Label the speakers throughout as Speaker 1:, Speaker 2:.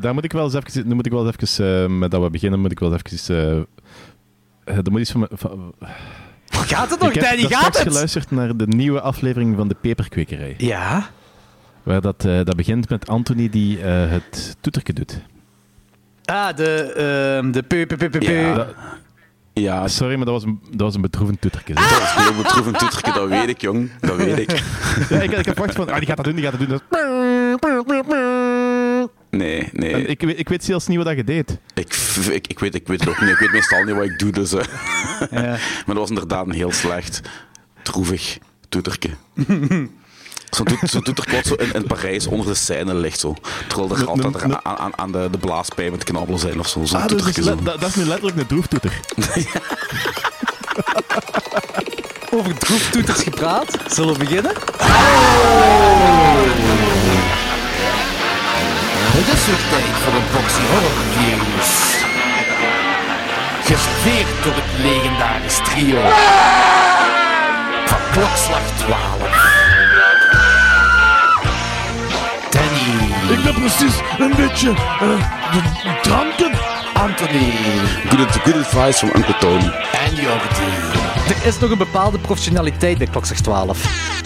Speaker 1: daar moet ik wel eens even... Nu moet ik wel eens even... eh, met dat we beginnen, moet ik wel eens even... eh, eh, er moet iets van... me- van-
Speaker 2: Gaat het nog,
Speaker 1: ik heb
Speaker 2: Danny? Gaat
Speaker 1: straks
Speaker 2: het?
Speaker 1: geluisterd naar de nieuwe aflevering van de Peperkwekerij.
Speaker 2: Ja.
Speaker 1: Waar dat, eh, dat begint met Anthony die eh, het toeterke doet.
Speaker 2: Ah, de... ehm de pu, pu, pu, pu, pu.
Speaker 1: Ja,
Speaker 2: Ja.
Speaker 1: dat-
Speaker 3: Ja, dat
Speaker 1: sorry, maar dat was een, dat was een bedroevend toeterke.
Speaker 3: is gewoon een betroefend toeterke, dat weet ik, jong. Dat weet ik.
Speaker 1: Ja, ik, ik heb wacht van, ah, die gaat dat doen, die gaat dat doen. Dat is-
Speaker 3: Nee, nee.
Speaker 1: En
Speaker 3: Ik,
Speaker 1: Eh, ik, weet- ik weet zelfs niet wat dat je deed.
Speaker 3: ik, ik, weet, ik weet het ook niet. Ik weet meestal niet wat ik doe, dus... eh. Maar dat was inderdaad een heel slecht, droevig toeterke. Zo'n toet, zo'n toeter plots zo in, in Parijs onder de scène ligt, zo. Terwijl er altijd
Speaker 1: ne- ne-
Speaker 3: aan, aan, aan de, de blaaspijp met knabbelen zijn of zo. Zo'n
Speaker 1: Ah, dat, is
Speaker 3: toeterke,
Speaker 1: dus
Speaker 3: zo.
Speaker 1: le- dat, dat is nu letterlijk een droeftoeter.
Speaker 2: Over droeftoeters gepraat. Zullen we beginnen?
Speaker 4: Het is weer tijd voor een boxy horror games. Gespeerd door het legendarisch trio van Klokslag 12. Danny. Ik ben precies een beetje dranken. Anthony
Speaker 3: Good, good advice van Uncle Tony.
Speaker 4: en Jordi.
Speaker 2: Er is nog een bepaalde professionaliteit bij klok 12.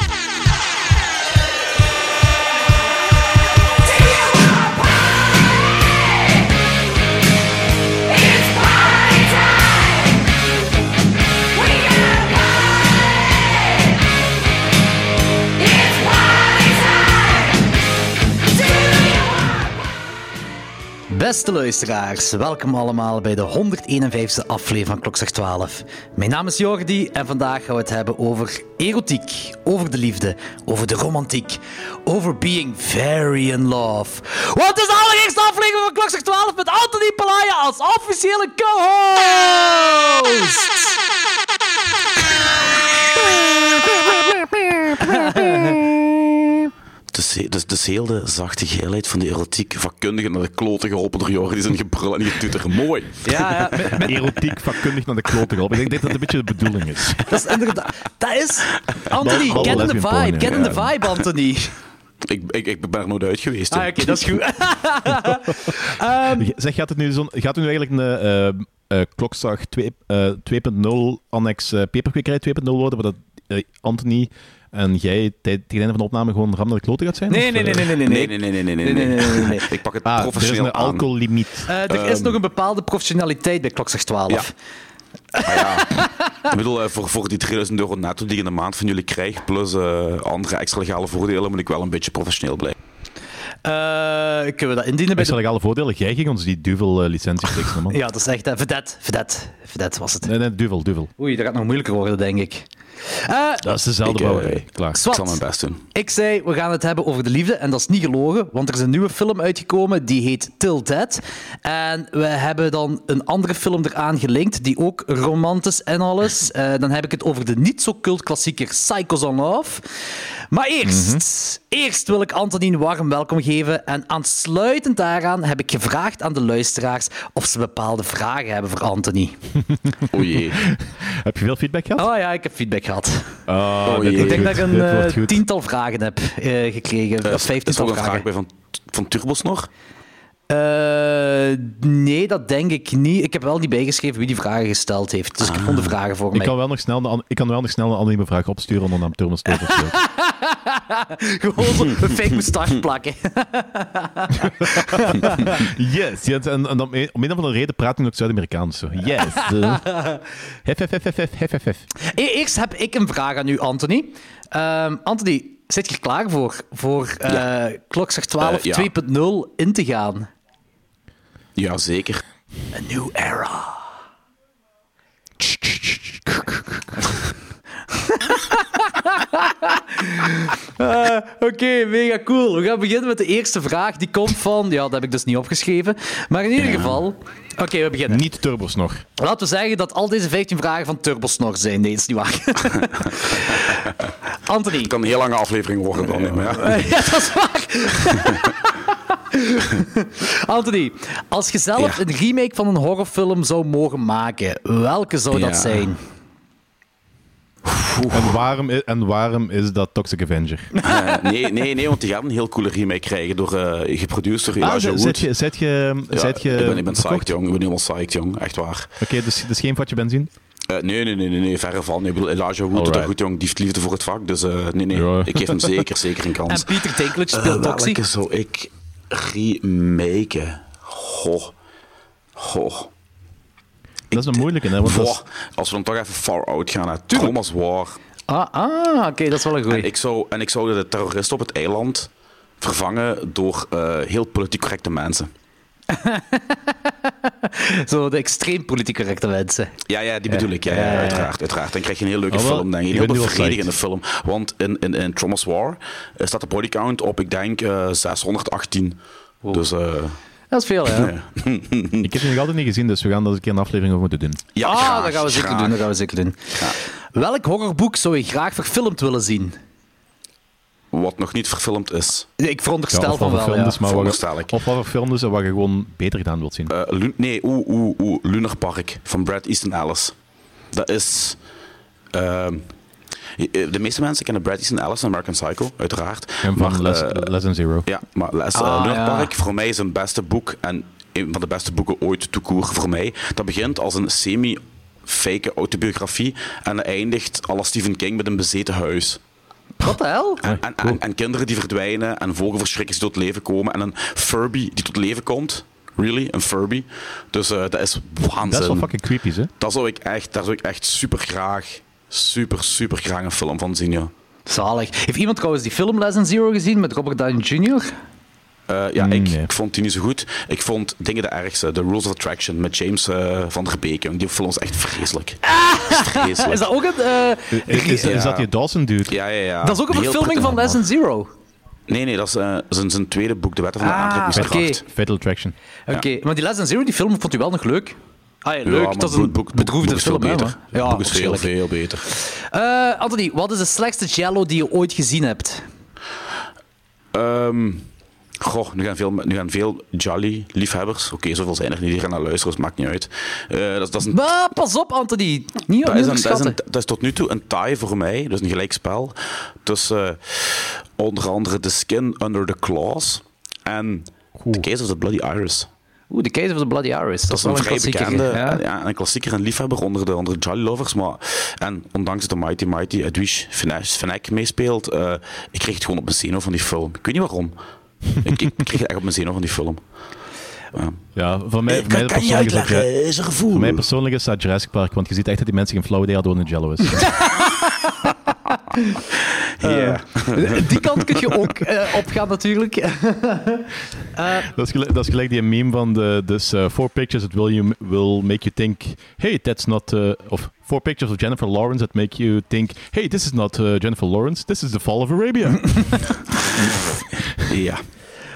Speaker 2: Beste luisteraars, welkom allemaal bij de 151ste aflevering van Klokzeg 12. Mijn naam is Jordi en vandaag gaan we het hebben over erotiek, over de liefde, over de romantiek, over being very in love. Want het is de allereerste aflevering van Klokzeg 12 met Anthony Palaya als officiële co-host.
Speaker 3: Dus, dus, dus heel de zachte geilheid van de erotiek, vakkundigen naar de kloten geholpen door Joris en gebrul en getuter. Mooi.
Speaker 2: Ja, ja, met- met-
Speaker 1: Erotiek vakkundig naar de klote geholpen. Ik denk dat dat een beetje de bedoeling is.
Speaker 2: dat is inderdaad... Dat is... Anthony,
Speaker 1: Bal-
Speaker 2: get in the
Speaker 1: lesbian porn,
Speaker 2: vibe,
Speaker 1: ja.
Speaker 2: get in the vibe, Anthony.
Speaker 3: Ik, ik, ik ben er nooit uit geweest. hè.
Speaker 2: Ah, oké, dat is goed.
Speaker 1: Zeg, gaat het nu, zo'n- gaat het nu eigenlijk een eh, eh, klokslag 2 eh, 2.0 annex eh, peperkwekerij 2.0 worden, waar dat eh, Anthony en jij tij- tegen het einde van de opname gewoon ram naar de klote gaat zijn?
Speaker 2: Nee,
Speaker 1: Of,
Speaker 2: nee, nee,
Speaker 1: eh,
Speaker 2: nee, nee, nee.
Speaker 3: Nee, nee, nee, nee, nee,
Speaker 2: Nee,
Speaker 3: nee,
Speaker 2: nee, nee, nee, nee.
Speaker 3: Ik pak het
Speaker 1: Ah, er is
Speaker 3: professioneel
Speaker 1: een alcohollimiet.
Speaker 2: Eh, er is nog een bepaalde professionaliteit bij Klokzeg 12.
Speaker 3: aan. Ah, ja. ik bedoel, eh, voor, voor die 3000 euro netto die ik in de maand van jullie krijg, plus eh, andere extra legale voordelen, moet ik wel een beetje professioneel blijven.
Speaker 2: Eh, kunnen we dat indienen bij
Speaker 1: Best
Speaker 2: de...
Speaker 1: wel legale voordelen. Jij ging ons die duvel eh, licentie fixen, man.
Speaker 2: Ja, dat is echt... eh, Verdet, verdet, verdet was het.
Speaker 1: Nee, nee, duvel, duvel.
Speaker 2: Oei, dat gaat nog moeilijker worden, denk ik. Eh,
Speaker 1: Dat is dezelfde
Speaker 3: Ik, eh,
Speaker 1: bouwerij. Klaar.
Speaker 3: Ik zal mijn
Speaker 2: Swat,
Speaker 3: best doen.
Speaker 2: ik zei, we gaan het hebben over de liefde. En dat is niet gelogen, want er is een nieuwe film uitgekomen. Die heet Till Dead. En we hebben dan een andere film eraan gelinkt. Die ook romantisch en alles. Eh, dan heb ik het over de niet-zo-cult klassieker Psychos on Love. Maar eerst... Eerst wil ik Anthony een warm welkom geven en aansluitend daaraan heb ik gevraagd aan de luisteraars of ze bepaalde vragen hebben voor Anthony.
Speaker 3: O jee.
Speaker 1: Heb je veel feedback gehad?
Speaker 2: Oh ja, ik heb feedback gehad.
Speaker 1: Ah,
Speaker 3: Oh
Speaker 1: dit
Speaker 3: jee.
Speaker 1: wordt
Speaker 2: Ik denk
Speaker 1: goed,
Speaker 2: dat ik een
Speaker 1: dit wordt
Speaker 2: eh,
Speaker 1: goed.
Speaker 2: tiental vragen heb eh, gekregen.
Speaker 3: Eh,
Speaker 2: of
Speaker 3: is er
Speaker 2: vijftiental
Speaker 3: ook een
Speaker 2: vragen.
Speaker 3: vraag bij van, van Turbosnor?
Speaker 2: Eh, nee, dat denk ik niet. Ik heb wel niet bijgeschreven wie die vragen gesteld heeft. Dus ik vond de vragen voor
Speaker 1: Ik
Speaker 2: mij.
Speaker 1: kan, wel nog snel een, an- ik kan wel nog snel een anonieme vraag opsturen onder naam Thomas Toversteel.
Speaker 2: Gewoon zo een fake moustache plakken.
Speaker 1: Yes, yes. En, en dan- om een of andere reden praat ik ook Zuid-Amerikaans. zo. Yes. eh. Hef, hef, hef, hef, hef, hef, hef, hef.
Speaker 2: E- Eerst heb ik een vraag aan u, Anthony. Ehm, Anthony, zit je er klaar voor? Voor eh klokslag 12
Speaker 3: Eh, ja.
Speaker 2: 2.0 in te gaan.
Speaker 3: Jazeker.
Speaker 2: A new era. Eh, Oké, mega cool. We gaan beginnen met de eerste vraag. Die komt van... Ja, dat heb ik dus niet opgeschreven. Maar in ieder geval... Oké, we beginnen.
Speaker 1: Niet turbos nog.
Speaker 2: Laten we zeggen dat al deze 15 vragen van Turbosnor zijn. Nee, dat is niet waar. Anthony.
Speaker 3: Het kan een heel lange aflevering worden dan. hè, maar ja.
Speaker 2: Ja, dat is waar. Anthony, als je zelf
Speaker 3: Ja.
Speaker 2: een remake van een horrorfilm zou mogen maken, welke zou dat
Speaker 3: Ja.
Speaker 2: zijn?
Speaker 1: En waarom, i- en waarom is dat Toxic Avenger?
Speaker 3: Eh, nee, nee, nee, want die gaan een heel coole remake krijgen door eh geproduceerd door Elijah
Speaker 1: Ah, zet
Speaker 3: Wood.
Speaker 1: zet je, zet je,
Speaker 3: Ja,
Speaker 1: zet je
Speaker 3: ik ben, ik ben
Speaker 1: verkocht?
Speaker 3: psyched, jong. Ik ben helemaal psyched, jong. Echt waar.
Speaker 1: Oké, dus, dus geen vatje benzine?
Speaker 3: Eh, nee, nee, nee, nee, nee, verre van. Ik bedoel, Elijah Wood doet dat
Speaker 1: Alright.
Speaker 3: goed, jong. Die heeft liefde voor het vak. Dus eh, nee, nee,
Speaker 1: Ja.
Speaker 3: ik geef hem zeker, zeker een kans.
Speaker 2: En Peter Dinklage
Speaker 3: Eh,
Speaker 2: speelt Toxie.
Speaker 3: welke zou ik remaken? Goh. Goh.
Speaker 1: Dat is een moeilijke, hè? Want dat is-
Speaker 3: Goh. Als we dan toch even far out gaan naar Thomas War.
Speaker 2: Ah, ah oké, dat is wel een goeie.
Speaker 3: En ik, zou, en ik zou de terroristen op het eiland vervangen door eh, heel politiek correcte mensen.
Speaker 2: Zo de extreem politiek correcte mensen.
Speaker 3: Ja, ja, die bedoel ik. Ja, ja,
Speaker 2: Ja, ja, ja.
Speaker 3: uiteraard, uiteraard. Dan krijg je een heel leuke
Speaker 1: Ah, wel,
Speaker 3: film, denk ik.
Speaker 1: ik
Speaker 3: Een heel
Speaker 1: ben nu al
Speaker 3: bevredigende film. Want in, in, in Thomas War eh, staat de bodycount op, ik denk, eh, 618. Dus eh,
Speaker 2: Dat is veel, hè?
Speaker 1: Ik heb die nog altijd niet gezien, dus we gaan dat een keer een aflevering over moeten doen.
Speaker 3: ja,
Speaker 2: ah,
Speaker 3: graag,
Speaker 2: dat gaan we zeker
Speaker 3: graag.
Speaker 2: doen. Dat gaan we zeker doen. Welk horrorboek zou je graag verfilmd willen zien?
Speaker 3: Wat nog niet verfilmd is.
Speaker 2: Nee, Ik veronderstel
Speaker 1: of
Speaker 2: van
Speaker 1: wat
Speaker 2: wel.
Speaker 1: film
Speaker 2: Ja.
Speaker 1: dus, maar wat,
Speaker 3: veronderstel ik.
Speaker 1: of wat voor film dus en wat je gewoon beter gedaan wilt zien.
Speaker 3: Eh, Lu- nee, oeh, oeh, oeh, Lunar Park van Brad Easton Ellis. Dat is... ehm, je- eh, de meeste mensen kennen Brad Easton Ellis en American Psycho, uiteraard.
Speaker 1: en van
Speaker 3: Maar,
Speaker 1: Les,
Speaker 3: eh,
Speaker 1: Lesson Zero.
Speaker 3: Ja, maar Les, eh,
Speaker 2: Ah,
Speaker 3: Lunar
Speaker 2: ja.
Speaker 3: Park voor mij is een beste boek en een van de beste boeken ooit toekoer voor mij. Dat begint als een semi-fake autobiografie en eindigt à la Stephen King met een bezeten huis.
Speaker 2: Wat de hel?
Speaker 1: Ah,
Speaker 3: En, en, en, en kinderen die verdwijnen en vogelverschrikkers die tot leven komen en een Furby die tot leven komt. Really, een Furby. Dus eh, dat is waanzin.
Speaker 1: Dat is wel fucking creepy, hè?
Speaker 3: Dat zou ik echt, daar zou ik echt super graag, super, super graag een film van zien, ja.
Speaker 2: Zalig. Heeft iemand trouwens die film Lesson Zero gezien met Robert Downey Jr.?
Speaker 3: Eh, ja, ik,
Speaker 1: nee.
Speaker 3: ik vond die niet zo goed. Ik vond dingen de ergste. The Rules of Attraction met James eh, van der Beek. jong. Die film is echt vreselijk. Dat is vreselijk.
Speaker 2: Ah! Is dat ook een, eh,
Speaker 1: Is, is,
Speaker 3: Ja.
Speaker 1: dat die Dawson dude?
Speaker 3: Ja, ja, ja.
Speaker 2: dat is ook een
Speaker 3: Heel
Speaker 2: verfilming van
Speaker 3: prettig,
Speaker 2: Lesson
Speaker 3: man.
Speaker 2: Zero. Oké,
Speaker 3: Nee, nee, dat is eh, zijn, zijn tweede boek, De Wetten van de
Speaker 2: Ah,
Speaker 3: Aantrekkingskracht.
Speaker 2: oké.
Speaker 1: Fatal Attraction.
Speaker 2: maar die Lesson Zero, die film vond u wel nog leuk? Ah, ja, leuk,
Speaker 3: maar
Speaker 2: dat is een
Speaker 3: boek- boek-
Speaker 2: bedroefde
Speaker 3: boek is veel
Speaker 2: film, hè,
Speaker 3: beter.
Speaker 2: maar-
Speaker 3: Ja, boek is veel,
Speaker 2: waarschijnlijk.
Speaker 3: veel beter.
Speaker 2: Eh, Anthony, wat is de slechtste jello die je ooit gezien hebt?
Speaker 3: Ehm, goh, nu gaan veel, nu gaan veel Jolly-liefhebbers... Oké, zoveel zijn er niet. Die gaan naar luisteren, dus maakt niet uit. Eh, dat, is- dat is een
Speaker 2: Maar pas op, Anthony. Niet
Speaker 3: Dat is,
Speaker 2: opnieuw
Speaker 3: een, dat, is
Speaker 2: schatten.
Speaker 3: een- dat is tot nu toe een tie voor mij, dus een gelijkspel. Tussen eh, onder andere The Skin Under the Claws en The Case of the Bloody Iris.
Speaker 2: Oeh, de Case of the Bloody Iris. Dat, is
Speaker 3: Dat is
Speaker 2: wel
Speaker 3: een vrij
Speaker 2: klassieker,
Speaker 3: bekende
Speaker 2: ja.
Speaker 3: en, ja, een klassieker en liefhebber onder de, onder de Jolly Lovers. Maar, en ondanks dat de Mighty Mighty Edwige Fnac meespeelt, eh, ik kreeg het gewoon op mijn zenuw van die film. Ik weet niet waarom. ik, ik kreeg het echt op mijn zenuw van die film.
Speaker 2: Eh,
Speaker 1: Ja, voor
Speaker 3: Eh,
Speaker 1: mij, Eh, voor mij persoonlijk is dat... Ju-
Speaker 3: is een gevoel.
Speaker 1: voor mij persoonlijk is dat Jurassic Park, want je ziet echt dat die mensen geen flauw idee hadden wat een jello is.
Speaker 2: Eh. Die kant kun je ook eh, opgaan, natuurlijk.
Speaker 1: dat, is gelijk, dat is gelijk die meme van de, dus, eh, Four Pictures That will, you, will Make You Think, hey, that's not... eh, of Four Pictures of Jennifer Lawrence That Make You Think, hey, this is not eh, Jennifer Lawrence, this is The Fall of Arabia.
Speaker 3: Ja.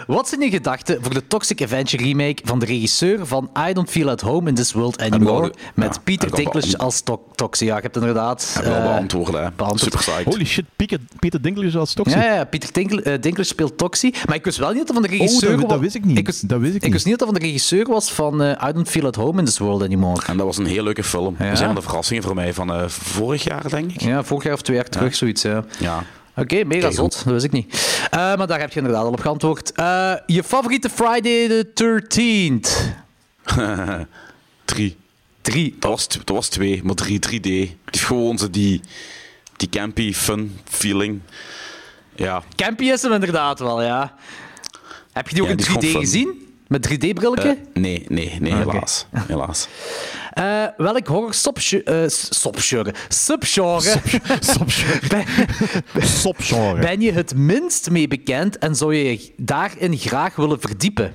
Speaker 2: Wat zijn je gedachten voor de Toxic Avenger remake van de regisseur van I Don't Feel At Home In This World Anymore?
Speaker 3: we- ja,
Speaker 2: Met
Speaker 3: en
Speaker 2: Peter
Speaker 3: we al
Speaker 2: Dinklage
Speaker 3: beant-
Speaker 2: als to Toxie. Ja, ik heb het inderdaad...
Speaker 3: Heb wel
Speaker 2: eh,
Speaker 3: beantwoorden, hè.
Speaker 2: beantwoord.
Speaker 3: Super psyched.
Speaker 1: Holy shit, Pieter, Pieter Dinklage is als toxic.
Speaker 2: ja, ja, Peter Dinkl- eh, Dinklage speelt Toxie. Maar ik wist wel niet dat dat van de regisseur
Speaker 1: Oh, dat-
Speaker 2: wa-
Speaker 1: dat wist ik niet.
Speaker 2: wist,
Speaker 1: Dat wist ik niet.
Speaker 2: wist niet dat dat van de regisseur was van eh, I Don't Feel At Home In This World Anymore.
Speaker 3: En dat was een heel leuke film.
Speaker 2: Ja.
Speaker 3: Dat is een van de verrassingen voor mij van eh, vorig jaar, denk ik.
Speaker 2: Ja, vorig jaar of twee jaar terug, zoiets. Ja.
Speaker 3: Ja.
Speaker 2: Oké, mega
Speaker 3: Oké, goed.
Speaker 2: zot. Dat wist ik niet. Eh, maar daar heb je inderdaad al op geantwoord. Eh, je favoriete Friday the 13th?
Speaker 3: Drie.
Speaker 2: Drie.
Speaker 3: Dat was, dat was twee, maar drie, 3D. Die heeft gewoon zo die, die campy, fun feeling. Ja.
Speaker 2: Campy is hem inderdaad wel, ja. Heb je die ook
Speaker 3: Ja,
Speaker 2: in
Speaker 3: die is
Speaker 2: 3D
Speaker 3: gewoon fun.
Speaker 2: gezien? Met 3D-brilletje?
Speaker 3: Eh, nee, nee, nee, helaas. Helaas.
Speaker 2: Eh, welk horror subge- eh, subgenre subgenre
Speaker 1: Sopgenre.
Speaker 2: ben, ben je het minst mee bekend en zou je je daarin graag willen verdiepen?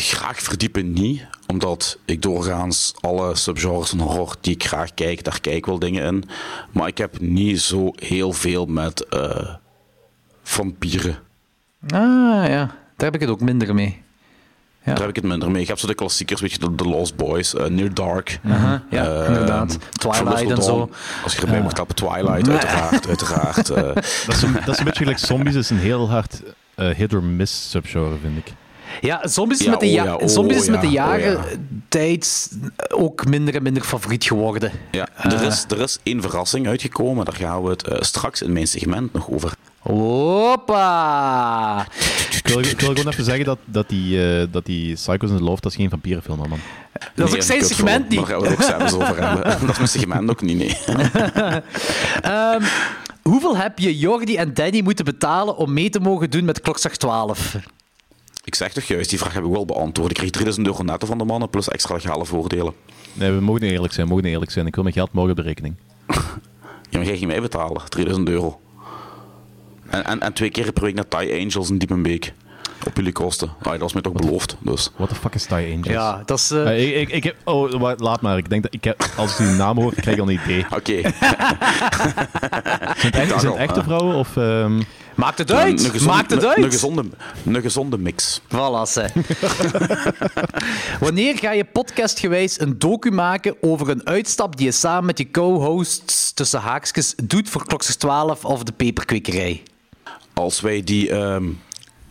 Speaker 3: Graag verdiepen niet, omdat ik doorgaans alle subgenres van horror die ik graag kijk, daar kijk ik wel dingen in. Maar ik heb niet zo heel veel met eh, vampieren.
Speaker 2: Ah, ja. Daar heb ik het ook minder mee.
Speaker 3: Daar heb ik het minder mee. Ik heb zo de klassiekers, weet je, de, de Lost Boys, eh, Near Dark.
Speaker 2: Aha, ja,
Speaker 3: Eh,
Speaker 2: inderdaad. Twilight
Speaker 3: From Dusk
Speaker 2: en
Speaker 3: Till
Speaker 2: zo.
Speaker 3: Dawn. Als je erbij mocht tappen, Twilight, uiteraard. uiteraard eh.
Speaker 1: Dat is, een, dat is een beetje gelijk zombies, is een heel hard eh, hit or miss subgenre, vind ik.
Speaker 2: Ja, zombies is
Speaker 3: Ja,
Speaker 2: met de,
Speaker 3: oh
Speaker 2: ja-
Speaker 3: ja, oh
Speaker 2: zombies is met de
Speaker 3: ja, oh
Speaker 2: jaren
Speaker 3: ja.
Speaker 2: tijd ook minder en minder favoriet geworden.
Speaker 3: Ja, er, is, er is één verrassing uitgekomen. Daar gaan we het eh, straks in mijn segment nog over.
Speaker 2: Hoppa!
Speaker 1: Ik wil, ik wil gewoon even zeggen dat, dat, die, eh, dat die Psychos in the Loft, dat is geen vampierenfilm, hè, man.
Speaker 2: Dat is
Speaker 3: Nee,
Speaker 2: ook zijn
Speaker 3: kut,
Speaker 2: segment
Speaker 3: Daar
Speaker 2: niet.
Speaker 3: gaan we het ook zelfs over hebben. Dat is mijn segment ook niet, nee.
Speaker 2: Ehm, hoeveel heb je Jordi en Danny moeten betalen om mee te mogen doen met klokslag 12?
Speaker 3: Ik zeg toch juist, die vraag heb ik wel beantwoord. Ik kreeg 3000 euro netto van de mannen, plus extra legale voordelen.
Speaker 1: Nee, we mogen niet eerlijk zijn, we mogen niet eerlijk zijn. Ik wil mijn geld morgen op de rekening.
Speaker 3: Ja, maar jij ging mij betalen, 3000 euro. En, en, en twee keer per week naar Thai Angels in Diepenbeek. Op jullie kosten. Ah, dat was mij toch beloofd, dus...
Speaker 1: What the fuck is Thai Angels?
Speaker 2: Ja, dat is... eh,
Speaker 1: Eh, ik, ik, ik heb, oh, wa- laat maar. Ik denk dat ik heb, als ik die naam hoor, krijg ik al een idee.
Speaker 3: Oké,
Speaker 1: Zijn het, echt, zijn het echte vrouwen of... ehm,
Speaker 2: Maakt het
Speaker 3: eh, een,
Speaker 2: uit!
Speaker 3: gezonde-
Speaker 2: Maakt het
Speaker 3: een-
Speaker 2: uit!
Speaker 3: Een gezonde, een gezonde mix.
Speaker 2: Voilà, ze. Wanneer ga je podcastgewijs een docu maken over een uitstap die je samen met je co-hosts tussen haakjes doet voor klokslag 12 of de peperkwekerij?
Speaker 3: Als wij die, ehm,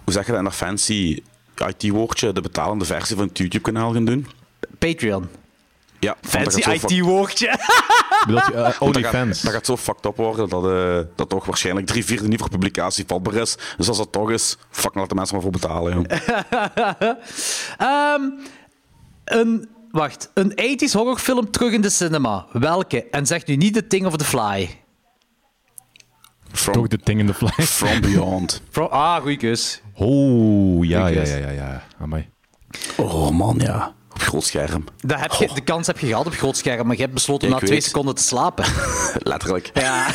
Speaker 3: hoe zeg je dat in dat fancy IT-woordje, de betalende versie van het YouTube-kanaal gaan doen?
Speaker 2: Patreon.
Speaker 3: Ja, want dat
Speaker 2: Fancy
Speaker 3: gaat zo fuck-
Speaker 2: IT-woordje.
Speaker 1: bedoelt je eh,
Speaker 3: dat gaat-
Speaker 1: OnlyFans?
Speaker 3: Dat gaat zo fucked up worden dat, eh, dat toch waarschijnlijk drie vierde niet voor publicatie vatbaar is. Dus als dat toch is, fuck, laat de mensen maar voor betalen. joh.
Speaker 2: Ehm, een, wacht, een 80s horrorfilm terug in de cinema. Welke? En zeg nu niet The Thing of the Fly.
Speaker 1: Toch
Speaker 3: From,
Speaker 1: de thing in the fly.
Speaker 3: from beyond.
Speaker 2: Pro- ah, goeie keus.
Speaker 1: Oh, ja, ja, ja, ja. ja. Amai.
Speaker 3: Oh man, ja. Op groot scherm.
Speaker 2: Dat heb je,
Speaker 3: Oh.
Speaker 2: de kans heb je gehad op groot scherm, maar je hebt besloten
Speaker 3: Ik
Speaker 2: na twee
Speaker 3: weet.
Speaker 2: seconden te slapen.
Speaker 3: Letterlijk.
Speaker 2: Ja.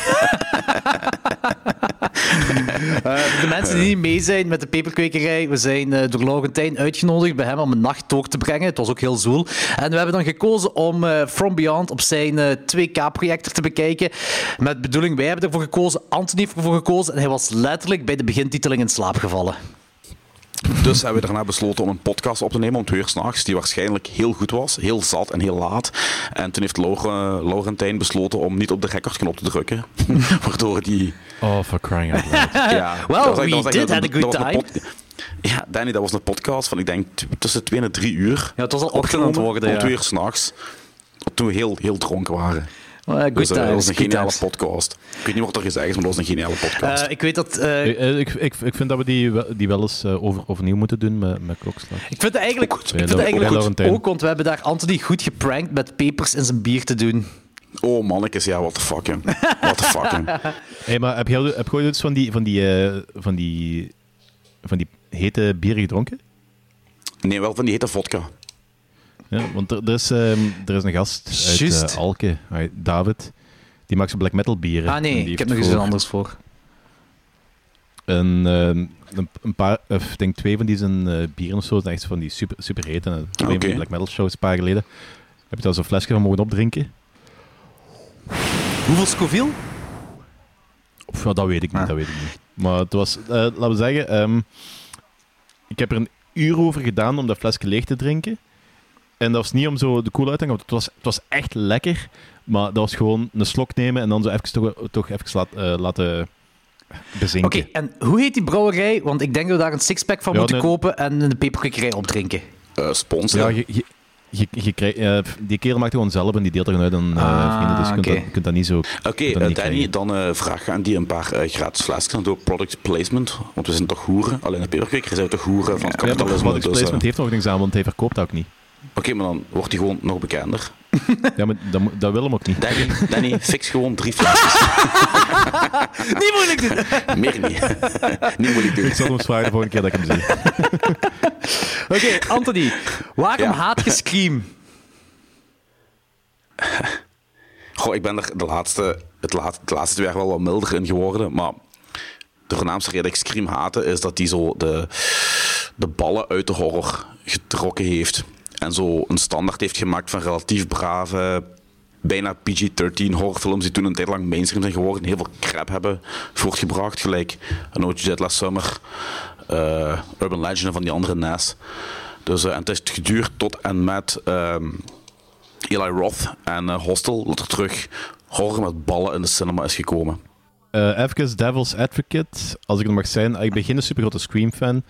Speaker 2: Eh, de mensen die niet mee zijn met de peperkwekerij, we zijn eh, door Laurentijn uitgenodigd bij hem om een nacht door te brengen. Het was ook heel zoel. En we hebben dan gekozen om eh, From Beyond op zijn eh, 2K-projector te bekijken. Met bedoeling, wij hebben ervoor gekozen, Anthony heeft ervoor gekozen. En hij was letterlijk bij de begintiteling in slaap gevallen.
Speaker 3: Dus hebben we daarna besloten om een podcast op te nemen om twee uur s'nachts, die waarschijnlijk heel goed was, heel zat en heel laat. En toen heeft Laure- Laurentijn besloten om niet op de recordknop te drukken, waardoor die...
Speaker 1: Oh, for crying out loud.
Speaker 3: Ja,
Speaker 2: Well,
Speaker 3: dat was echt-
Speaker 2: we
Speaker 3: dat was echt
Speaker 2: did
Speaker 3: een-
Speaker 2: had a good
Speaker 3: dat was een
Speaker 2: time.
Speaker 3: pod- Ja, Danny, dat was een podcast van, ik denk, t- tussen twee en drie uur.
Speaker 2: Ja, het was al ochtend aan het
Speaker 3: opgenomen,
Speaker 2: worden,
Speaker 3: Om
Speaker 2: ja.
Speaker 3: twee uur s'nachts, toen we heel, heel dronken waren.
Speaker 2: Eh, good
Speaker 3: Dus eh, dat
Speaker 2: times,
Speaker 3: was een
Speaker 2: good
Speaker 3: geniale
Speaker 2: times.
Speaker 3: podcast. Ik weet niet wat er gezegd is, maar dat was een geniale podcast.
Speaker 2: Eh, ik weet dat... eh,
Speaker 1: Ik- eh, ik, ik, ik vind dat we die, wel- die wel eens eh, over, overnieuw moeten doen met, met klokslag.
Speaker 2: Ik vind het eigenlijk,
Speaker 3: Ook goed.
Speaker 2: ik vind het
Speaker 1: Ja,
Speaker 2: eigenlijk
Speaker 1: ook
Speaker 2: ook,
Speaker 1: Laurentijn.
Speaker 2: ook, want we hebben daar Anthony goed geprankt met pepers in zijn bier te doen.
Speaker 3: oh mannetjes, ja, what the fuck, jong. What the fuck, jong.
Speaker 1: Hey, maar heb jij heb jij ooit iets van die, van, die, eh, van, die, van die hete bieren gedronken?
Speaker 3: Nee, wel van die hete vodka.
Speaker 1: Ja, want er, er, is, ehm, er is een gast uit
Speaker 2: Juist.
Speaker 1: eh, Alke, uit David. Die maakt zijn black metal bieren.
Speaker 2: Ah
Speaker 1: En
Speaker 2: nee,
Speaker 1: die
Speaker 2: ik heb nog
Speaker 1: heeft voor
Speaker 2: eens iets anders voor.
Speaker 1: Een, ehm, een, een paar, of ik denk twee van die zijn eh, bieren of zo, zijn echt van die super, super heet. En twee van die
Speaker 3: Oké.
Speaker 1: black metal shows een paar jaar geleden. Heb je daar zo'n flesje van mogen opdrinken?
Speaker 2: Hoeveel Scoville?
Speaker 1: Of, ja, dat weet ik niet,
Speaker 3: Ah.
Speaker 1: dat weet ik niet. Maar het was, eh, laten we zeggen, ehm, ik heb er een uur over gedaan om dat flesje leeg te drinken. En dat was niet om zo de cool uit te hangen, want het was, het was echt lekker. Maar dat was gewoon een slok nemen en dan zo even toch, toch even laat, eh, laten bezinken.
Speaker 2: Oké, en hoe heet die brouwerij? Want ik denk dat we daar een sixpack van
Speaker 1: Ja,
Speaker 2: moeten
Speaker 1: nee.
Speaker 2: kopen en in de peperkwekerij opdrinken.
Speaker 3: Eh
Speaker 1: Ja,
Speaker 3: sponsoren.
Speaker 1: je, je, je, je krijgt- eh, die kerel maakt het gewoon zelf en die deelt er gewoon uit aan eh,
Speaker 2: Ah,
Speaker 1: vrienden. Dus je kunt,
Speaker 2: oké.
Speaker 1: dat, je kunt dat niet zo.
Speaker 3: Oké,
Speaker 1: je kunt dat
Speaker 3: eh,
Speaker 1: niet
Speaker 3: Danny,
Speaker 1: krijgen.
Speaker 3: dan eh, vraag aan die een paar eh, gratis flesjes. Dan doe ik product placement, want we zijn toch hoeren. Alleen de peperkweker zijn we toch hoeren van het
Speaker 1: Ja, maar
Speaker 3: kapitalisme.
Speaker 1: product
Speaker 3: dus, eh,
Speaker 1: placement heeft nog niks aan, want hij verkoopt dat ook niet.
Speaker 3: Oké, maar dan wordt hij gewoon nog bekender.
Speaker 1: Ja, maar dat, mo- dat wil hem ook niet.
Speaker 3: Danny, Danny fix gewoon drie flesjes.
Speaker 2: Niet moeilijk doen!
Speaker 3: Meer niet. niet moeilijk doen.
Speaker 1: Ik zal hem eens vragen de volgende keer dat ik hem zie.
Speaker 2: Oké, Anthony, waarom
Speaker 3: Ja.
Speaker 2: haat je Scream?
Speaker 3: Goh, ik ben er de laatste, het, laat, het laatste twee jaar wel wat milder in geworden. Maar de voornaamste reden dat ik Scream haatte is dat hij zo de, de ballen uit de horror getrokken heeft. En zo een standaard heeft gemaakt van relatief brave, bijna PG-13 horrorfilms die toen een tijd lang mainstream zijn geworden. en Heel veel crap hebben voortgebracht, gelijk An Old Dead Last Summer, eh, Urban Legend en van die andere NAS. Dus, eh, en het is geduurd tot en met... ehm, Eli Roth en eh, Hostel, dat er terug horror met ballen in de cinema is gekomen.
Speaker 1: ah, Eh even Devil's Advocate, als ik het mag zijn. Ik ben geen supergrote Scream-fan,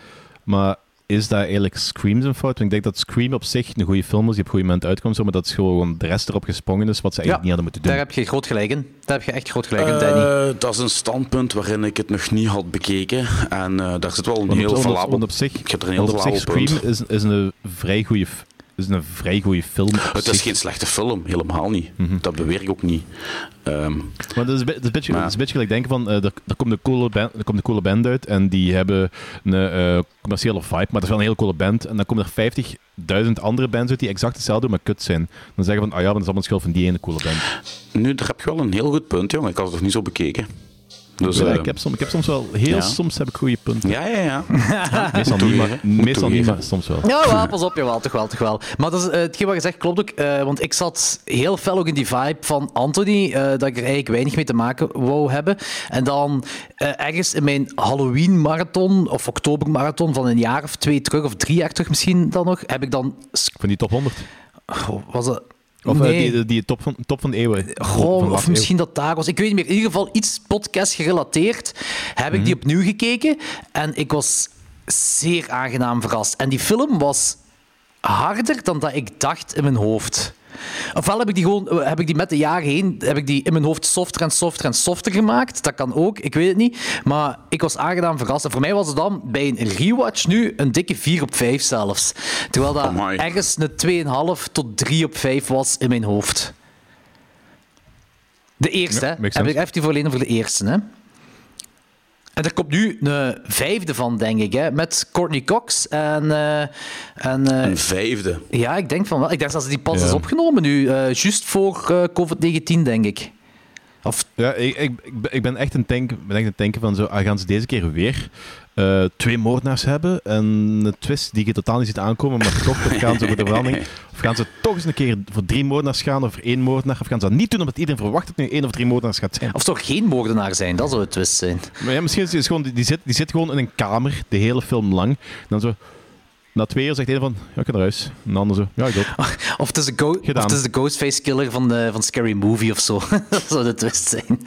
Speaker 1: maar is dat eigenlijk Scream zijn fout? Want ik denk dat Scream op zich een goede film is, die op een goed moment uitkomt, zo, maar dat is gewoon de rest erop gesprongen is, wat ze eigenlijk niet hadden moeten doen.
Speaker 2: Daar heb je groot gelijk in. Daar heb je echt groot gelijk in, Danny.
Speaker 3: Eh, dat is een standpunt waarin ik het nog niet had bekeken. En eh, daar zit wel een
Speaker 1: Want
Speaker 3: heel
Speaker 1: op, want op-
Speaker 3: valabel...
Speaker 1: want op zich,
Speaker 3: Ik heb er een heel
Speaker 1: want op zich
Speaker 3: valabel
Speaker 1: Scream
Speaker 3: punt.
Speaker 1: is, is een vrij goede f- is een vrij goede film. op
Speaker 3: Het
Speaker 1: zich.
Speaker 3: is geen slechte film, helemaal niet.
Speaker 1: Mhm.
Speaker 3: Dat beweer ik ook niet. Ehm,
Speaker 1: Maar dat is, een be- dat is een beetje,
Speaker 3: Maar-
Speaker 1: dat is een beetje gelijk denken van, eh, er, er komt een coole band, er komt een coole band uit en die hebben een eh, commerciële vibe, maar dat is wel een hele coole band. En dan komen er 50.000 andere bands uit die exact hetzelfde doen, maar kut zijn. Dan zeggen van, ah ja, maar dat is allemaal schuld van die ene coole band.
Speaker 3: nu, daar heb je wel een heel goed punt, jongen. Ik had het nog niet zo bekeken. Dus,
Speaker 1: Ja,
Speaker 3: eh,
Speaker 1: ik, heb soms, ik heb soms wel, heel
Speaker 3: ja.
Speaker 1: soms heb ik goede punten.
Speaker 3: ja, ja, ja.
Speaker 1: Meestal,
Speaker 3: Moet
Speaker 1: niet, maar,
Speaker 3: toegeven. Moet
Speaker 1: meestal niet,
Speaker 3: toegeven.
Speaker 1: maar soms wel.
Speaker 2: Ja, wel, pas op, jawel, toch wel, toch wel. Maar dat is, eh, hetgeen wat je zegt klopt ook, eh, want ik zat heel fel ook in die vibe van Anthony, eh, dat ik er eigenlijk weinig mee te maken wou hebben. En dan eh, ergens in mijn Halloween-marathon, of oktober-marathon van een jaar of twee terug, of drie jaar terug misschien dan nog, heb ik dan... sc-
Speaker 1: Van die top 100.
Speaker 2: Goh, was dat...
Speaker 1: Of eh,
Speaker 2: nee.
Speaker 1: die, die top, van, top van de eeuwen.
Speaker 2: Goh,
Speaker 1: Van de
Speaker 2: of
Speaker 1: laatste
Speaker 2: misschien dat daar was. Ik weet niet meer. In ieder geval iets podcast gerelateerd. Heb ik die opnieuw gekeken. En ik was zeer aangenaam verrast. En die film was harder dan dat ik dacht in mijn hoofd. Ofwel heb ik die gewoon eh, heb ik die met de jaren heen heb ik die in mijn hoofd softer en softer en softer gemaakt. Dat kan ook, ik weet het niet. Maar ik was aangenaam verrast. En voor mij was het dan bij een rewatch nu een dikke 4 op 5 zelfs. Terwijl dat
Speaker 3: Amai.
Speaker 2: ergens een 2,5 tot 3 op 5 was in mijn hoofd. De eerste,
Speaker 1: Ja,
Speaker 2: hè?
Speaker 1: makes
Speaker 2: Heb ik
Speaker 1: sense.
Speaker 2: even die voor alleen over de eerste, hè? En er komt nu een vijfde van, denk ik, hè? Met Courtney Cox en... eh, en eh,
Speaker 3: Een vijfde.
Speaker 2: ja, ik denk van wel. Ik dacht dat ze die pas
Speaker 1: Ja.
Speaker 2: is opgenomen nu, eh, juist voor eh, COVID-19, denk ik. Of
Speaker 1: Ja, ik, ik, ik ben- ik ben echt een tank, ben echt aan het denken van zo, ah, gaan ze deze keer weer eh, twee moordenaars hebben en een twist die je totaal niet ziet aankomen, maar toch dat gaan ze voor de verandering. Of gaan ze toch eens een keer voor drie moordenaars gaan of voor één moordenaar, of gaan ze dat niet doen omdat iedereen verwacht dat het nu één of drie moordenaars gaat zijn.
Speaker 2: Of toch geen moordenaar zijn, dat zou het twist zijn.
Speaker 1: Maar ja, misschien is het gewoon, die, die zit, die zit gewoon in een kamer de hele film lang. En dan zo, na twee uur zegt de ene van, ja, ik ga naar huis. En de ander zo, ja, ik ook.
Speaker 2: Of het is de, go- of
Speaker 1: Gedaan.
Speaker 2: het is de Ghostface Killer van, de, van Scary Movie of zo. dat zou de twist zijn.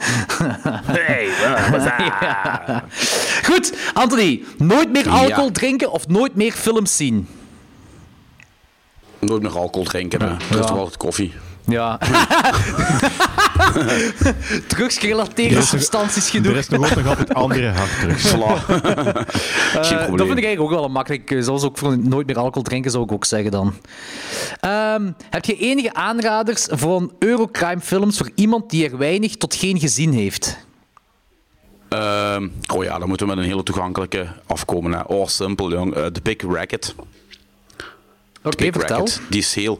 Speaker 3: Hey, eh, wat is dat?
Speaker 2: Goed, Anthony. Nooit meer
Speaker 3: Ja.
Speaker 2: alcohol drinken of nooit meer films zien.
Speaker 3: Nooit meer alcohol drinken, hè. Dat is toch wel koffie.
Speaker 2: Ja. Drugsgerelateerde substanties
Speaker 1: Er
Speaker 2: genoeg.
Speaker 1: is nog ook nog altijd andere hartdrugs.
Speaker 3: Voilà. Geen
Speaker 2: Eh, dat
Speaker 3: probleem.
Speaker 2: vind ik eigenlijk ook wel een makkelijk. eh, Zoals ook voor nooit meer alcohol drinken, zou ik ook zeggen dan. Ehm, heb je enige aanraders van Eurocrime films voor iemand die er weinig tot geen gezien heeft?
Speaker 3: Ehm, oh ja, dan moeten we met een hele toegankelijke afkomen. Hè. Oh, simpel, jong. Eh, The Big Racket.
Speaker 2: Oké,
Speaker 3: Big
Speaker 2: vertel.
Speaker 3: Racket. Die is heel...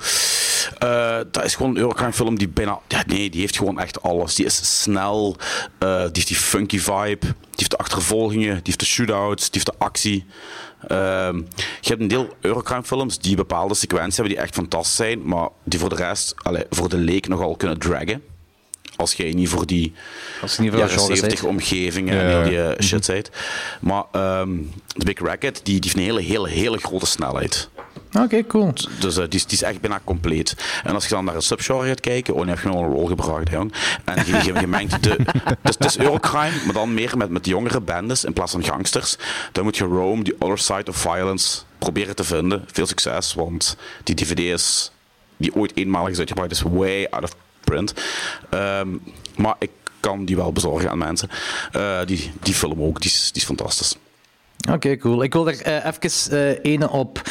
Speaker 3: eh, dat is gewoon een Eurocrime film die bijna... Ja, nee, die heeft gewoon echt alles. Die is snel, eh, die heeft die funky vibe, die heeft de achtervolgingen, die heeft de shootouts, die heeft de actie. Ehm, je hebt een deel Eurocrime films die bepaalde sequenties hebben die echt fantastisch zijn, maar die voor de rest, allee, voor de leek nogal kunnen draggen. Als jij niet voor die
Speaker 2: Als je niet
Speaker 3: ja,
Speaker 2: van genre bent.
Speaker 3: 70 omgeving en
Speaker 1: Ja,
Speaker 3: heel die
Speaker 1: ja.
Speaker 2: Mhm.
Speaker 3: eh, shit zijt. Maar ehm, de Big Racket, die, die heeft een hele, hele, hele grote snelheid.
Speaker 2: Oké, cool.
Speaker 3: Dus eh, die, is- die is echt bijna compleet. En als je dan naar een subgenre gaat kijken, oh, dan heb je wel een rol gebracht, hè, jong. En je, je, je mengt de... Dus het is Eurocrime, maar dan meer met, met jongere bandes in plaats van gangsters. Dan moet je Rome, The Other Side of Violence, proberen te vinden. Veel succes, want die DVD is... Die ooit eenmalig is uitgebracht, is way out of print. Ehm, maar ik kan die wel bezorgen aan mensen. Eh, die, die film ook, die is, die is fantastisch.
Speaker 2: Oké, cool. Ik wil er eh, even eh ene op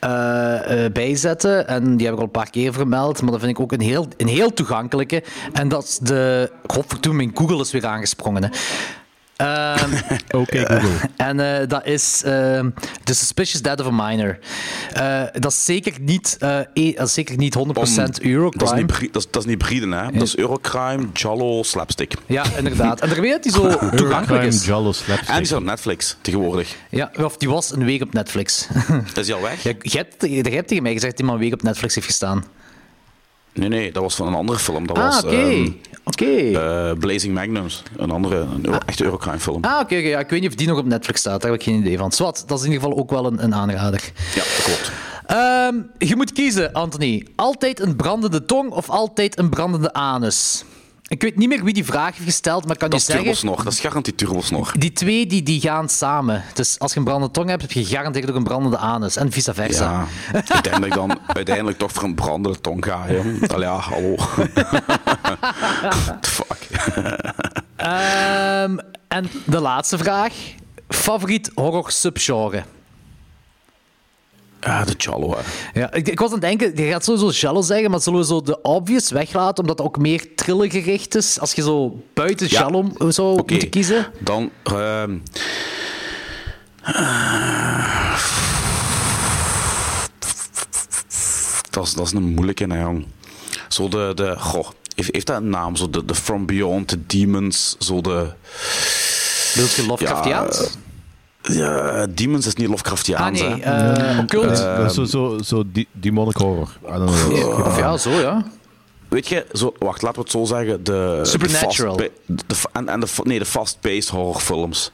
Speaker 2: eh, eh, bijzetten. En die heb ik al een paar keer vermeld. Maar dat vind ik ook een heel, een heel toegankelijke. En dat is de. Godverdomme, mijn Google is weer aangesprongen. Hè. Ehm,
Speaker 1: Oké, Google.
Speaker 2: En eh, dat is ehm, The Suspicious Death of a Minor. Eh, dat is zeker niet, eh, e- dat is zeker niet 100%
Speaker 3: Dat is
Speaker 2: Eurocrime.
Speaker 3: niet, brie- dat is, dat is niet brieden, hè. Dat is Eurocrime, Jallo, Slapstick.
Speaker 2: Ja, inderdaad. En daar weet je dat die zo toegankelijk
Speaker 1: Crime,
Speaker 2: is.
Speaker 1: Jallo,
Speaker 3: En die
Speaker 1: Slapstick.
Speaker 3: is op Netflix tegenwoordig.
Speaker 2: Ja, of die was een week op Netflix.
Speaker 3: Is die al weg?
Speaker 2: ja, jij, hebt, jij hebt tegen mij gezegd dat die maar een week op Netflix heeft gestaan.
Speaker 3: Nee, nee, dat was van een andere film. Dat
Speaker 2: Ah,
Speaker 3: was
Speaker 2: oké.
Speaker 3: ehm,
Speaker 2: Oké.
Speaker 3: eh, Blazing Magnums. Een andere, een euro- echte Eurocrime film.
Speaker 2: Ah, oké, oké. ja, ik weet niet of die nog op Netflix staat. Daar heb ik geen idee van. Zwat, dat is in ieder geval ook wel een, een aanrader.
Speaker 3: Ja, dat klopt.
Speaker 2: Ehm, je moet kiezen, Anthony. Altijd een brandende tong of altijd een brandende anus? Ik weet niet meer wie die vraag heeft gesteld, maar ik kan
Speaker 3: Dat
Speaker 2: je
Speaker 3: is
Speaker 2: zeggen...
Speaker 3: turbosnor. Dat is garantie turbosnor.
Speaker 2: Die twee die, die gaan samen. Dus als je een brandende tong hebt, heb je gegarandeerd ook een brandende anus. En vice versa.
Speaker 3: Ja. ik denk dat ik dan uiteindelijk toch voor een brandende tong ga, jong. Allee, ja, hallo. Fuck.
Speaker 2: Ehm, en de laatste vraag. Favoriet horror subgenre?
Speaker 3: Ah, de Jallo, hè.
Speaker 2: Ja, ik, ik was aan het denken, je gaat sowieso jello zeggen, maar zullen we zo de obvious weglaten, omdat dat ook meer trillergericht is? Als je zo buiten
Speaker 3: Ja.
Speaker 2: jello zou
Speaker 3: Oké,
Speaker 2: moeten kiezen.
Speaker 3: Dan. ehm, eh, dat, is, dat is een moeilijke, hè, jong. Zo de. de goh, heeft, heeft dat een naam? Zo de, de From Beyond, de Demons, zo de.
Speaker 2: Wil je Lovecraftiaans?
Speaker 3: Ja, eh, Ja, Demons is niet
Speaker 2: ah
Speaker 3: Lovecraftiaans,
Speaker 2: nee,
Speaker 3: hè?
Speaker 2: eh occult.
Speaker 1: Eh, zo, zo, zo die, demonic horror. I don't know.
Speaker 3: eh,
Speaker 2: Of ja, zo ja.
Speaker 3: Weet je, zo, wacht, laten we het zo zeggen. De,
Speaker 2: Supernatural.
Speaker 3: De fast, de, fa- en, en de, fa- nee, de fast-paced horrorfilms.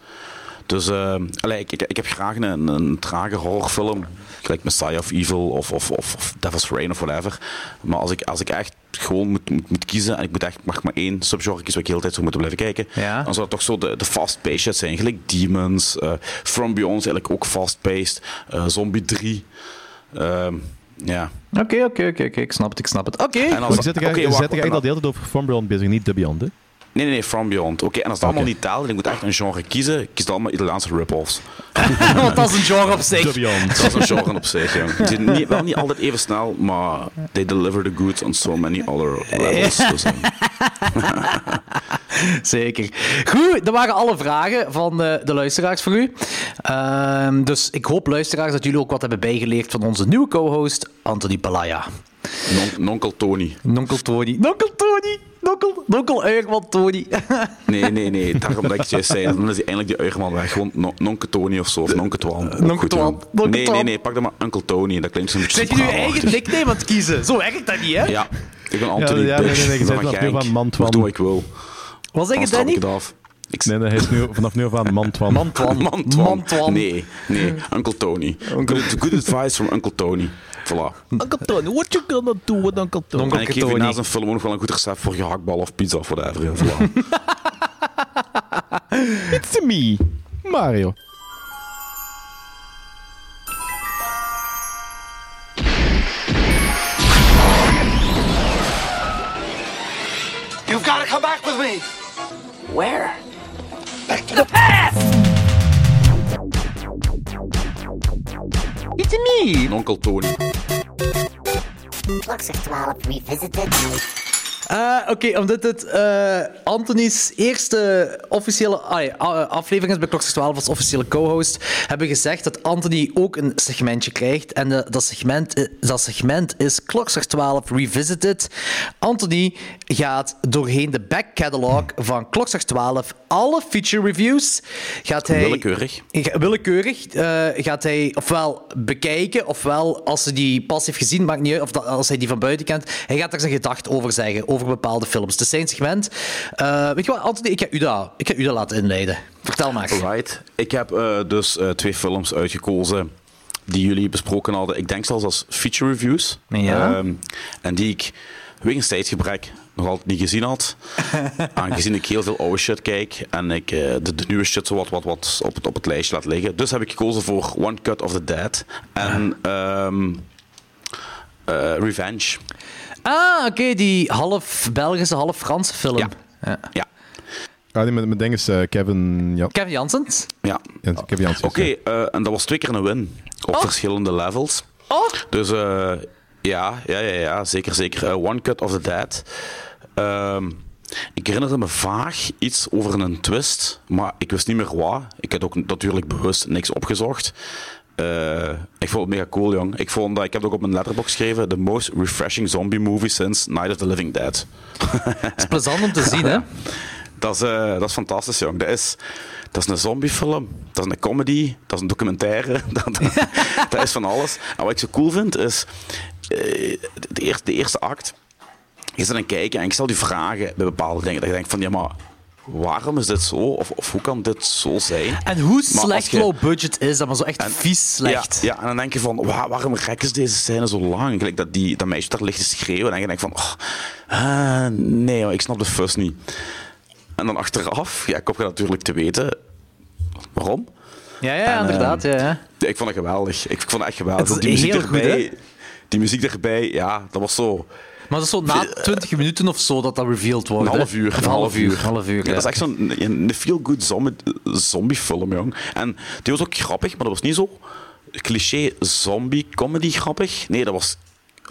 Speaker 3: Dus ehm, allee, ik, ik, ik heb graag een, een trage horrorfilm. Gelijk Messiah of Evil of, of, of, of Devil's Reign of whatever. Maar als ik, als ik echt gewoon moet, moet, moet kiezen en ik moet echt, mag maar één subgenre kiezen waar ik de hele tijd zo moeten blijven kijken.
Speaker 2: Ja.
Speaker 3: Dan zou het toch zo de, de fast-paced shit zijn. Gelijk Demons, eh, From Beyond is eigenlijk ook fast-paced. eh, Zombie 3. Ehm, ja.
Speaker 2: Oké, oké, oké, oké, ik snap het, ik snap het. Oké.
Speaker 3: En als-
Speaker 1: Maar je zet ik
Speaker 3: oké,
Speaker 1: eigenlijk
Speaker 3: wacht,
Speaker 1: zet ik eigenlijk
Speaker 3: en dan-
Speaker 1: al de hele tijd over From Beyond bezig, niet The Beyond. hè?
Speaker 3: Nee, nee, nee, From Beyond. Oké, en als dat allemaal niet telt en ik moet echt een genre kiezen, ik kies dan allemaal Italiaanse rip-offs.
Speaker 2: Want dat is een genre op zich.
Speaker 1: The Beyond.
Speaker 3: Dat is een genre op zich, jong. Die zijn niet, wel niet altijd even snel, maar they deliver the goods on so many other levels. Dus, eh,
Speaker 2: Zeker. Goed, dat waren alle vragen van eh, de luisteraars voor u. Ehm, dus ik hoop, luisteraars, dat jullie ook wat hebben bijgeleerd van onze nieuwe co-host, Anthony Palaya.
Speaker 3: non- Nonkel Tony.
Speaker 2: Nonkel Tony. Nonkel Tony! Nonkel, nonkel Uierman Tony.
Speaker 3: Nee, nee, nee, daarom dat ik het juist zei. Dan is die eindelijk die uierman weg. Gewoon no- Nonkel Tony of zo, of Nonkel Twan. Ook
Speaker 2: Nonkel
Speaker 3: goed,
Speaker 2: Twan,
Speaker 3: jong.
Speaker 2: Nonkel
Speaker 3: Nee,
Speaker 2: Twan.
Speaker 3: nee, nee, pak dan maar Uncle Tony. Dat klinkt zo'n beetje
Speaker 2: Zet je nu je
Speaker 3: soprano
Speaker 2: eigen nickname aan het kiezen? Zo werkt dat niet, hè?
Speaker 3: Ja, ik ben Anthony
Speaker 1: Ja, ja, nee, nee,
Speaker 3: Bush,
Speaker 1: nee, je
Speaker 3: dan
Speaker 1: zei
Speaker 3: mag
Speaker 1: vanaf
Speaker 3: jij
Speaker 1: nu
Speaker 3: ik-
Speaker 1: van Mantwan.
Speaker 3: Ik doe wat ik wil.
Speaker 2: Wat zeg je,
Speaker 3: Anders trap ik
Speaker 2: Danny?
Speaker 3: het af. Ik,
Speaker 1: Nee, nee, hij is nu, vanaf nu af aan Mantwan.
Speaker 2: Mantwan.
Speaker 3: Mantwan.
Speaker 2: Mantwan.
Speaker 3: Nee, nee. Uncle Tony. Good, good advice from Uncle Tony. Voilà.
Speaker 1: Uncle Tony, what you gonna do with Uncle Tony?
Speaker 3: en ik geef je
Speaker 2: Tony.
Speaker 3: na zijn film ook nog wel een goed recept voor gehaktbal of pizza of whatever. Ja, voilà.
Speaker 1: It's me, Mario.
Speaker 4: You've got to come back with me.
Speaker 5: Where?
Speaker 4: It's me.
Speaker 3: En Onkel Tony.
Speaker 6: Blocks of 12 revisited.
Speaker 2: Eh, Oké, omdat het eh Anthony's eerste officiële ah, ja, a- aflevering is bij Kloksters 12 als officiële co-host, hebben we gezegd dat Anthony ook een segmentje krijgt. En eh, dat, segment, i- dat segment is Kloksters 12 Revisited. Anthony gaat doorheen de back catalog van Kloksters 12 alle feature reviews. Gaat hij,
Speaker 3: Willekeurig.
Speaker 2: Ga- Willekeurig eh, gaat hij ofwel bekijken, ofwel als hij die pas heeft gezien, maakt niet uit, of dat, als hij die van buiten kent, hij gaat daar zijn gedacht over zeggen, over bepaalde films. Het is zijn segment. Eh, weet je wat, Anthony, ik ga u dat, ik ga u dat laten inleiden. Vertel maar.
Speaker 3: Right. Ik heb eh, dus eh, twee films uitgekozen die jullie besproken hadden. Ik denk zelfs als feature reviews.
Speaker 2: Ja.
Speaker 3: Ehm, en die ik wegens tijdgebrek nog altijd niet gezien had. Aangezien ik heel veel oude shit kijk en ik eh, de, de nieuwe shit zo wat, wat, wat op, het, op het lijstje laat liggen. Dus heb ik gekozen voor One Cut of the Dead en ehm, eh, Revenge.
Speaker 2: Ah, oké, die half Belgische, half Franse film.
Speaker 3: Ja. ja. ja.
Speaker 1: Ah, nee, mijn, mijn ding is eh, Kevin... Ja,
Speaker 2: Kevin Janssens?
Speaker 1: ja, Kevin Janssens.
Speaker 3: Oké, eh, en dat was twee keer een win. Op
Speaker 2: Oh.
Speaker 3: verschillende levels.
Speaker 2: Oh,
Speaker 3: Dus eh, ja, ja, ja, ja, zeker, zeker. Eh, One Cut of the Dead. Ehm, ik herinnerde me vaag iets over een twist, maar ik wist niet meer wat. Ik had ook natuurlijk bewust niks opgezocht. Eh, ik vond het mega cool, jong. Ik, vond dat, ik heb het ook op mijn letterbox geschreven: The most refreshing zombie movie since Night of the Living Dead.
Speaker 2: het is plezant om te zien, hè?
Speaker 3: Dat is, eh, dat is fantastisch, jong. Dat is, dat is een zombiefilm, dat is een comedy, dat is een documentaire. Dat, dat is van alles. En wat ik zo cool vind, is eh, de, eerste, de eerste act. Je zit aan het kijken en ik stel die vragen bij bepaalde dingen. Dat je denkt van, ja maar, waarom is dit zo? Of, of hoe kan dit zo zijn?
Speaker 2: En hoe
Speaker 3: Maar als
Speaker 2: slecht
Speaker 3: je-
Speaker 2: low budget is, dat maar zo echt vies slecht.
Speaker 3: Ja, ja, en dan denk je van, wa- waarom rekken ze deze scène zo lang? Gelijk dat, die, dat meisje daar ligt te schreeuwen. En je denkt van, oh, ah, nee, maar ik snap de fuss niet. En dan achteraf, ja, kom je natuurlijk te weten waarom.
Speaker 2: Ja, ja, inderdaad.
Speaker 3: ehm,
Speaker 2: Ja, ja.
Speaker 3: Ja, ik vond het geweldig. Ik vond het echt
Speaker 2: Het
Speaker 3: geweldig.
Speaker 2: is
Speaker 3: Ook die muziek
Speaker 2: heel goed,
Speaker 3: erbij,
Speaker 2: hè?
Speaker 3: die muziek erbij, ja, dat was zo.
Speaker 2: Maar dat is zo na 20 minuten of zo dat dat revealed wordt.
Speaker 3: eh, Een
Speaker 2: hè?
Speaker 3: half uur.
Speaker 2: Een half uur. een half
Speaker 3: Ja,
Speaker 2: uur ja.
Speaker 3: Dat is echt zo'n een, een feel-good zombie, zombiefilm, jong. En die was ook grappig, maar dat was niet zo cliché zombie-comedy grappig. Nee, dat was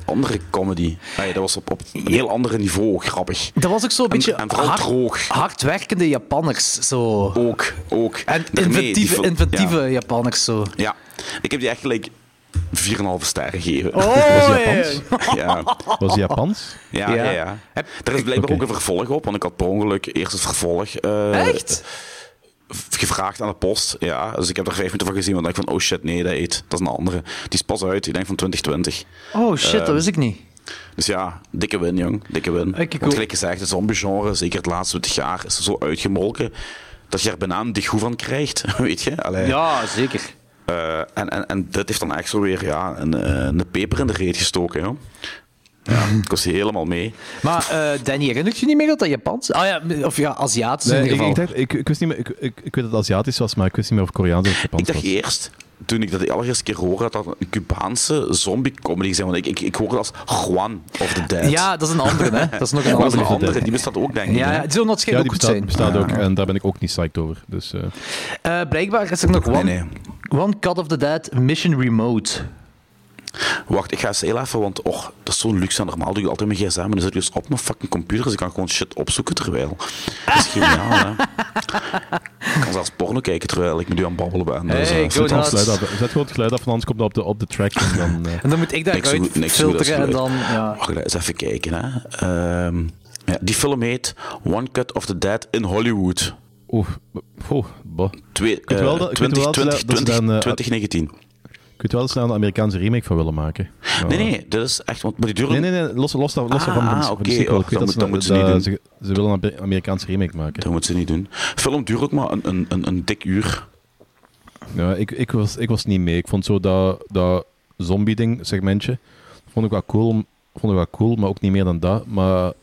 Speaker 3: andere comedy. Nee, dat was op, op een heel ander niveau grappig.
Speaker 2: Dat was ook zo'n beetje
Speaker 3: en vooral
Speaker 2: hard-
Speaker 3: droog.
Speaker 2: hardwerkende Japanners. Zo.
Speaker 3: Ook, ook.
Speaker 2: En
Speaker 3: Daarmee, die
Speaker 2: inventieve,
Speaker 3: fil-
Speaker 2: inventieve Japanners. Zo.
Speaker 3: Ja. ja, ik heb die echt gelijk 4,5 sterren gegeven.
Speaker 2: Oh,
Speaker 3: Dus
Speaker 1: Was die Japans?
Speaker 3: Ja.
Speaker 1: Was die Japans?
Speaker 3: Ja,
Speaker 2: Ja.
Speaker 3: ja. ja, Er is blijkbaar
Speaker 1: Oké.
Speaker 3: ook een vervolg op, want ik had per ongeluk eerst het vervolg eh,
Speaker 2: Echt?
Speaker 3: gevraagd aan de post. Ja, dus ik heb er vijf minuten van gezien, want ik dacht van, oh shit, nee, dat eet. Dat is een andere. Die is pas uit, ik denk van 2020.
Speaker 2: Oh shit, dat wist ik niet.
Speaker 3: Dus ja, dikke win, jong. Dikke win.
Speaker 2: Oké, cool.
Speaker 3: Want gelijk gezegd, het zombie-genre, zeker het laatste 20 jaar, is zo uitgemolken dat je er bijna een degoe van krijgt, weet je? Allee.
Speaker 2: Ja, zeker.
Speaker 3: Eh, en, en, en dit heeft dan echt zo weer ja, een, eh, een peper in de reet gestoken, joh. Ja, ik was helemaal mee.
Speaker 2: Maar eh, Danny, herinnert je niet meer dat dat Japans Ah ja, of ja, Aziatisch in
Speaker 1: Nee, ik,
Speaker 2: ieder geval.
Speaker 1: ik, dacht, ik, ik wist niet meer, ik, ik, ik weet dat het Aziatisch was, maar ik wist niet meer of Koreaans of Japans
Speaker 3: Ik dacht
Speaker 1: was.
Speaker 3: eerst, toen ik dat de allereerste keer hoorde, dat dat een Cubaanse zombie-comedy zijn. Want ik, ik, ik hoorde dat als Juan of the Dead.
Speaker 2: ja, dat is een andere, hè. Dat is nog een
Speaker 3: maar dat is
Speaker 2: andere.
Speaker 1: Juan
Speaker 3: een
Speaker 1: of the
Speaker 3: andere.
Speaker 1: Dead.
Speaker 3: Die bestaat ook, denk ik.
Speaker 2: Ja,
Speaker 3: hè?
Speaker 2: ja, die zullen
Speaker 1: Ja,
Speaker 2: waarschijnlijk
Speaker 1: die
Speaker 2: ook goed
Speaker 1: bestaat,
Speaker 2: zijn.
Speaker 1: bestaat ook. En daar ben ik ook niet psyched over. Dus,
Speaker 3: Oh,
Speaker 1: eh,
Speaker 2: Eh, blijkbaar is er nog One,
Speaker 3: nee.
Speaker 2: one Cut of the Dead Mission Remote.
Speaker 3: Wacht, ik ga eens heel even, want och, dat is zo'n luxe. Normaal doe ik altijd mijn gsm en dan zit ik dus op mijn fucking computer, dus ik kan gewoon shit opzoeken terwijl. Dat is geniaal, hè. Ik kan zelfs porno kijken terwijl ik me nu aan het babbelen ben. Dus,
Speaker 2: Hey, go
Speaker 3: eh,
Speaker 1: zet, gewoon het
Speaker 2: nuts.
Speaker 1: geluid af. zet gewoon het geluid af, want anders komt dat op de, op de track. En dan, eh,
Speaker 2: En dan moet ik
Speaker 3: niks zo
Speaker 2: daaruit
Speaker 3: goed- niks zo goed als
Speaker 2: filteren en dan...
Speaker 3: geluid.
Speaker 2: Ja.
Speaker 3: Wacht, eens even kijken, hè. Ehm, ja, die film heet One Cut of the Dead in Hollywood.
Speaker 1: Oeh, oh, bah.
Speaker 3: Twee,
Speaker 1: weet wel
Speaker 3: eh,
Speaker 1: dat- ik weet
Speaker 3: 20,
Speaker 1: wel dat ze daar-
Speaker 3: 20,
Speaker 1: dat ze daar een, eh,
Speaker 3: 2019.
Speaker 1: Ik weet wel eens daar een Amerikaanse remake van willen maken. Maar-
Speaker 3: Nee, nee, dat is echt. Want, maar die duren.
Speaker 1: Nee, nee, nee, los, los, daar- los
Speaker 3: Ah,
Speaker 1: daarvan. van- van
Speaker 3: oké.
Speaker 1: die sequel.
Speaker 3: Och,
Speaker 1: Ik weet
Speaker 3: dat
Speaker 1: dat,
Speaker 3: moet-
Speaker 1: ze, nou-
Speaker 3: dat moeten
Speaker 1: dat
Speaker 3: ze
Speaker 1: ze, ze willen een Amer- Amerikaanse remake maken.
Speaker 3: Dat moeten ze niet doen. Film duurt ook maar een, een, een, een dik uur.
Speaker 1: Ja, ik, ik, was, ik was niet mee. Ik vond zo dat, dat zombie-ding, segmentje, vond ik, wel cool, vond ik wel cool, maar ook niet meer dan dat. Maar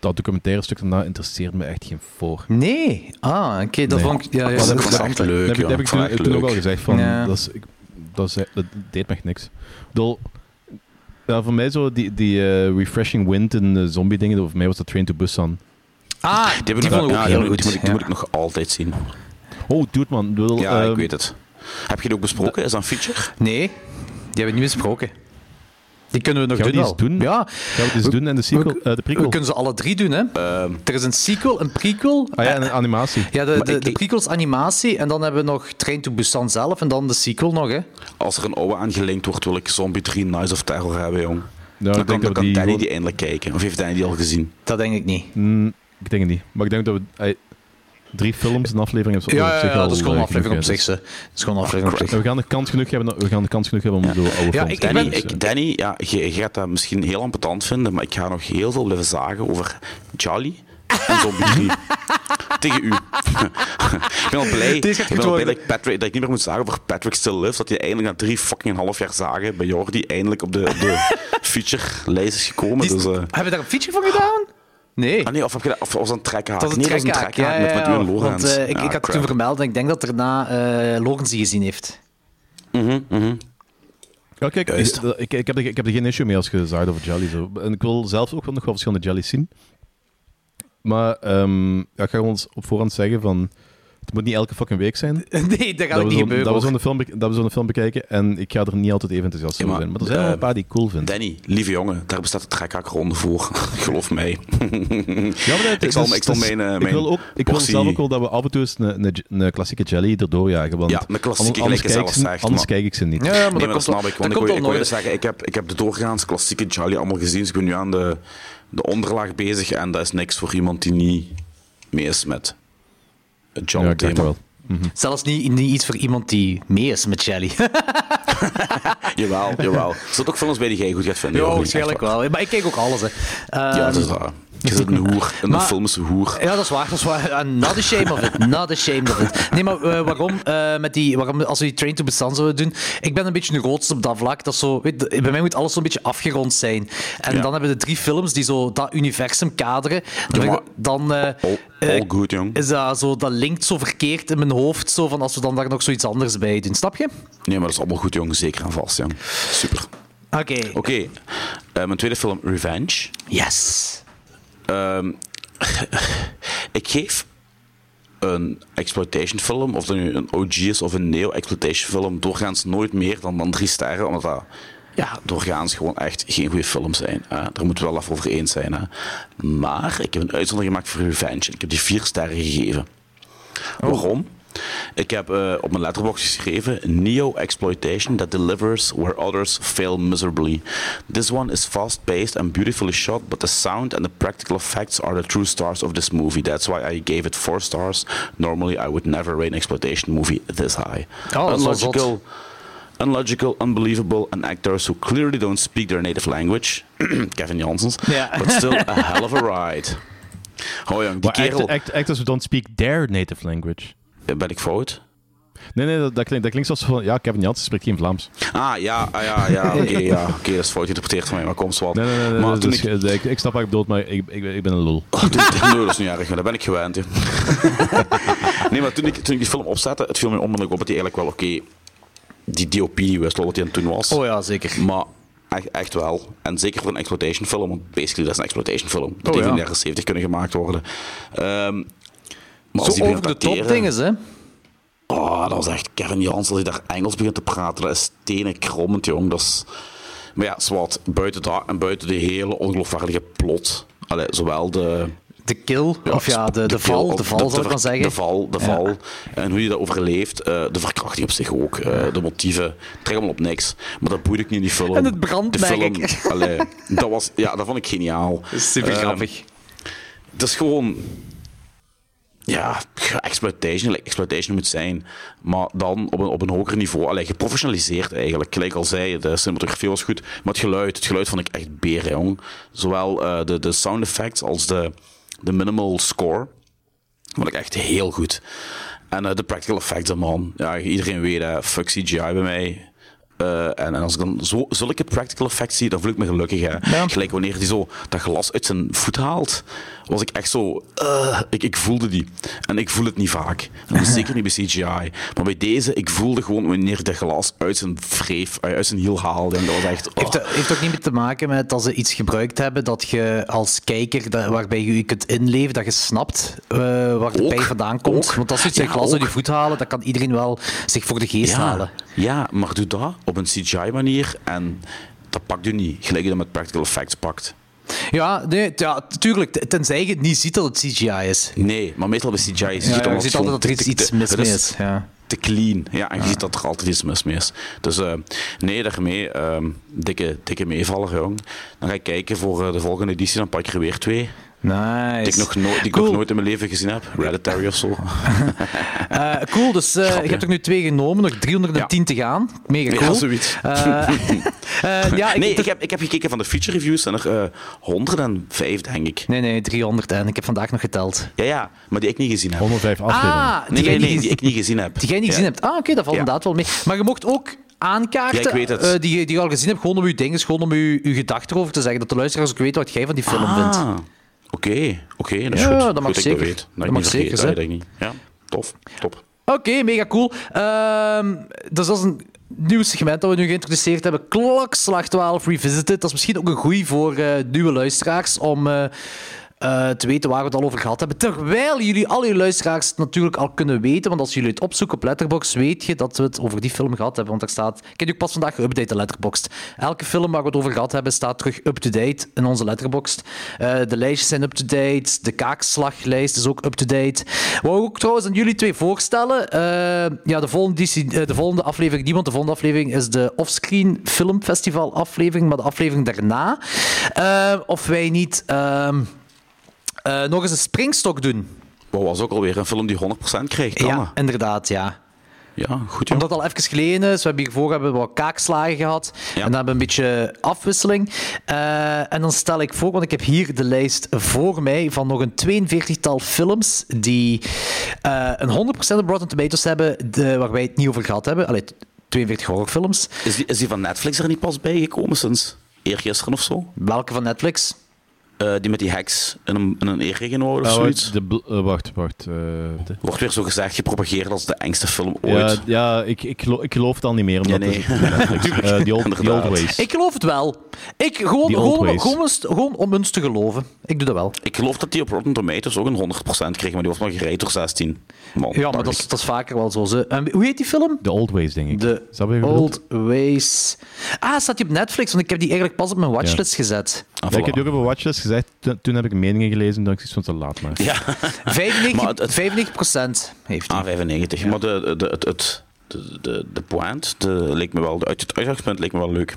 Speaker 1: dat documentaire stuk daarna interesseert me echt geen voor.
Speaker 2: Nee. Ah, oké, dat
Speaker 1: Nee.
Speaker 2: vond ik... Ja, ja,
Speaker 3: Dat is
Speaker 2: dat
Speaker 3: ook
Speaker 2: is
Speaker 3: wel echt
Speaker 2: interessant.
Speaker 3: leuk.
Speaker 1: dat heb,
Speaker 3: joh.
Speaker 1: ik- dat heb
Speaker 3: Ik vond
Speaker 1: ik
Speaker 3: het
Speaker 1: toen, toen ook
Speaker 3: leuk.
Speaker 1: al gezegd. Van,
Speaker 2: Ja.
Speaker 1: dat, is, ik, dat, is- dat deed me echt niks. Ik bedoel, ja, voor mij zo die, die eh, refreshing wind in eh, zombie-dingen, voor mij was dat Train to Busan.
Speaker 2: Ah,
Speaker 3: Die,
Speaker 2: die,
Speaker 3: heb ik nog-
Speaker 2: vond ik
Speaker 3: ja,
Speaker 2: ook
Speaker 3: die
Speaker 2: heel
Speaker 3: moet-
Speaker 2: goed.
Speaker 3: Die, moet ik, die
Speaker 2: ja.
Speaker 3: moet ik nog altijd zien.
Speaker 1: Oh, dude man. ik bedoel,
Speaker 3: Ja, ik
Speaker 1: ehm,
Speaker 3: weet het. Heb je die ook besproken? Is dat een feature?
Speaker 2: Nee, die hebben we niet besproken. Die kunnen we nog
Speaker 1: Gaan we
Speaker 2: doen
Speaker 1: die eens
Speaker 2: wel.
Speaker 1: doen?
Speaker 2: Ja.
Speaker 1: Gaan we het eens doen en de, sequel,
Speaker 2: we-
Speaker 1: eh, de
Speaker 2: We
Speaker 1: prequel?
Speaker 2: kunnen ze alle drie doen, hè. er is een sequel, een prequel.
Speaker 1: Ah ja, en een animatie.
Speaker 2: Ja, de,
Speaker 3: Ehm. Maar
Speaker 2: de,
Speaker 3: ik-
Speaker 2: de prequels animatie en dan hebben we nog Train to Busan zelf en dan de sequel nog, hè.
Speaker 3: Als er een oude aan gelinkt wordt, wil ik Zombie 3 Nice of Terror hebben, jong.
Speaker 1: Ja,
Speaker 3: dan
Speaker 1: ik denk dat
Speaker 3: kan, dan
Speaker 1: we
Speaker 3: kan
Speaker 1: die
Speaker 3: Danny
Speaker 1: gewoon-
Speaker 3: die eindelijk kijken. Of heeft Danny die al gezien?
Speaker 2: Dat denk ik niet.
Speaker 1: Mm, ik denk het niet. Maar ik denk dat we ey, drie films en aflevering hebben.
Speaker 2: Ja, ja, ja, dat is gewoon een
Speaker 1: eh, genoeg
Speaker 2: aflevering op zich,
Speaker 1: is.
Speaker 2: ze. Dat is gewoon een aflevering op
Speaker 1: En
Speaker 2: zich.
Speaker 1: we gaan de kans genoeg hebben, we gaan de kans genoeg hebben om zo oude
Speaker 2: Ja,
Speaker 1: films
Speaker 2: ik-
Speaker 1: te
Speaker 2: ik
Speaker 3: Danny,
Speaker 1: doen,
Speaker 2: ben-
Speaker 1: dus,
Speaker 3: ik,
Speaker 1: eh.
Speaker 3: Danny ja, je, je gaat dat misschien heel ambetant vinden, maar ik ga nog heel veel blijven zagen over Jolly en Zombie 3. Tegen u. ik ben al blij, ik
Speaker 2: Deze gaat
Speaker 3: ben
Speaker 2: goed
Speaker 3: al blij
Speaker 2: worden.
Speaker 3: dat, ik Patrick, dat ik niet meer moet zagen over Patrick Still Lives. Dat hij eindelijk na drie fucking half jaar zagen bij Jordi eindelijk op de, op de feature-lijst is gekomen.
Speaker 2: Die-
Speaker 3: dus, eh,
Speaker 2: Hebben we daar een feature van gedaan? Nee.
Speaker 3: ah nee, of, heb je dat, of was dat een trekhaak?
Speaker 2: Dat was een
Speaker 3: nee, dat was een
Speaker 2: trekhaak,
Speaker 3: trekhaak
Speaker 2: ja,
Speaker 3: met, met u en
Speaker 2: ja,
Speaker 3: Lorenz.
Speaker 2: Want, eh, ik, ik
Speaker 3: Ja,
Speaker 2: had het
Speaker 3: crap.
Speaker 2: toen vermeld en ik denk dat daarna eh Lorenz die gezien heeft.
Speaker 1: Ja, kijk,
Speaker 3: Juist.
Speaker 1: ik, ik, ik heb er, ik heb er geen issue mee als je zaait over Jelly. Zo. En ik wil zelf ook wel nog wel verschillende Jellies zien. Maar ehm, ja, ik ga gewoon op voorhand zeggen van... Het moet niet elke fucking week zijn.
Speaker 2: Nee, dat gaat ook
Speaker 1: we
Speaker 2: niet
Speaker 1: zo'n-
Speaker 2: gebeuren.
Speaker 1: dat we
Speaker 2: hoor.
Speaker 1: zo'n film, bek- dat we zo'n film bekijken. En ik ga er niet altijd even enthousiast
Speaker 3: Ja,
Speaker 1: over
Speaker 3: maar,
Speaker 1: zijn. Maar er zijn wel
Speaker 3: eh,
Speaker 1: een paar die ik cool vind.
Speaker 3: Danny, lieve jongen, daar bestaat de trekhaakronde voor. Geloof mij.
Speaker 1: Ja, maar dat-
Speaker 3: Ik zal-
Speaker 1: dus-
Speaker 3: ik zal
Speaker 1: dus
Speaker 3: mijn, eh,
Speaker 1: ik
Speaker 3: mijn
Speaker 1: wil, ook, ik wil
Speaker 3: portie-
Speaker 1: zelf ook wel dat we af en toe eens een, een, een klassieke jelly erdoor jagen. Want
Speaker 3: Ja, een klassieke,
Speaker 1: anders,
Speaker 3: gelijk je
Speaker 1: kijk, ik
Speaker 3: zelf
Speaker 1: ze,
Speaker 3: zegt,
Speaker 1: anders
Speaker 3: maar-
Speaker 1: kijk ik ze niet.
Speaker 2: Ja, maar
Speaker 3: Nee,
Speaker 2: dat
Speaker 3: maar
Speaker 2: komt
Speaker 3: dat
Speaker 2: wel-
Speaker 3: snap ik.
Speaker 2: dat
Speaker 3: Want ik
Speaker 2: komt wel
Speaker 3: wil, ik wil
Speaker 2: nooit.
Speaker 3: zeggen, ik heb, ik heb de doorgaans klassieke Charlie allemaal gezien. Dus ik ben nu aan de, de onderlaag bezig. En dat is niks voor iemand die niet mee is met het
Speaker 1: Ja, ik dacht
Speaker 3: John-thema.
Speaker 1: wel.
Speaker 2: Zelfs niet, niet iets voor iemand die mee is met Jelly.
Speaker 3: jawel, jawel. Er zitten ook films bij die jij goed gaat vinden. Jordi. Echt waar.
Speaker 2: wel. Maar ik kijk ook alles, hè.
Speaker 3: Ja,
Speaker 2: Ehm,
Speaker 3: dat is waar. Je zit een hoer. En
Speaker 2: Maar-
Speaker 3: een film is een hoer.
Speaker 2: Ja, dat is waar. Dat is waar. Uh, Not ashamed of it. Not ashamed of it. Nee, maar eh, waarom, eh, met die, waarom als we die train to bestaan zouden doen? Ik ben een beetje neurotisch op dat vlak. Dat is zo, weet, je, bij mij moet alles zo'n beetje afgerond zijn. En
Speaker 3: Ja.
Speaker 2: dan hebben we de drie films die zo dat universum kaderen. Dan,
Speaker 3: maar-
Speaker 2: dan eh,
Speaker 3: All,
Speaker 2: eh,
Speaker 3: all good, jong.
Speaker 2: is dat zo, dat linkt zo verkeerd in mijn hoofd. Zo van als we dan daar nog zoiets anders bij doen. Snap je?
Speaker 3: Nee, maar dat is allemaal goed, jong. Zeker en vast, jong. Super.
Speaker 2: Oké.
Speaker 3: Oké, eh, mijn tweede film, Revenge.
Speaker 2: Yes.
Speaker 3: Ehm, ik geef een exploitation film, of dat nu een OG is of een neo-exploitation film, doorgaans nooit meer dan, dan drie sterren, omdat dat ja, doorgaans gewoon echt geen goede films zijn. hè. Daar moeten we wel af over eens zijn. Hè. Maar ik heb een uitzondering gemaakt voor Revenge. Ik heb die vier sterren gegeven.
Speaker 2: Oh.
Speaker 3: Waarom? Ik heb eh, op mijn letterbox geschreven: Neo-exploitation that delivers where others fail miserably. This one is fast-paced and beautifully shot, but the sound and the practical effects are the true stars of this movie. That's why I gave it four stars. Normally, I would never rate an exploitation movie this high.
Speaker 2: Oh, dat is wel zot.
Speaker 3: Unlogical, unlogical, unbelievable, and actors who clearly don't speak their native language. Kevin Janssens.
Speaker 2: Ja.
Speaker 3: But still a hell of a ride. Oh jong, die
Speaker 1: Maar act-
Speaker 3: kerel.
Speaker 1: act- actors who don't speak their native language.
Speaker 3: Ben ik fout?
Speaker 1: Nee, nee, dat, dat klinkt, dat klinkt zoals van... Ja, Kevin Jansen spreekt geen Vlaams.
Speaker 3: Ah, ja, ah, ja, ja, oké, ja, oké, dat is fout geïnterpreteerd van mij, maar kom, zwart.
Speaker 1: Nee, nee, nee. nee,
Speaker 3: maar
Speaker 1: dat
Speaker 3: toen
Speaker 1: is- dus
Speaker 3: ik...
Speaker 1: ik, ik snap wat je bedoelt, maar ik, ik, ben- ik ben een lul.
Speaker 3: Oh, toen ik- nee, dat is niet erg, maar dat ben ik gewend, hè. nee, maar toen ik, toen ik die film opzette, het viel mij onmiddellijk op dat hij eigenlijk wel, oké, die DOP wist wel wat hij aan het doen was.
Speaker 2: Oh ja, zeker.
Speaker 3: Maar echt, echt wel. En zeker voor een exploitation film, want basically dat is een exploitation film. Dat
Speaker 2: Oh,
Speaker 3: heeft in
Speaker 2: ja.
Speaker 3: de jaren 70 kunnen gemaakt worden. Ehm, maar als
Speaker 2: Zo
Speaker 3: die
Speaker 2: over
Speaker 3: begint
Speaker 2: de
Speaker 3: te
Speaker 2: top
Speaker 3: acteren-
Speaker 2: dingen, hè?
Speaker 3: Oh, dat was echt Kevin Jans, als hij daar Engels begint te praten, dat is tenen krommend, jong. Dat is... Maar ja, zwart, buiten dat en buiten de hele ongeloofwaardige plot. Allee, zowel de...
Speaker 2: De kill, of ja, de, de
Speaker 3: kill,
Speaker 2: val, de val zal ik
Speaker 3: ver-
Speaker 2: dan zeggen.
Speaker 3: De val, de val. En hoe je dat overleeft, eh, de verkrachting op zich ook, eh, de motieven. Trek allemaal op niks. Maar dat boeit ik niet in die film.
Speaker 2: En het brand,
Speaker 3: de
Speaker 2: merk
Speaker 3: film,
Speaker 2: ik.
Speaker 3: allee, dat, was, ja, dat vond ik geniaal.
Speaker 2: Super
Speaker 3: Ehm,
Speaker 2: grappig.
Speaker 3: dat is gewoon. Ja, exploitation, like exploitation moet zijn. Maar dan op een, op een hoger niveau. Allee, geprofessionaliseerd eigenlijk. Gelijk al zei, de cinematografie was goed. Maar het geluid, het geluid vond ik echt beren, jong. Zowel eh, de, de sound effects als de, de minimal score. Vond ik echt heel goed. En eh, de practical effects, man. Ja, iedereen weet, eh, fuck CGI bij mij. Eh, en, en als ik dan zo, zulke practical effects zie, dan voel ik me gelukkig. Hè.
Speaker 2: Ja.
Speaker 3: Gelijk wanneer hij zo dat glas uit zijn voet haalt, was ik echt zo... eh, ik, ik voelde die. En ik voel het niet vaak. Dat is Zeker niet bij CGI. Maar bij deze, ik voelde gewoon wanneer dat glas uit zijn wreef, eh, uit zijn hiel haalde. En dat was echt... oh.
Speaker 2: Heeft, heeft ook niet meer te maken met dat ze iets gebruikt hebben dat je als kijker, dat- waarbij je je kunt inleven, dat je snapt eh, waar de
Speaker 3: Ook,
Speaker 2: pijn vandaan komt.
Speaker 3: ook.
Speaker 2: Want als ze iets een
Speaker 3: Ja,
Speaker 2: glas uit je
Speaker 3: ook.
Speaker 2: voet halen, dat kan iedereen wel zich voor de geest halen.
Speaker 3: Ja, maar doe dat op een CGI-manier en dat pakt u niet. Gelijk je dat met practical effects pakt.
Speaker 2: Ja, nee, t- ja, tuurlijk. t- Tenzij je het niet ziet dat het CGI is.
Speaker 3: Nee, maar meestal bij CGI is
Speaker 2: Ja,
Speaker 3: het
Speaker 2: je ziet altijd dat er iets, iets mis mee is. Ja.
Speaker 3: Te clean. Ja, en je ziet dat er altijd iets mis mee is. Dus eh, nee, daarmee ehm, dikke, dikke meevaller, jong. Dan ga ik kijken voor eh, de volgende editie, dan pak ik er weer twee.
Speaker 2: Nice.
Speaker 3: Die ik, nog nooit, die ik nog nooit in mijn leven gezien heb. Hereditary of zo.
Speaker 2: Eh, cool, dus eh, je hebt er nu twee genomen, nog 310 te gaan. Mega
Speaker 3: Ja,
Speaker 2: cool.
Speaker 3: zoiets.
Speaker 2: Eh, eh, ja, ik,
Speaker 3: nee, ik heb, ik heb gekeken van de feature reviews en er eh, 105, denk ik.
Speaker 2: nee, nee, 300 en ik heb vandaag nog geteld.
Speaker 3: Ja, ja, maar die ik niet gezien heb.
Speaker 1: 105 afleveringen.
Speaker 2: Ah,
Speaker 3: Nee,
Speaker 2: die
Speaker 3: nee,
Speaker 2: jij
Speaker 3: nee,
Speaker 2: niet
Speaker 3: die ik niet gezien heb.
Speaker 2: Die jij niet gezien hebt. Ah, oké, dat valt
Speaker 3: Ja.
Speaker 2: inderdaad wel mee. Maar je mocht ook aankaarten
Speaker 3: Ja, ik weet het.
Speaker 2: eh, die, je- die je al gezien hebt, gewoon om je dingen, gewoon om je, je gedachten erover te zeggen. Dat de luisteraars ook weten wat jij van die film vindt.
Speaker 3: Ah, Oké, oké, dat is
Speaker 2: Ja,
Speaker 3: goed.
Speaker 2: dat
Speaker 3: Goed
Speaker 2: mag
Speaker 3: ik
Speaker 2: zeker.
Speaker 3: Dat, weet. dat,
Speaker 2: Dat
Speaker 3: ik
Speaker 2: mag
Speaker 3: niet vergeet,
Speaker 2: zeker, hè?
Speaker 3: dat weet ik niet. Ja, tof, top.
Speaker 2: Oké, mega cool. Ehm, dus dat is een nieuw segment dat we nu geïntroduceerd hebben. Klokslag 12 Revisited. Dat is misschien ook een goeie voor eh, nieuwe luisteraars om... eh, eh, te weten waar we het al over gehad hebben. Terwijl jullie, al jullie luisteraars, het natuurlijk al kunnen weten. Want als jullie het opzoeken op Letterboxd, weet je dat we het over die film gehad hebben. Want daar staat. Ik heb die ook pas vandaag geüpdate in Letterboxd. Elke film waar we het over gehad hebben, staat terug up-to-date in onze Letterboxd. Eh, de lijstjes zijn up-to-date. De kaakslaglijst is ook up-to-date. Wou ik ook trouwens aan jullie twee voorstellen. eh, ja, de volgende, editie- eh, de volgende aflevering, niemand, de volgende aflevering is de Offscreen Film Festival aflevering. Maar de aflevering daarna. eh, of wij niet. ehm, eh, nog eens een springstok doen.
Speaker 3: Wat was ook alweer een film die 100% kreeg, kan
Speaker 2: ja,
Speaker 3: dat?
Speaker 2: inderdaad, ja.
Speaker 3: Ja, goed joh.
Speaker 2: Omdat het al even geleden is. We hebben hiervoor hebben we wat kaakslagen gehad. En dan hebben we een beetje afwisseling. Eh, en dan stel ik voor, want ik heb hier de lijst voor mij van nog een 42-tal films die eh, een 100% op Rotten Tomatoes hebben, de, waar wij het niet over gehad hebben. Allee, 42 horrorfilms.
Speaker 3: Is die, is die van Netflix er niet pas bijgekomen sinds eergisteren of zo?
Speaker 2: Welke van Netflix?
Speaker 3: Eh, die met die heks in een, in een eregenhoor of
Speaker 2: Nou,
Speaker 1: Oh,
Speaker 3: zoiets?
Speaker 1: de bl- eh, wacht, wacht. eh, de-
Speaker 3: Wordt weer zo gezegd gepropageerd als de engste film ooit.
Speaker 1: ja, ja ik, ik, geloof, ik geloof het al niet meer. Omdat
Speaker 3: Ja, nee.
Speaker 1: het- Netflix, eh, die old, die old
Speaker 3: Inderdaad.
Speaker 1: ways.
Speaker 2: Ik geloof het wel. Ik, gewoon,
Speaker 1: Die old
Speaker 2: gewoon,
Speaker 1: ways.
Speaker 2: gewoon, eens- gewoon om ons te geloven. Ik doe dat wel.
Speaker 3: Ik geloof dat die op Rotten Tomatoes ook een 100% kreeg, maar die was maar gereed door 16. Man,
Speaker 2: Ja, maar
Speaker 3: dacht
Speaker 2: dat is,
Speaker 3: ik.
Speaker 2: dat is vaker wel zo. ze. En hoe heet die film?
Speaker 1: De old ways, denk ik.
Speaker 2: De
Speaker 1: Is dat wat je bedoelt?
Speaker 2: Old Ways. Ah, staat die op Netflix? Want ik heb die eigenlijk pas op mijn watchlist gezet.
Speaker 3: Ah,
Speaker 1: Ja, ik heb
Speaker 3: voilà.
Speaker 1: die ook op een watchlist gezegd. Toen, toen heb ik meningen gelezen. Toen dacht ik zoiets van te laat maar.
Speaker 3: Maar
Speaker 2: 95,
Speaker 3: het- het-
Speaker 2: 95% heeft hij.
Speaker 3: Ah, 95. Maar de, de, het, het, de, de, de point, de, leek me wel, uit het uitgangspunt leek me wel leuk.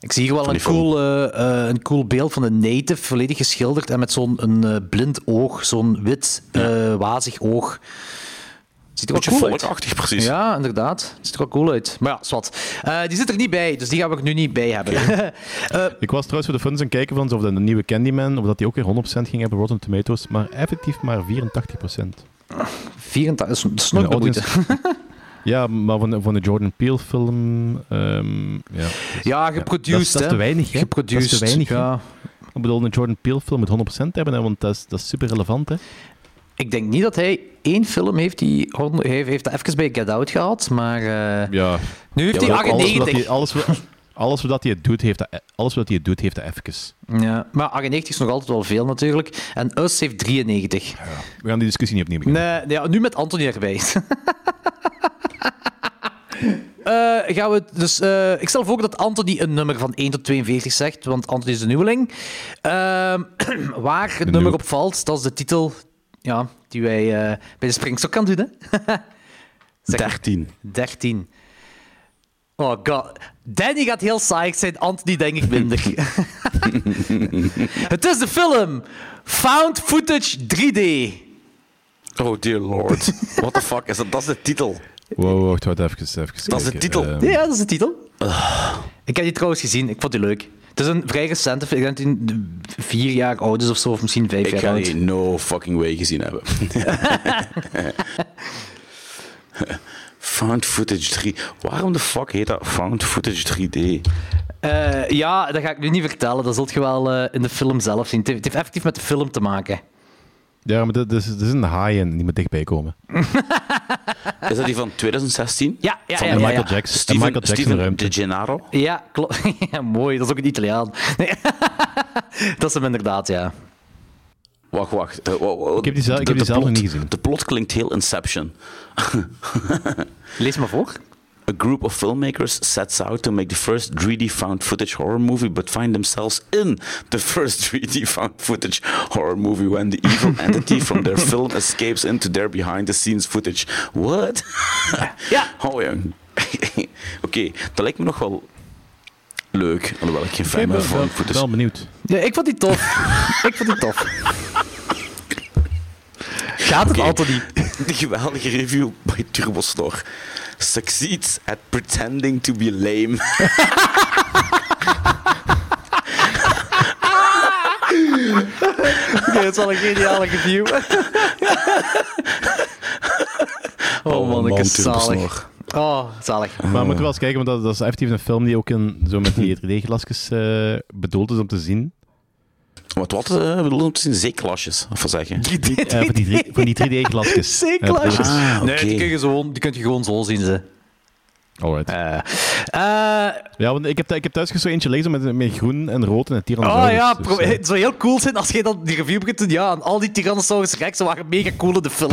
Speaker 2: Ik zie hier wel
Speaker 3: van
Speaker 2: een
Speaker 3: die
Speaker 2: cool, eh, eh, een cool beeld van een native, volledig geschilderd en met zo'n een, eh, blind oog, zo'n wit, eh, wazig oog. Ziet er wel
Speaker 3: Beetje
Speaker 2: cool uit.
Speaker 3: volkachtig, precies.
Speaker 2: Ja, inderdaad. Ziet er wel cool uit. Maar ja, zwart. Eh, die zit er niet bij, dus die gaan we er nu niet bij hebben.
Speaker 1: Ik was trouwens voor de fans aan het kijken van of de nieuwe Candyman, of dat die ook weer 100% ging hebben Rotten Tomatoes, maar effectief maar 84%.
Speaker 2: 84, dat is- dat is nog
Speaker 1: En de
Speaker 2: de moeite.
Speaker 1: audience- ja, maar van de, van de Jordan Peele film. ehm, ja.
Speaker 2: Ja,
Speaker 1: Ja, dat is-
Speaker 2: geproduced,
Speaker 1: dat is
Speaker 2: hè.
Speaker 1: te weinig, hè?
Speaker 2: Geproduced,
Speaker 1: Dat is te weinig, hè?
Speaker 2: ja.
Speaker 1: Ik bedoel, een Jordan Peele film met 100% hebben, hè, want dat is, dat is super relevant. Hè?
Speaker 2: Ik denk niet dat hij één film heeft die... honderd- Hij heeft dat even bij Get Out gehad, maar... eh,
Speaker 1: Ja,
Speaker 2: nu heeft hij
Speaker 1: maar ook alles, wat
Speaker 2: 98.
Speaker 1: hij- alles, wat- alles wat hij doet, heeft dat, alles wat hij doet, heeft dat even.
Speaker 2: Ja, maar 98 is nog altijd wel veel, natuurlijk. En Us heeft 93.
Speaker 1: We gaan die discussie niet opnieuw beginnen.
Speaker 2: Nee, ja, nu met Anthony erbij. Eh, gaan we, dus, eh, ik stel voor dat Anthony een nummer van 1 tot 42 zegt, want Anthony is de nieuweling. Ehm, waar het nummer
Speaker 1: nieuwe-
Speaker 2: op valt, dat is de titel ja, die wij eh, bij de springstok kan doen. Hè? Zeg-
Speaker 3: 13.
Speaker 2: 13. Oh god. Danny gaat heel saai zijn, Anthony denk ik minder. Het is de film Found Footage 3D.
Speaker 3: Oh dear lord. What the fuck is dat? Dat is de titel.
Speaker 1: Wow, wacht, wacht even. even
Speaker 3: Dat is de
Speaker 1: kijken.
Speaker 3: titel.
Speaker 1: Ehm,
Speaker 2: Ja, dat is de titel. Ik heb die trouwens gezien, ik vond die leuk. Het is een vrij recente film, ik denk dat die vier jaar oud is of zo, of misschien vijf
Speaker 3: Ik
Speaker 2: jaar
Speaker 3: ga
Speaker 2: oud.
Speaker 3: die no fucking way gezien hebben. Found Footage 3. Waarom de fuck heet dat Found Footage 3D?
Speaker 2: Eh, ja, dat ga ik nu niet vertellen, dat zult je wel eh, in de film zelf zien. Het heeft het heeft effectief met de film te maken.
Speaker 1: ja, maar dit, dit is, dit is een haaien die moet dichtbij komen.
Speaker 3: Is dat die van 2016?
Speaker 2: Ja, ja,
Speaker 3: van
Speaker 2: ja,
Speaker 1: En
Speaker 2: ja,
Speaker 1: Michael Jackson. en
Speaker 3: Steven,
Speaker 1: Michael Jackson
Speaker 3: Steven
Speaker 1: ruimte.
Speaker 3: De Gennaro?
Speaker 2: Ja, klopt. Ja, mooi, dat is ook een Italiaan. Nee. dat is hem inderdaad, ja.
Speaker 3: Wacht, wacht. Eh, wa- wa-
Speaker 1: Ik heb die zel- ik
Speaker 3: de-
Speaker 1: heb die
Speaker 3: de
Speaker 1: zelf nog
Speaker 3: plot-
Speaker 1: niet gezien.
Speaker 3: De plot klinkt heel Inception.
Speaker 2: Lees maar voor.
Speaker 3: A group of filmmakers sets out to make the first 3D found footage horror movie, but find themselves in the first 3D found footage horror movie when the evil entity from their film escapes into their behind the scenes footage. What?
Speaker 2: Ja.
Speaker 3: Oh ja. Oké, dat lijkt me nog wel leuk. Alhoewel ik geen
Speaker 1: Ik
Speaker 3: fan
Speaker 1: ben
Speaker 3: ben van
Speaker 1: wel,
Speaker 3: footage.
Speaker 1: wel benieuwd.
Speaker 2: Ja, ik vond die tof. ik vond die tof. Gaat het
Speaker 3: Oké.
Speaker 2: altijd niet?
Speaker 3: De geweldige review bij TurboStore. Succeeds at pretending to be lame.
Speaker 2: Oké, dat is wel een geniale review. oh, man, ik
Speaker 3: man,
Speaker 2: is zalig.
Speaker 3: Turbosnor.
Speaker 2: Oh, zalig.
Speaker 1: Maar we moeten wel eens kijken, want dat, dat is effectief een film die ook in, zo met die 3D-glasjes eh, bedoeld is om te zien.
Speaker 3: Wat, wat eh, bedoel je om te zien? Zeeklasjes, of wat zeg je?
Speaker 1: Eh, van die, drie- van die 3D-glasjes.
Speaker 2: C-klasjes.
Speaker 1: Eh,
Speaker 3: Ah,
Speaker 2: Nee,
Speaker 3: oké.
Speaker 2: die kun, je gewoon, die kun je gewoon zo zien, ze.
Speaker 1: Alright.
Speaker 2: Eh, eh,
Speaker 1: Ja, want ik heb, thu- ik heb thuis zo eentje lezen met, met groen en rood en het
Speaker 2: Oh
Speaker 1: Tyrannosaurus.
Speaker 2: ja,
Speaker 1: Dus,
Speaker 2: pro-
Speaker 1: eh,
Speaker 2: het zou heel cool zijn als je dan die review begint te doen. Ja, en al die Tyrannosaurus Rexen waren mega cool in de film.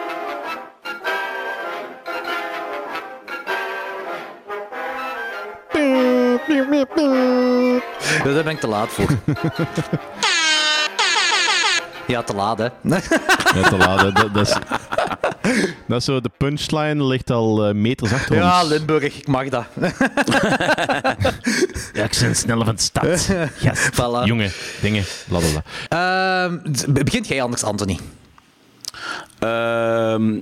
Speaker 1: eh.
Speaker 2: Ja, Daar ben ik te laat voor. Ja, te laat, hè.
Speaker 1: Net te laat, hè. dat, dat is... Dat is zo, de punchline ligt al eh, meters achter
Speaker 2: Ja,
Speaker 1: ons.
Speaker 2: Limburg, ik mag dat.
Speaker 1: Ja, ik ben sneller van de stad. Yes.
Speaker 2: Voilà.
Speaker 1: Jongen, dingen, blablabla.
Speaker 2: Ehm, d- begint jij anders, Anthony?
Speaker 3: Ehm,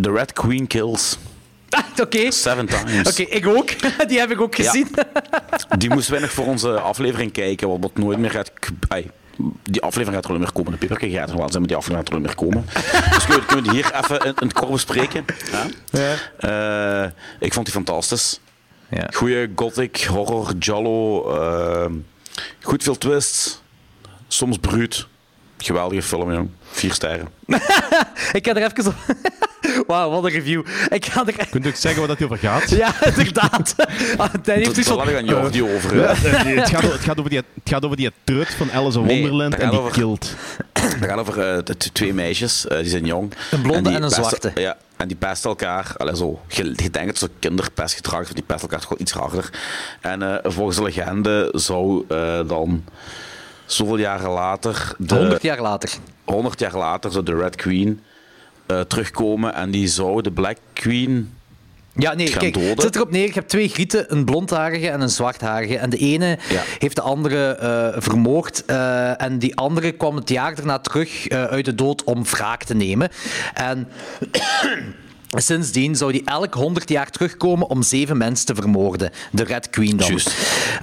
Speaker 3: The Red Queen kills
Speaker 2: Ah, Oké.
Speaker 3: seven times.
Speaker 2: Oké, ik ook. Die heb ik ook
Speaker 3: Ja.
Speaker 2: gezien.
Speaker 3: Die moest weinig voor onze aflevering kijken, wat wat nooit meer gaat. k- ai, die aflevering gaat er nooit meer komen. De Pipperke gaat er wel zijn, maar die aflevering gaat er nooit meer komen. dus kunnen we, kunnen we die hier even in, in het kort bespreken? Ja? Eh, ik vond die fantastisch.
Speaker 2: Ja.
Speaker 3: Goeie gothic, horror, giallo. ehm, goed veel twists. Soms bruut. Geweldige film, jong. Vier sterren.
Speaker 2: Ik ga er even op... Wauw, wat een review. Ik ga er...
Speaker 1: Kunt u ook zeggen waar dat hier over gaat?
Speaker 2: Ja, inderdaad. Ah, Danny heeft
Speaker 3: Dat
Speaker 2: iets
Speaker 3: dat laat
Speaker 2: van...
Speaker 3: ik aan Jordi over. eh, hè.
Speaker 1: het, gaat, over- het, gaat over die, het gaat over die trut van Alice in
Speaker 3: Nee,
Speaker 1: Wonderland
Speaker 3: het
Speaker 1: en
Speaker 3: gaat
Speaker 1: die
Speaker 3: over-
Speaker 1: kilt.
Speaker 3: Het gaat over eh, de t- twee meisjes, eh, die zijn jong.
Speaker 2: Een blonde
Speaker 3: die
Speaker 2: en een
Speaker 3: pesten-
Speaker 2: zwarte.
Speaker 3: Ja, en die pesten elkaar. Allee, zo, je, je denkt dat ze kinderpestgedrag is, maar die pesten elkaar toch wel iets harder. En eh, volgens de legende zou eh, dan zoveel jaren later, de, 100.
Speaker 2: 100 jaar later.
Speaker 3: jaar later, zou de Red Queen eh, terugkomen. En die zou de Black Queen...
Speaker 2: Ja, nee,
Speaker 3: gaan
Speaker 2: kijk,
Speaker 3: doden.
Speaker 2: het zit erop neer. Je hebt twee grieten, een blondharige en een zwartharige. En de ene
Speaker 3: Ja.
Speaker 2: heeft de andere eh, vermoord. eh, en die andere kwam het jaar daarna terug eh, uit de dood om wraak te nemen. En sindsdien zou die elk 100 jaar terugkomen om zeven mensen te vermoorden. De Red Queen dan.
Speaker 3: Juist.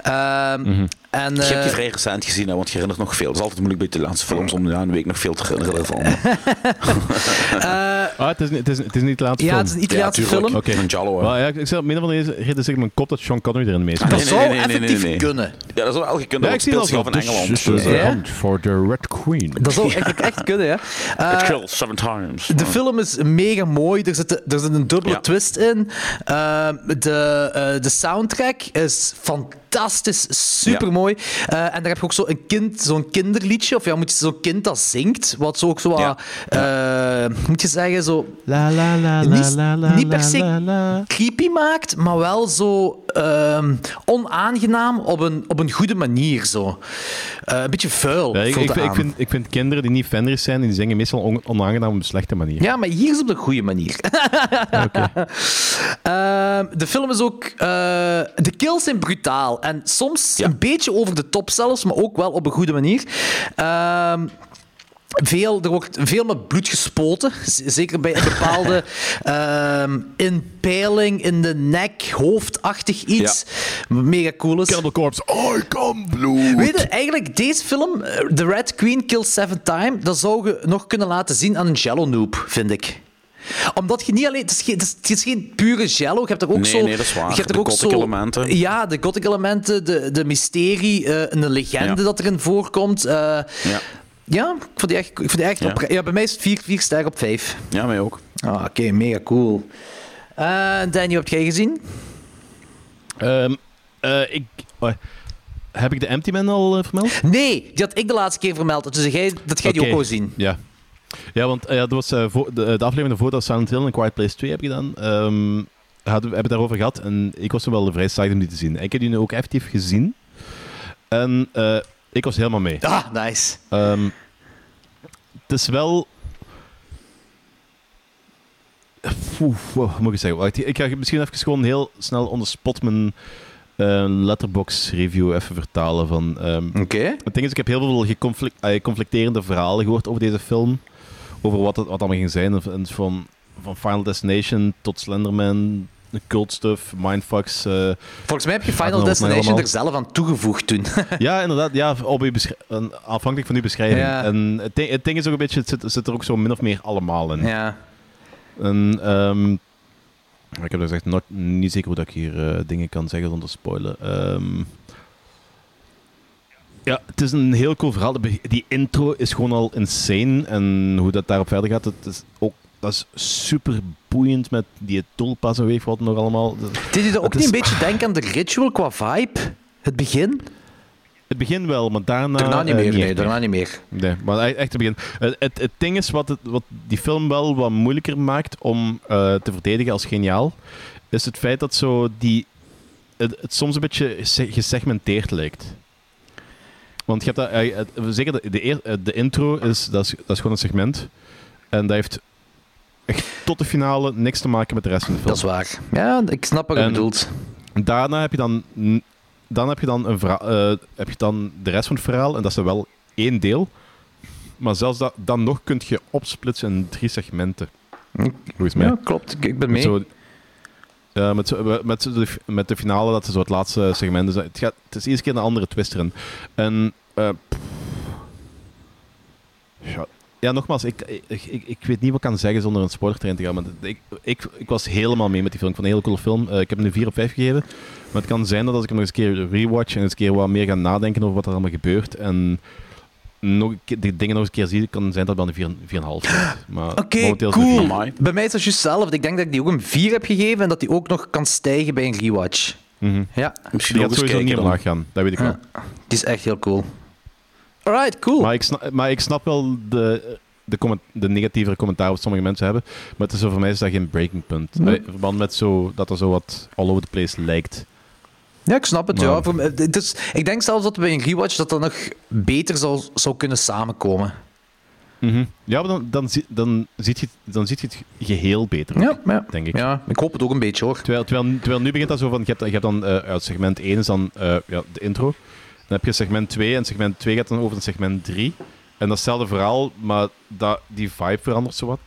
Speaker 3: Mhm.
Speaker 2: Ehm, en,
Speaker 3: Je hebt die
Speaker 2: eh,
Speaker 3: vrij recent gezien, hè, want je herinnert nog veel. Het is altijd moeilijk bij de laatste films om na een week nog veel te herinneren van.
Speaker 1: Ah, het is, niet- het, is, het is niet de laatste
Speaker 2: ja,
Speaker 1: film.
Speaker 2: het is een Italiaanse
Speaker 3: tuurlijk.
Speaker 2: film.
Speaker 1: Oké.
Speaker 3: Van Giallo, hè.
Speaker 1: Wel, ja, ik zeg, op een of andere reden zeg ik mijn kop dat Sean Connery erin mee speelt.
Speaker 2: Dat zou effectief kunnen.
Speaker 3: Ja, dat zou wel gekund.
Speaker 1: Ja, ik zie dat Dus-
Speaker 3: wel
Speaker 1: al.
Speaker 3: van Engeland.
Speaker 1: This is the
Speaker 2: Ja.
Speaker 1: hunt eh, for the Red Queen.
Speaker 2: Dat zou eigenlijk echt kunnen, hè? Eh,
Speaker 3: It kills seven times.
Speaker 1: Oh.
Speaker 2: De film is mega mooi. Er zit, er zit een dubbele
Speaker 3: Ja.
Speaker 2: twist in. Ehm, de, eh, de soundtrack is fantastisch. Super mooi. en daar heb je ook zo'n kind, zo'n kinderliedje. Of ja, moet je zo'n kind dat zingt. Wat zo ook zo. wat,
Speaker 3: Ja.
Speaker 2: eh, moet je zeggen, zo.
Speaker 1: La la la
Speaker 2: Niet, niet per se creepy maakt, maar wel zo ehm, onaangenaam op een, op een goede manier. Zo. Eh, een beetje vuil.
Speaker 1: Ja, ik,
Speaker 2: voelt
Speaker 1: ik,
Speaker 2: het
Speaker 1: ik,
Speaker 2: aan.
Speaker 1: vind, ik vind kinderen die niet fenders zijn, die zingen meestal on- onaangenaam op een slechte manier.
Speaker 2: Ja, maar hier is het op de goede manier. Ehm, de film is ook. eh, de kills zijn brutaal. En soms een beetje over de top zelfs, maar ook wel op een goede manier. Ehm, veel, er wordt veel met bloed gespoten. Z- Zeker bij een bepaalde ehm inpeiling in de nek, hoofdachtig iets. Wat Mega cool is.
Speaker 1: Cannibal Corpse, I come blue.
Speaker 2: Weet je, eigenlijk deze film, eh, The Red Queen Kills Seven Time, dat zou je nog kunnen laten zien aan een jello noob, vind ik. omdat je niet alleen... Het is geen, het is, het is geen pure jello. Je hebt er ook
Speaker 3: Nee,
Speaker 2: zo...
Speaker 3: nee, dat is waar.
Speaker 2: Je hebt er
Speaker 3: De
Speaker 2: ook
Speaker 3: gothic
Speaker 2: zo,
Speaker 3: elementen.
Speaker 2: Ja, de gothic elementen, de, de mysterie, eh een legende
Speaker 3: Ja.
Speaker 2: dat erin voorkomt. eh, ja. ik vond die echt... Ik vond die echt
Speaker 3: Ja.
Speaker 2: opre- ja, bij mij is het vier, vier sterren op vijf.
Speaker 3: Ja, mij ook.
Speaker 2: Ah, Oké, mega cool. Eh Danny, wat heb jij gezien?
Speaker 1: Ehm, eh, ik, oh, heb ik de Empty Man al eh, vermeld?
Speaker 2: Nee, die had ik de laatste keer vermeld. Dus jij, dat jij die
Speaker 1: Oké.
Speaker 2: ook al zien.
Speaker 1: Ja. Ja, want eh, dat was eh, voor- de, de aflevering voordat Silent Hill en Quiet Place 2 heb gedaan. Ehm hadden, we hebben het daarover gehad en ik was er wel vrij saai om die te zien. Ik heb die nu ook effectief gezien. En eh, ik was helemaal mee.
Speaker 2: Ah, nice.
Speaker 1: Ehm, het is wel. Oeh, wat moet ik zeggen? Wacht, ik ga misschien even gewoon heel snel onder spot mijn eh, letterbox review even vertalen. Van, ehm,
Speaker 2: Oké.
Speaker 1: het ding is, ik heb heel veel geconflict, eh, conflicterende verhalen gehoord over deze film. Over wat het wat allemaal ging zijn. En Van, van Final Destination tot Slenderman, cult stuff, mindfucks. eh,
Speaker 2: Volgens mij heb je
Speaker 1: Gaat
Speaker 2: Final
Speaker 1: dan
Speaker 2: Destination
Speaker 1: allemaal.
Speaker 2: er zelf aan toegevoegd toen.
Speaker 1: Ja, inderdaad. Ja, op uw besch- en afhankelijk van uw beschrijving.
Speaker 2: Ja.
Speaker 1: En het ding, het ding is ook een beetje, het zit, zit er ook zo min of meer allemaal in.
Speaker 2: ja.
Speaker 1: En, ehm, ik heb gezegd, not, niet zeker hoe dat ik hier eh, dingen kan zeggen zonder spoilen. Ehm, ja, het is een heel cool verhaal. De be- Die intro is gewoon al insane. En hoe dat daarop verder gaat, dat is ook dat is super boeiend met die tulpas en weet ik wat nog allemaal.
Speaker 2: Deed je dat ook
Speaker 1: Het
Speaker 2: niet een
Speaker 1: is-
Speaker 2: beetje denken aan de ritual qua vibe? Het begin?
Speaker 1: Het begin wel, maar daarna.
Speaker 2: Daarna niet
Speaker 1: eh,
Speaker 2: meer.
Speaker 1: echt
Speaker 2: Nee, daarna niet meer.
Speaker 1: Nee, maar e- echt te begin. Het, het, het ding is wat, het, wat die film wel wat moeilijker maakt om eh, te verdedigen als geniaal, is het feit dat zo die het, het soms een beetje se- gesegmenteerd lijkt. Want je hebt dat, eh, het- zeker de, de, eer- eh, de intro is dat, is, dat is gewoon een segment. En dat heeft echt tot de finale niks te maken met de rest van de film.
Speaker 2: Dat is waar. Ja, ik snap wat je
Speaker 1: En-
Speaker 2: bedoelt.
Speaker 1: Daarna heb je dan, n- dan, heb je dan, een verha- eh, heb je dan de rest van het verhaal, en dat is dan wel één deel. Maar zelfs dat, dan nog kun je opsplitsen in drie segmenten. Volgens mij.
Speaker 2: Ja, klopt. Ik, ik ben mee.
Speaker 1: Met, zo, ja, met, zo- met, zo de, met de finale, dat is zo het laatste segment. Dus het, gaat, het is iedere keer een andere twist erin. En, eh, pff. ja, ja, nogmaals, ik, ik, ik, ik weet niet wat ik kan zeggen zonder een spoilertrain te gaan. Maar ik, ik, ik was helemaal mee met die film. Ik vond het een hele coole film. Eh, ik heb hem nu 4 op 5 gegeven. Maar het kan zijn dat als ik hem nog eens een keer rewatch en eens een keer wat meer ga nadenken over wat er allemaal gebeurt. En nog, een keer- de dingen nog eens een keer zie, kan zijn dat het wel een 4,5 wordt. Maar
Speaker 2: Oké,
Speaker 1: momenteel is het een
Speaker 2: cool.
Speaker 3: vier. Amai.
Speaker 2: Bij mij is dat juist hetzelfde. Ik denk dat ik die ook een 4 heb gegeven en dat die ook nog kan stijgen bij een rewatch.
Speaker 1: Mhm.
Speaker 2: Ja,
Speaker 3: Misschien
Speaker 1: Die gaat
Speaker 3: nog eens
Speaker 1: sowieso
Speaker 3: kijken
Speaker 1: niet
Speaker 3: dan.
Speaker 1: omlaag dus gaan, dat weet ik wel.
Speaker 2: die is echt heel cool. Alright, cool.
Speaker 1: Maar ik, snap, maar ik snap wel de, de, comment, de negatieve commentaar wat sommige mensen hebben. Maar het is zo, voor mij is dat geen breaking punt. Eh, In verband met zo, dat er zo wat all over the place lijkt.
Speaker 2: Ja, ik snap het.
Speaker 1: Maar-
Speaker 2: Ja. Voor mij- het is- ik denk zelfs dat bij een rewatch dat dat nog beter zou, zou kunnen samenkomen.
Speaker 1: Ja, maar dan, dan, zie- dan, ziet je, het- dan ziet je het geheel beter. ook.
Speaker 2: Ja, ja.
Speaker 1: Denk ik.
Speaker 2: Ja, ik hoop het ook een beetje hoor.
Speaker 1: Terwijl, terwijl, terwijl nu begint dat zo van, je hebt, je hebt dan eh, uit segment 1 is dan eh, ja, de intro. Dan heb je segment 2 en segment 2 gaat dan over naar segment 3. En datzelfde verhaal, maar dat, die vibe verandert zowat.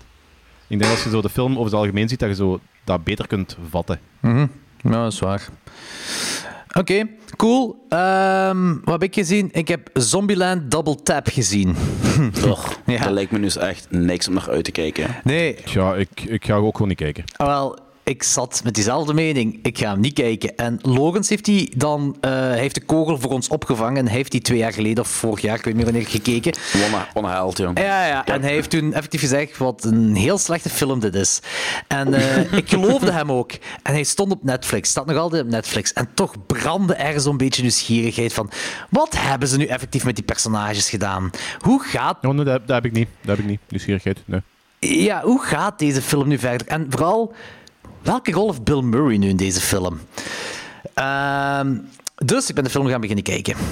Speaker 1: Ik denk als je zo de film over het algemeen ziet, dat je zo dat beter kunt vatten.
Speaker 2: Ja, dat is waar. Oké, cool. Ehm, wat heb ik gezien? Ik heb Zombieland Double Tap gezien.
Speaker 3: Toch.
Speaker 2: Ja.
Speaker 3: Dat lijkt me dus echt niks om naar uit te kijken.
Speaker 2: Nee,
Speaker 1: Ja, ik, ik ga ook gewoon niet kijken.
Speaker 2: Ah, Wel, ik zat met diezelfde mening. Ik ga hem niet kijken. En Logans heeft, die dan, eh, hij heeft de kogel voor ons opgevangen. En hij heeft die twee jaar geleden of vorig jaar, ik weet niet meer wanneer, gekeken.
Speaker 3: Onha- Onhaald, jong.
Speaker 2: Ja, ja, en hij heeft toen effectief gezegd wat een heel slechte film dit is. En eh, ik geloofde hem ook. En hij stond op Netflix, staat nog altijd op Netflix. En toch brandde er zo'n beetje nieuwsgierigheid van... Wat hebben ze nu effectief met die personages gedaan? Hoe gaat
Speaker 1: Oh, nee, dat, dat heb ik niet. Dat heb ik niet. Nieuwsgierigheid, nee.
Speaker 2: ja, hoe gaat deze film nu verder? En vooral, welke rol heeft Bill Murray nu in deze film? Ehm, dus ik ben de film gaan beginnen kijken.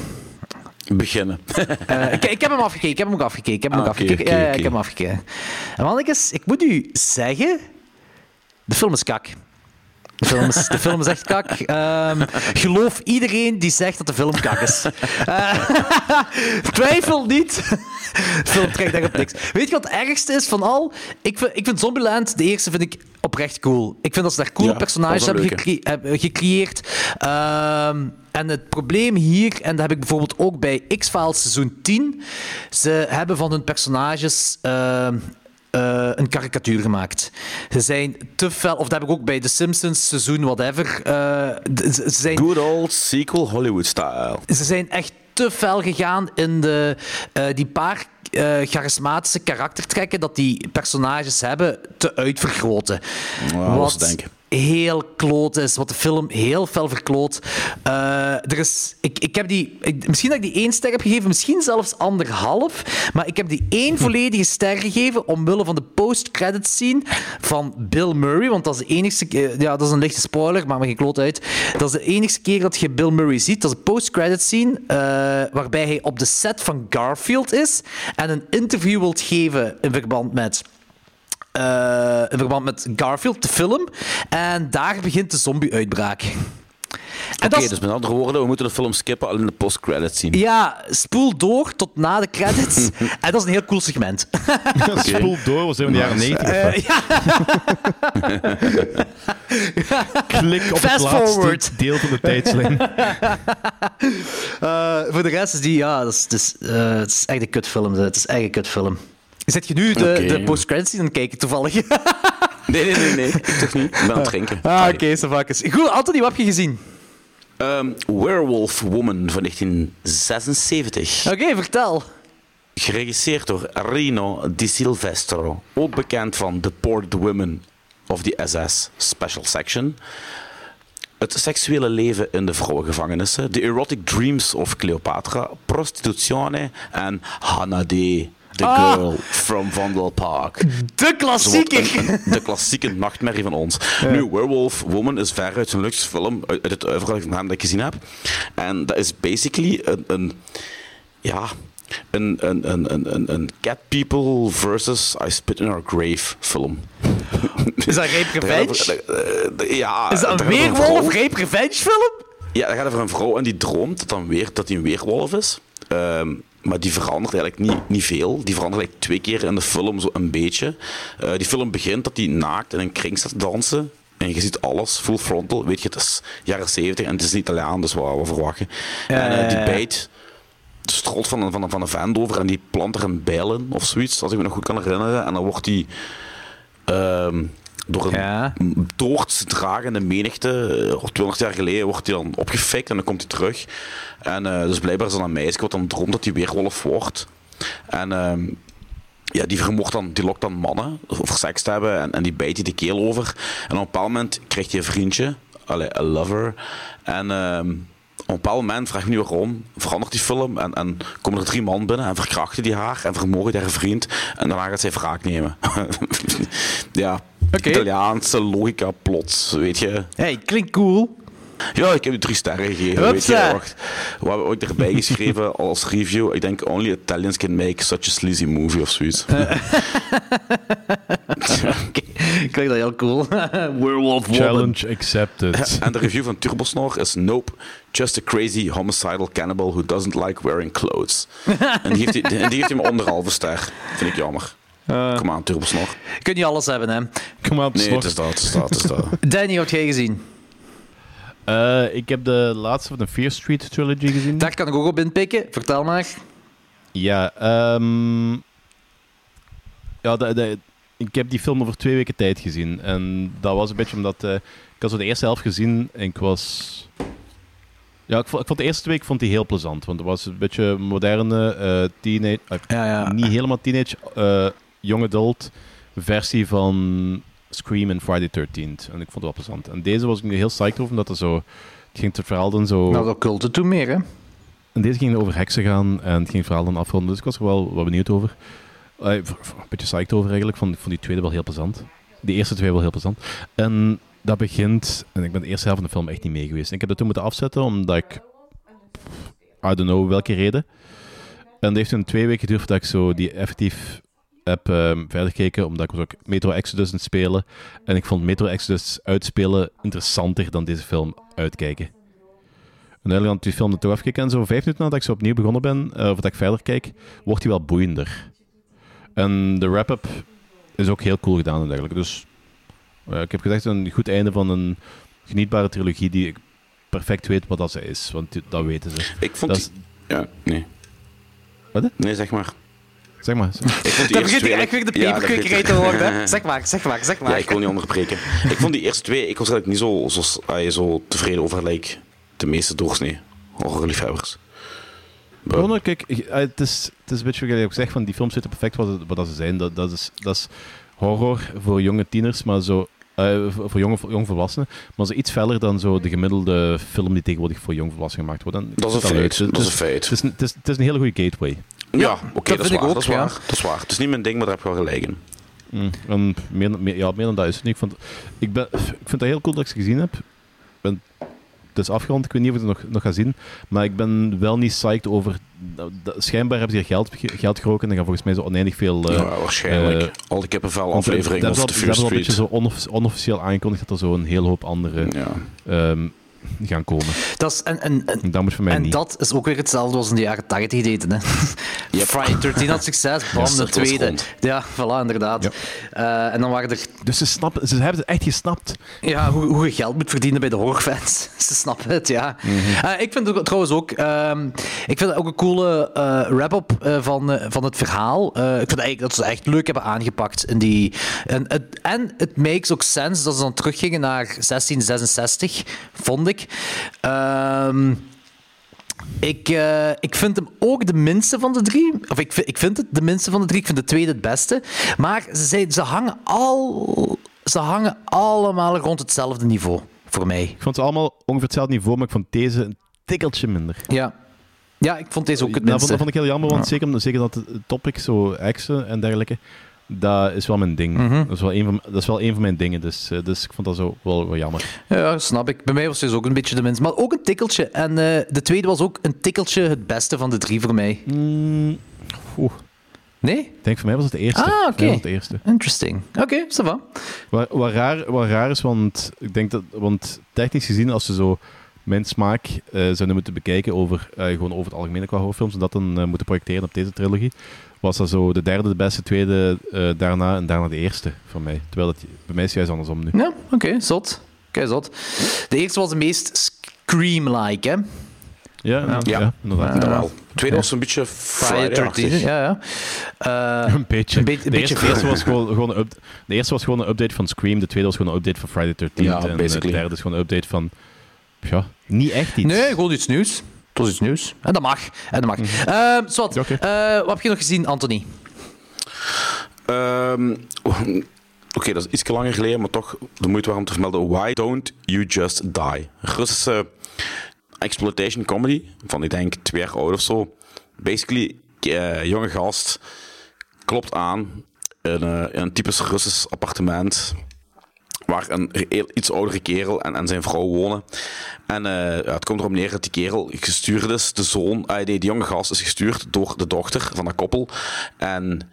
Speaker 3: Beginnen.
Speaker 2: Eh, ik, ik heb hem afgekeken, ik heb hem ook afgekeken. Ik heb hem
Speaker 3: Ah,
Speaker 2: ook
Speaker 3: oké,
Speaker 2: afgekeken. Ja,
Speaker 3: oké,
Speaker 2: ja, ik
Speaker 3: oké.
Speaker 2: heb hem afgekeken. En mannetjes, ik moet u zeggen, de film is kak. De film is, de film is echt kak. Ehm, geloof iedereen die zegt dat de film kak is. Eh, twijfel niet. De film trekt daarop niks. Weet je wat het ergste is van al? Ik vind, ik vind Zombieland, de eerste, vind ik oprecht cool. Ik vind dat ze daar coole
Speaker 3: Ja,
Speaker 2: personages
Speaker 3: dat was
Speaker 2: hebben,
Speaker 3: een
Speaker 2: gecre- hebben gecreëerd. Ehm, en het probleem hier, en dat heb ik bijvoorbeeld ook bij X-Files seizoen 10, ze hebben van hun personages... ehm, eh, een karikatuur gemaakt. Ze zijn te fel, of dat heb ik ook bij The Simpsons seizoen, whatever. eh, d- ze ze zijn
Speaker 3: Good old sequel Hollywood-style.
Speaker 2: ze zijn echt te fel gegaan in de, eh, die paar eh, charismatische karaktertrekken dat die personages hebben te uitvergroten.
Speaker 3: Ja, dat is denken.
Speaker 2: heel kloot is, wat de film heel fel verkloot. Eh, er is, ik, ik heb die, ik- misschien dat ik die één ster heb gegeven, misschien zelfs anderhalf, maar ik heb die één volledige ster gegeven omwille van de post-credit scene van Bill Murray, want dat is de enige, eh, ja, dat is een lichte spoiler, maar geen kloot uit. Dat is de enige keer dat je Bill Murray ziet. Dat is een post-credit scene eh, waarbij hij op de set van Garfield is en een interview wilt geven in verband met eh, in verband met Garfield, de film. En daar begint de zombie-uitbraak. En
Speaker 3: Oké,
Speaker 2: dat is-
Speaker 3: dus met andere woorden, we moeten de film skippen alleen de post-credits zien.
Speaker 2: Ja, spoel door tot na de credits. en dat is een heel cool segment.
Speaker 1: Spoel door, we zijn in de jaren 90.
Speaker 2: Eh,
Speaker 1: Klik op
Speaker 2: Fast
Speaker 1: het laatste
Speaker 2: forward.
Speaker 1: deel van de tijdslijn.
Speaker 2: Eh, voor de rest is die, ja, dat is, dat is, eh, het is echt een kutfilm. Het is echt een kutfilm. Zet je nu de,
Speaker 3: Oké.
Speaker 2: de post-credits aan het kijken, toevallig?
Speaker 3: Nee, nee, nee, nee. Ik toch niet. Ik ben aan het drinken.
Speaker 2: ah, oké, zo vaak is. Goed, Anthony, wat heb je gezien?
Speaker 3: Ehm, Werewolf Woman van 1976.
Speaker 2: Oké, vertel.
Speaker 3: Geregisseerd door Rino Di Silvestro. Ook bekend van Deported Women of the SS Special Section. Het seksuele leven in de vrouwengevangenissen. The Erotic Dreams of Cleopatra. Prostitutione en Hanade. The Girl from Vandal Park.
Speaker 2: De
Speaker 3: Zo eh, wordt
Speaker 2: klassieker!
Speaker 3: een- een- de klassieke nachtmerrie van ons. Nu, Werewolf Woman is veruit zijn luxe film, uit, uit het overal van hem dat ik gezien heb. En dat is basically een... een ja... Een, een, een, een, een, een Cat People versus I Spit in Our Grave film.
Speaker 2: Is dat Rape
Speaker 3: Daar gaat
Speaker 2: Revenge?
Speaker 3: over- eh, eh, ja,
Speaker 2: Is dat een
Speaker 3: daar gaat over vrouw.
Speaker 2: weerwolf Rape Revenge film?
Speaker 3: Ja, dat gaat over een vrouw en die droomt dat, dan weer, dat die een weerwolf is. Ehm, maar die verandert eigenlijk niet, niet veel. Die verandert eigenlijk twee keer in de film zo een beetje. Eh, die film begint dat die naakt in een kring staat te dansen. En je ziet alles, full frontal. Weet je, het is jaren zeventig en het is een Italiaan, dus wat, wat verwacht je? en eh, die bijt de strot van een, van, een, van een vent over en die plant er een bijl in of zoiets, als ik me nog goed kan herinneren. En dan wordt die ehm, door een
Speaker 2: Ja.
Speaker 3: doortdragende menigte, eh, 200 jaar geleden, wordt hij dan opgefikt en dan komt hij terug. En eh, dus blijkbaar is dan een meisje wat dan droomt dat hij weerwolf wordt. En ehm, ja, die vermocht dan, die lokt dan mannen over seks te hebben en, en die bijt die de keel over. En op een bepaald moment krijgt hij een vriendje, allee, een lover. En ehm, op een bepaald moment, vraag ik me niet waarom, verandert die film en, en komen er drie man binnen en verkrachten die haar en vermogen die haar vriend. En daarna gaat zij wraak nemen. ja, Italiaanse logica plots, weet je.
Speaker 2: Hey, klinkt cool.
Speaker 3: Ja, ik heb u drie sterren gegeven. Weet je,
Speaker 2: Hupsa.
Speaker 3: wacht. We hebben ooit erbij geschreven als review. Ik denk, only Italians can make such a sleazy movie of zoiets.
Speaker 2: Klinkt dat heel cool. Werewolf Woman.
Speaker 1: Challenge accepted.
Speaker 3: En de review van Turbosnor is Nope, just a crazy homicidal cannibal who doesn't like wearing clothes. en die heeft hij- en die heeft hij maar anderhalve ster. Vind ik jammer.
Speaker 2: Eh.
Speaker 3: Kom aan, Turbosnor.
Speaker 2: Je kunt niet alles hebben, hè.
Speaker 1: Kom aan,
Speaker 3: Nee,
Speaker 1: slok.
Speaker 3: het is dat, het is dat, het is dat.
Speaker 2: Danny, wat heb jij gezien?
Speaker 1: Eh, ik heb de laatste van de Fear Street trilogy gezien.
Speaker 2: Daar kan ik ook op inpikken. Vertel maar.
Speaker 1: Ja, ehm, ja de- de- ik heb die film over twee weken tijd gezien. En dat was een beetje omdat eh, ik had zo de eerste helft gezien en ik was... Ja, ik vond, ik vond de eerste week vond die heel plezant. Want het was een beetje moderne eh, teenage... eh,
Speaker 2: Ja, ja.
Speaker 1: Niet helemaal teenage, eh young adult versie van Scream en Friday 13th. En ik vond het wel plezant. En deze was ik nu heel psyched over, omdat er zo... Het ging het verhaal dan
Speaker 3: Oh.
Speaker 1: zo...
Speaker 2: Nou, dat culte toen meer, hè.
Speaker 1: En deze ging over heksen gaan en het ging het verhaal dan afronden. Dus ik was er wel wat benieuwd over. Eh, v- v- een beetje psyched over eigenlijk. Vond, vond die tweede wel heel plezant. Die eerste twee wel heel plezant. En dat begint... En ik ben de eerste helft van de film echt niet mee geweest. En ik heb dat toen moeten afzetten, omdat ik... I don't know welke reden. En dat heeft toen twee weken geduurd voordat ik zo die effectief heb ehm, verder gekeken. Omdat ik was ook Metro Exodus aan het spelen. En ik vond Metro Exodus uitspelen interessanter dan deze film uitkijken. En uiteindelijk had ik die film er toch afgekeken. En zo vijf minuten nadat ik zo opnieuw begonnen ben, eh, of dat ik verder kijk, wordt die wel boeiender. En de wrap-up is ook heel cool gedaan eigenlijk. Dus eh, ik heb gezegd een goed einde van een genietbare trilogie die ik perfect weet wat dat ze is. Want die- dat weten ze.
Speaker 3: Ik vond
Speaker 1: Dat is-
Speaker 3: die- Ja, nee.
Speaker 1: Wat? hè?
Speaker 3: Nee, zeg maar.
Speaker 1: Zeg maar.
Speaker 3: Ik vond die
Speaker 2: Dan
Speaker 3: eerste
Speaker 2: begint
Speaker 3: twee-
Speaker 2: hij echt weer de
Speaker 3: Ja, dat
Speaker 2: peperkwekerij
Speaker 3: begint-
Speaker 2: te worden. hè. Zeg maar, zeg maar, zeg maar.
Speaker 3: Ja, ik wil niet onderbreken. Ik vond die eerste twee, ik was eigenlijk niet zo, zo, ah, zo tevreden over, like de meeste doorsnee horrorliefhebbers.
Speaker 1: Ja, maar kijk, eh, het is, het is een beetje wat jij ook zegt, van die films zitten perfect wat, het- wat dat ze zijn. Dat, dat, is, dat is horror voor jonge tieners, maar zo, eh, voor voor jonge, voor jong volwassenen, maar zo iets feller dan zo de gemiddelde film die tegenwoordig voor jong volwassenen gemaakt wordt. En ik
Speaker 3: Dat is
Speaker 1: vind
Speaker 3: een
Speaker 1: leuk. Dus
Speaker 3: feit,
Speaker 1: Het
Speaker 3: dat is een feit.
Speaker 1: Het is, een- het is, het is een hele goede gateway.
Speaker 3: Ja, oké,
Speaker 2: dat
Speaker 3: dat, is
Speaker 2: vind ik
Speaker 3: waar,
Speaker 2: ook,
Speaker 3: dat is
Speaker 2: ja.
Speaker 3: waar. Dat is waar. Het is niet mijn ding, maar daar heb je wel gelijk in.
Speaker 1: En meer, dan- meer- ja, meer dan dat is het niet. Ik, vond, ik, ben, ik vind dat heel cool dat ik ze gezien heb. Ik ben, het is afgerond, ik weet niet of ik het nog, nog ga zien. Maar ik ben wel niet psyched over... dat- dat- schijnbaar hebben ze hier geld, geld geroken en dan gaan volgens mij zo oneindig veel... eh,
Speaker 3: ja, waarschijnlijk.
Speaker 1: eh,
Speaker 3: Al die kippenvel
Speaker 1: Want, eh,
Speaker 3: aflevering
Speaker 1: dat
Speaker 3: of
Speaker 1: is
Speaker 3: The
Speaker 1: wel- Dat
Speaker 3: Fear
Speaker 1: is wel een
Speaker 3: Street.
Speaker 1: beetje zo onoff- onofficieel aangekondigd dat er zo een hele hoop andere
Speaker 3: Ja.
Speaker 1: ehm, gaan komen.
Speaker 2: Dat is, en en, en,
Speaker 1: En dat moet voor mij
Speaker 2: en
Speaker 1: niet.
Speaker 2: dat is ook weer hetzelfde als in de jaren 80 deden. Hè. Friday 13 had succes, bam,
Speaker 3: Yes,
Speaker 2: de
Speaker 3: dat was
Speaker 2: tweede.
Speaker 3: rond.
Speaker 2: Ja, voilà, inderdaad.
Speaker 1: Ja.
Speaker 2: Eh, en dan waren er
Speaker 1: Dus ze, snappen, ze hebben het echt gesnapt.
Speaker 2: Ja, hoe, hoe je geld moet verdienen bij de horrorfans. Ze snappen het, ja. Eh, ik vind het ook- trouwens ook... ehm, ik vind het ook een coole eh, wrap-up eh, van, eh, van het verhaal. Eh, ik vind eigenlijk dat ze het echt leuk hebben aangepakt. In die, en, het, en het makes ook sense dat ze dan teruggingen naar 1666, vond ik. Ehm, ik, eh, ik vind hem ook de minste van de drie. Of ik, vi- ik vind het de minste van de drie. Ik vind de tweede het beste. Maar ze, zijn, ze, hangen, al, ze hangen allemaal rond hetzelfde niveau. Voor mij.
Speaker 1: Ik vond ze allemaal ongeveer hetzelfde niveau, maar ik vond deze een tikkeltje minder.
Speaker 2: Ja. Ja, ik vond deze ook het
Speaker 1: dat vond, Nou,
Speaker 2: minste.
Speaker 1: dat vond ik heel jammer, want zeker, zeker dat het topic, zo heksen en dergelijke, dat is wel mijn ding.
Speaker 2: Mhm.
Speaker 1: dat, is wel een van, dat is wel een van mijn dingen, dus, eh, dus ik vond dat zo wel, wel jammer.
Speaker 2: Ja, snap ik. Bij mij was deze ook een beetje de minste. Maar ook een tikkeltje. En eh, de tweede was ook een tikkeltje het beste van de drie voor mij.
Speaker 1: Mm, Oeh,
Speaker 2: Nee?
Speaker 1: ik denk, voor mij was het de eerste.
Speaker 2: Ah,
Speaker 1: Voor mij
Speaker 2: oké.
Speaker 1: was het de eerste.
Speaker 2: Interesting. Oké, ça va.
Speaker 1: Wat, wat, raar, wat raar is, want ik denk dat, want technisch gezien, als ze zo mijn smaak eh, zouden moeten bekijken over, eh, gewoon over het algemeen qua horrorfilms, en dat dan eh, moeten projecteren op deze trilogie, was dat zo de derde, de beste, tweede, eh, daarna en daarna de eerste voor mij. Terwijl dat, bij mij is het juist andersom nu.
Speaker 2: Ja, oké, zot. Oké, zot. De eerste was de meest scream-like, hè?
Speaker 1: Ja, ja,
Speaker 3: Ja.
Speaker 1: inderdaad.
Speaker 3: Dat wel. Tweede was een beetje
Speaker 2: Ja,
Speaker 3: Friday-achtig.
Speaker 2: ja. Eh,
Speaker 1: Een beetje.
Speaker 2: Een beetje-
Speaker 1: de,
Speaker 2: beetje
Speaker 1: eerste, de eerste was gewoon, gewoon een up- de eerste was gewoon een update van Scream, de tweede was gewoon een update van Friday 13
Speaker 3: Ja,
Speaker 1: en eh, de
Speaker 3: basically.
Speaker 1: derde is gewoon een update van... Ja, niet echt iets.
Speaker 2: nee, gewoon iets nieuws. Het was iets nieuws. En dat mag. En dat mag.
Speaker 3: Mhm.
Speaker 2: Eh, Zwat,
Speaker 1: Oké.
Speaker 2: eh, wat heb je nog gezien, Anthony?
Speaker 3: Ehm, Oké, dat is iets langer geleden, maar toch de moeite waard om te vermelden. Why Don't You Just Die? Russische exploitation comedy van, ik denk, twee jaar oud of zo. Basically, eh, jonge gast klopt aan in, eh, in een typisch Russisch appartement waar een heel- iets oudere kerel en, en zijn vrouw wonen. En eh, ja, het komt erop neer dat die kerel gestuurd is, de zoon, eh, nee, die jonge gast is gestuurd door de dochter van dat koppel. En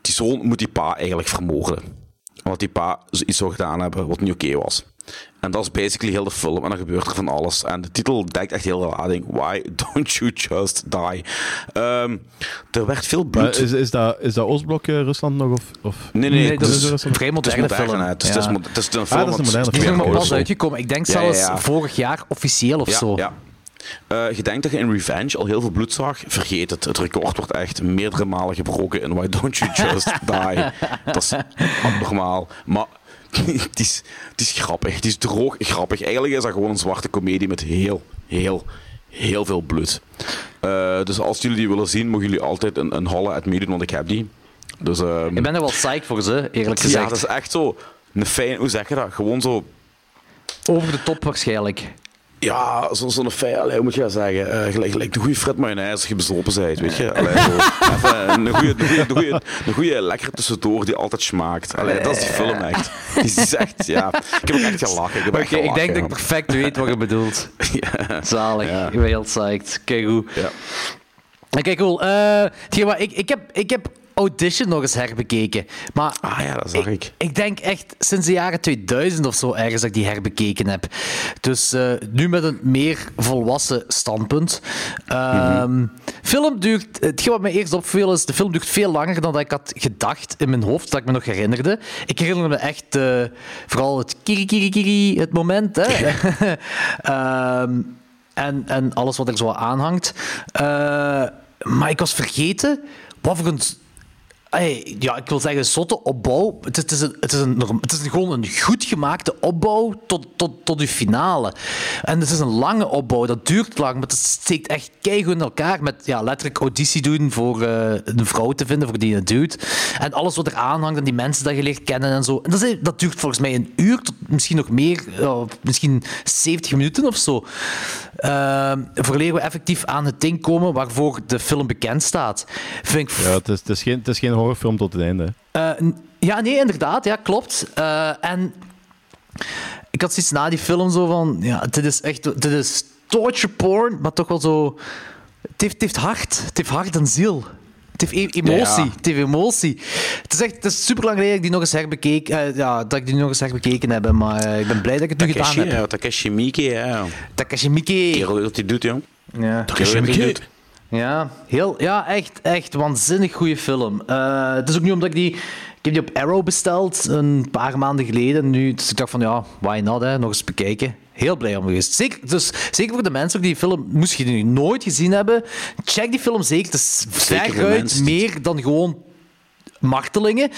Speaker 3: die zoon moet die pa eigenlijk vermoorden. Omdat die pa z- iets zou gedaan hebben wat niet oké was. En dat is basically heel de film. En dan gebeurt er van alles. En de titel dekt echt heel de lading. Why don't you just die? Ehm, er werd veel
Speaker 1: Maar
Speaker 3: bloed.
Speaker 1: is, is dat, is dat Oostblok eh, Rusland nog? Of, of?
Speaker 3: Nee, nee,
Speaker 2: Nee, dat
Speaker 3: het
Speaker 2: is een vrij
Speaker 3: het is
Speaker 2: moderne
Speaker 3: modern,
Speaker 2: film.
Speaker 3: hè. Dus Het is, het is
Speaker 2: Ja.
Speaker 3: mo- het is een
Speaker 1: Ah,
Speaker 3: film.
Speaker 1: dat is een
Speaker 3: wat-
Speaker 1: moderne
Speaker 2: Die is nog
Speaker 1: film.
Speaker 2: maar
Speaker 1: Ja,
Speaker 2: pas
Speaker 1: zo.
Speaker 2: uitgekomen. Ik denk
Speaker 3: Ja,
Speaker 2: zelfs
Speaker 3: ja, ja.
Speaker 2: vorig jaar officieel of
Speaker 3: Ja,
Speaker 2: zo.
Speaker 3: ja. Eh, je denkt dat je in Revenge al heel veel bloed zag? Vergeet het. Het record wordt echt meerdere malen gebroken in Why Don't You Just Die. dat is abnormaal. Maar het is, het is grappig. Het is droog grappig. Eigenlijk is dat gewoon een zwarte komedie met heel, heel, heel veel bloed. Eh, dus als jullie die willen zien, mogen jullie altijd een, een holle at me doen, want ik heb die. Dus, ehm,
Speaker 2: Ik ben er wel psyched voor ze, eerlijk
Speaker 3: ja,
Speaker 2: gezegd.
Speaker 3: dat is echt zo. Een fijn, hoe zeg je dat? Gewoon zo
Speaker 2: Over de top waarschijnlijk.
Speaker 3: Ja, zo- zo'n fei, allee, hoe moet je dat zeggen? Eh, gelijk, gelijk de goede Fred mayonaise als je bezopen bent, weet je? Allee, zo. Even een goede, een goede, een goede, een goede lekkere tussendoor die altijd smaakt. Allee, dat is die film echt. Die is echt, ja. Ik heb ook echt gelachen. Ik, heb
Speaker 2: Oké,
Speaker 3: echt
Speaker 2: ik denk dat ik
Speaker 3: gelachen.
Speaker 2: perfect weet wat je bedoelt.
Speaker 3: Ja.
Speaker 2: Zalig,
Speaker 3: Ja.
Speaker 2: ik ben heel psyched. Kijk hoe.
Speaker 3: Ja.
Speaker 2: Oké, cool. Eh, hetgeen wat ik, ik, heb, ik heb Audition nog eens herbekeken. Maar
Speaker 3: Ah ja, dat zag ik.
Speaker 2: ik denk echt sinds de jaren 2000 of zo ergens dat ik die herbekeken heb. Dus eh, nu met een meer volwassen standpunt. Ehm,
Speaker 3: Mhm.
Speaker 2: film duurt, hetgeen wat mij eerst opviel is, de film duurt veel langer dan dat ik had gedacht in mijn hoofd, dat ik me nog herinnerde. Ik herinner me echt eh, vooral het kiri kiri kiri, het moment. Hè? Ehm, en, en alles wat er zo aan hangt. Eh, maar ik was vergeten wat voor een Ey, ja, ik wil zeggen, zotte opbouw. Het is, het is, een, het is, een, norm- het is een- gewoon een goed gemaakte opbouw tot, tot, tot uw finale. En het is een lange opbouw, dat duurt lang, maar het steekt echt keihard in elkaar. Met ja, letterlijk auditie doen voor eh, een vrouw te vinden, voor die een dude. En alles wat er aanhangt en die mensen dat je leert kennen en zo. En dat, is- dat duurt volgens mij een uur, tot misschien nog meer, ja, misschien 70 minuten of zo. Ehm vooraleer we effectief aan het ding komen waarvoor de film bekend staat. Vind ik
Speaker 1: Ja, het is, het, is geen, het is geen horrorfilm tot het einde. hè.
Speaker 2: eh, n- ja, nee, inderdaad. Ja, klopt. Eh, en ik had zoiets na die film zo van... Ja, dit is echt... Dit is torture porn, maar toch wel zo... Het heeft, het heeft hart. Het heeft hart en ziel. Het heeft e- emotie.
Speaker 3: Ja.
Speaker 2: Het heeft emotie. Het is echt het is super lang geleden dat ik die nog eens herbekeek, eh, ja, dat ik die nog eens herbekeken heb. Maar eh, ik ben blij dat ik het nu
Speaker 3: Takeshi,
Speaker 2: gedaan heb.
Speaker 3: ja, Takeshi Miike, ja.
Speaker 2: Takashi Miike.
Speaker 3: Kerel, wat hij doet, jong.
Speaker 2: Ja.
Speaker 3: Kerel, wat hij doet.
Speaker 2: Ja, heel, ja echt, echt waanzinnig goede film. Eh, het is ook nu omdat ik die... Ik heb die op Arrow besteld een paar maanden geleden. En Nu, dus ik dacht van, ja, why not, hè? nog eens bekijken. Heel blij om geweest. Zeker, dus, zeker voor de mensen die film, moest je die nog nooit gezien hebben, check die film zeker. Het is
Speaker 3: Zeker voor
Speaker 2: veruit
Speaker 3: mensen die-
Speaker 2: meer dan gewoon martelingen.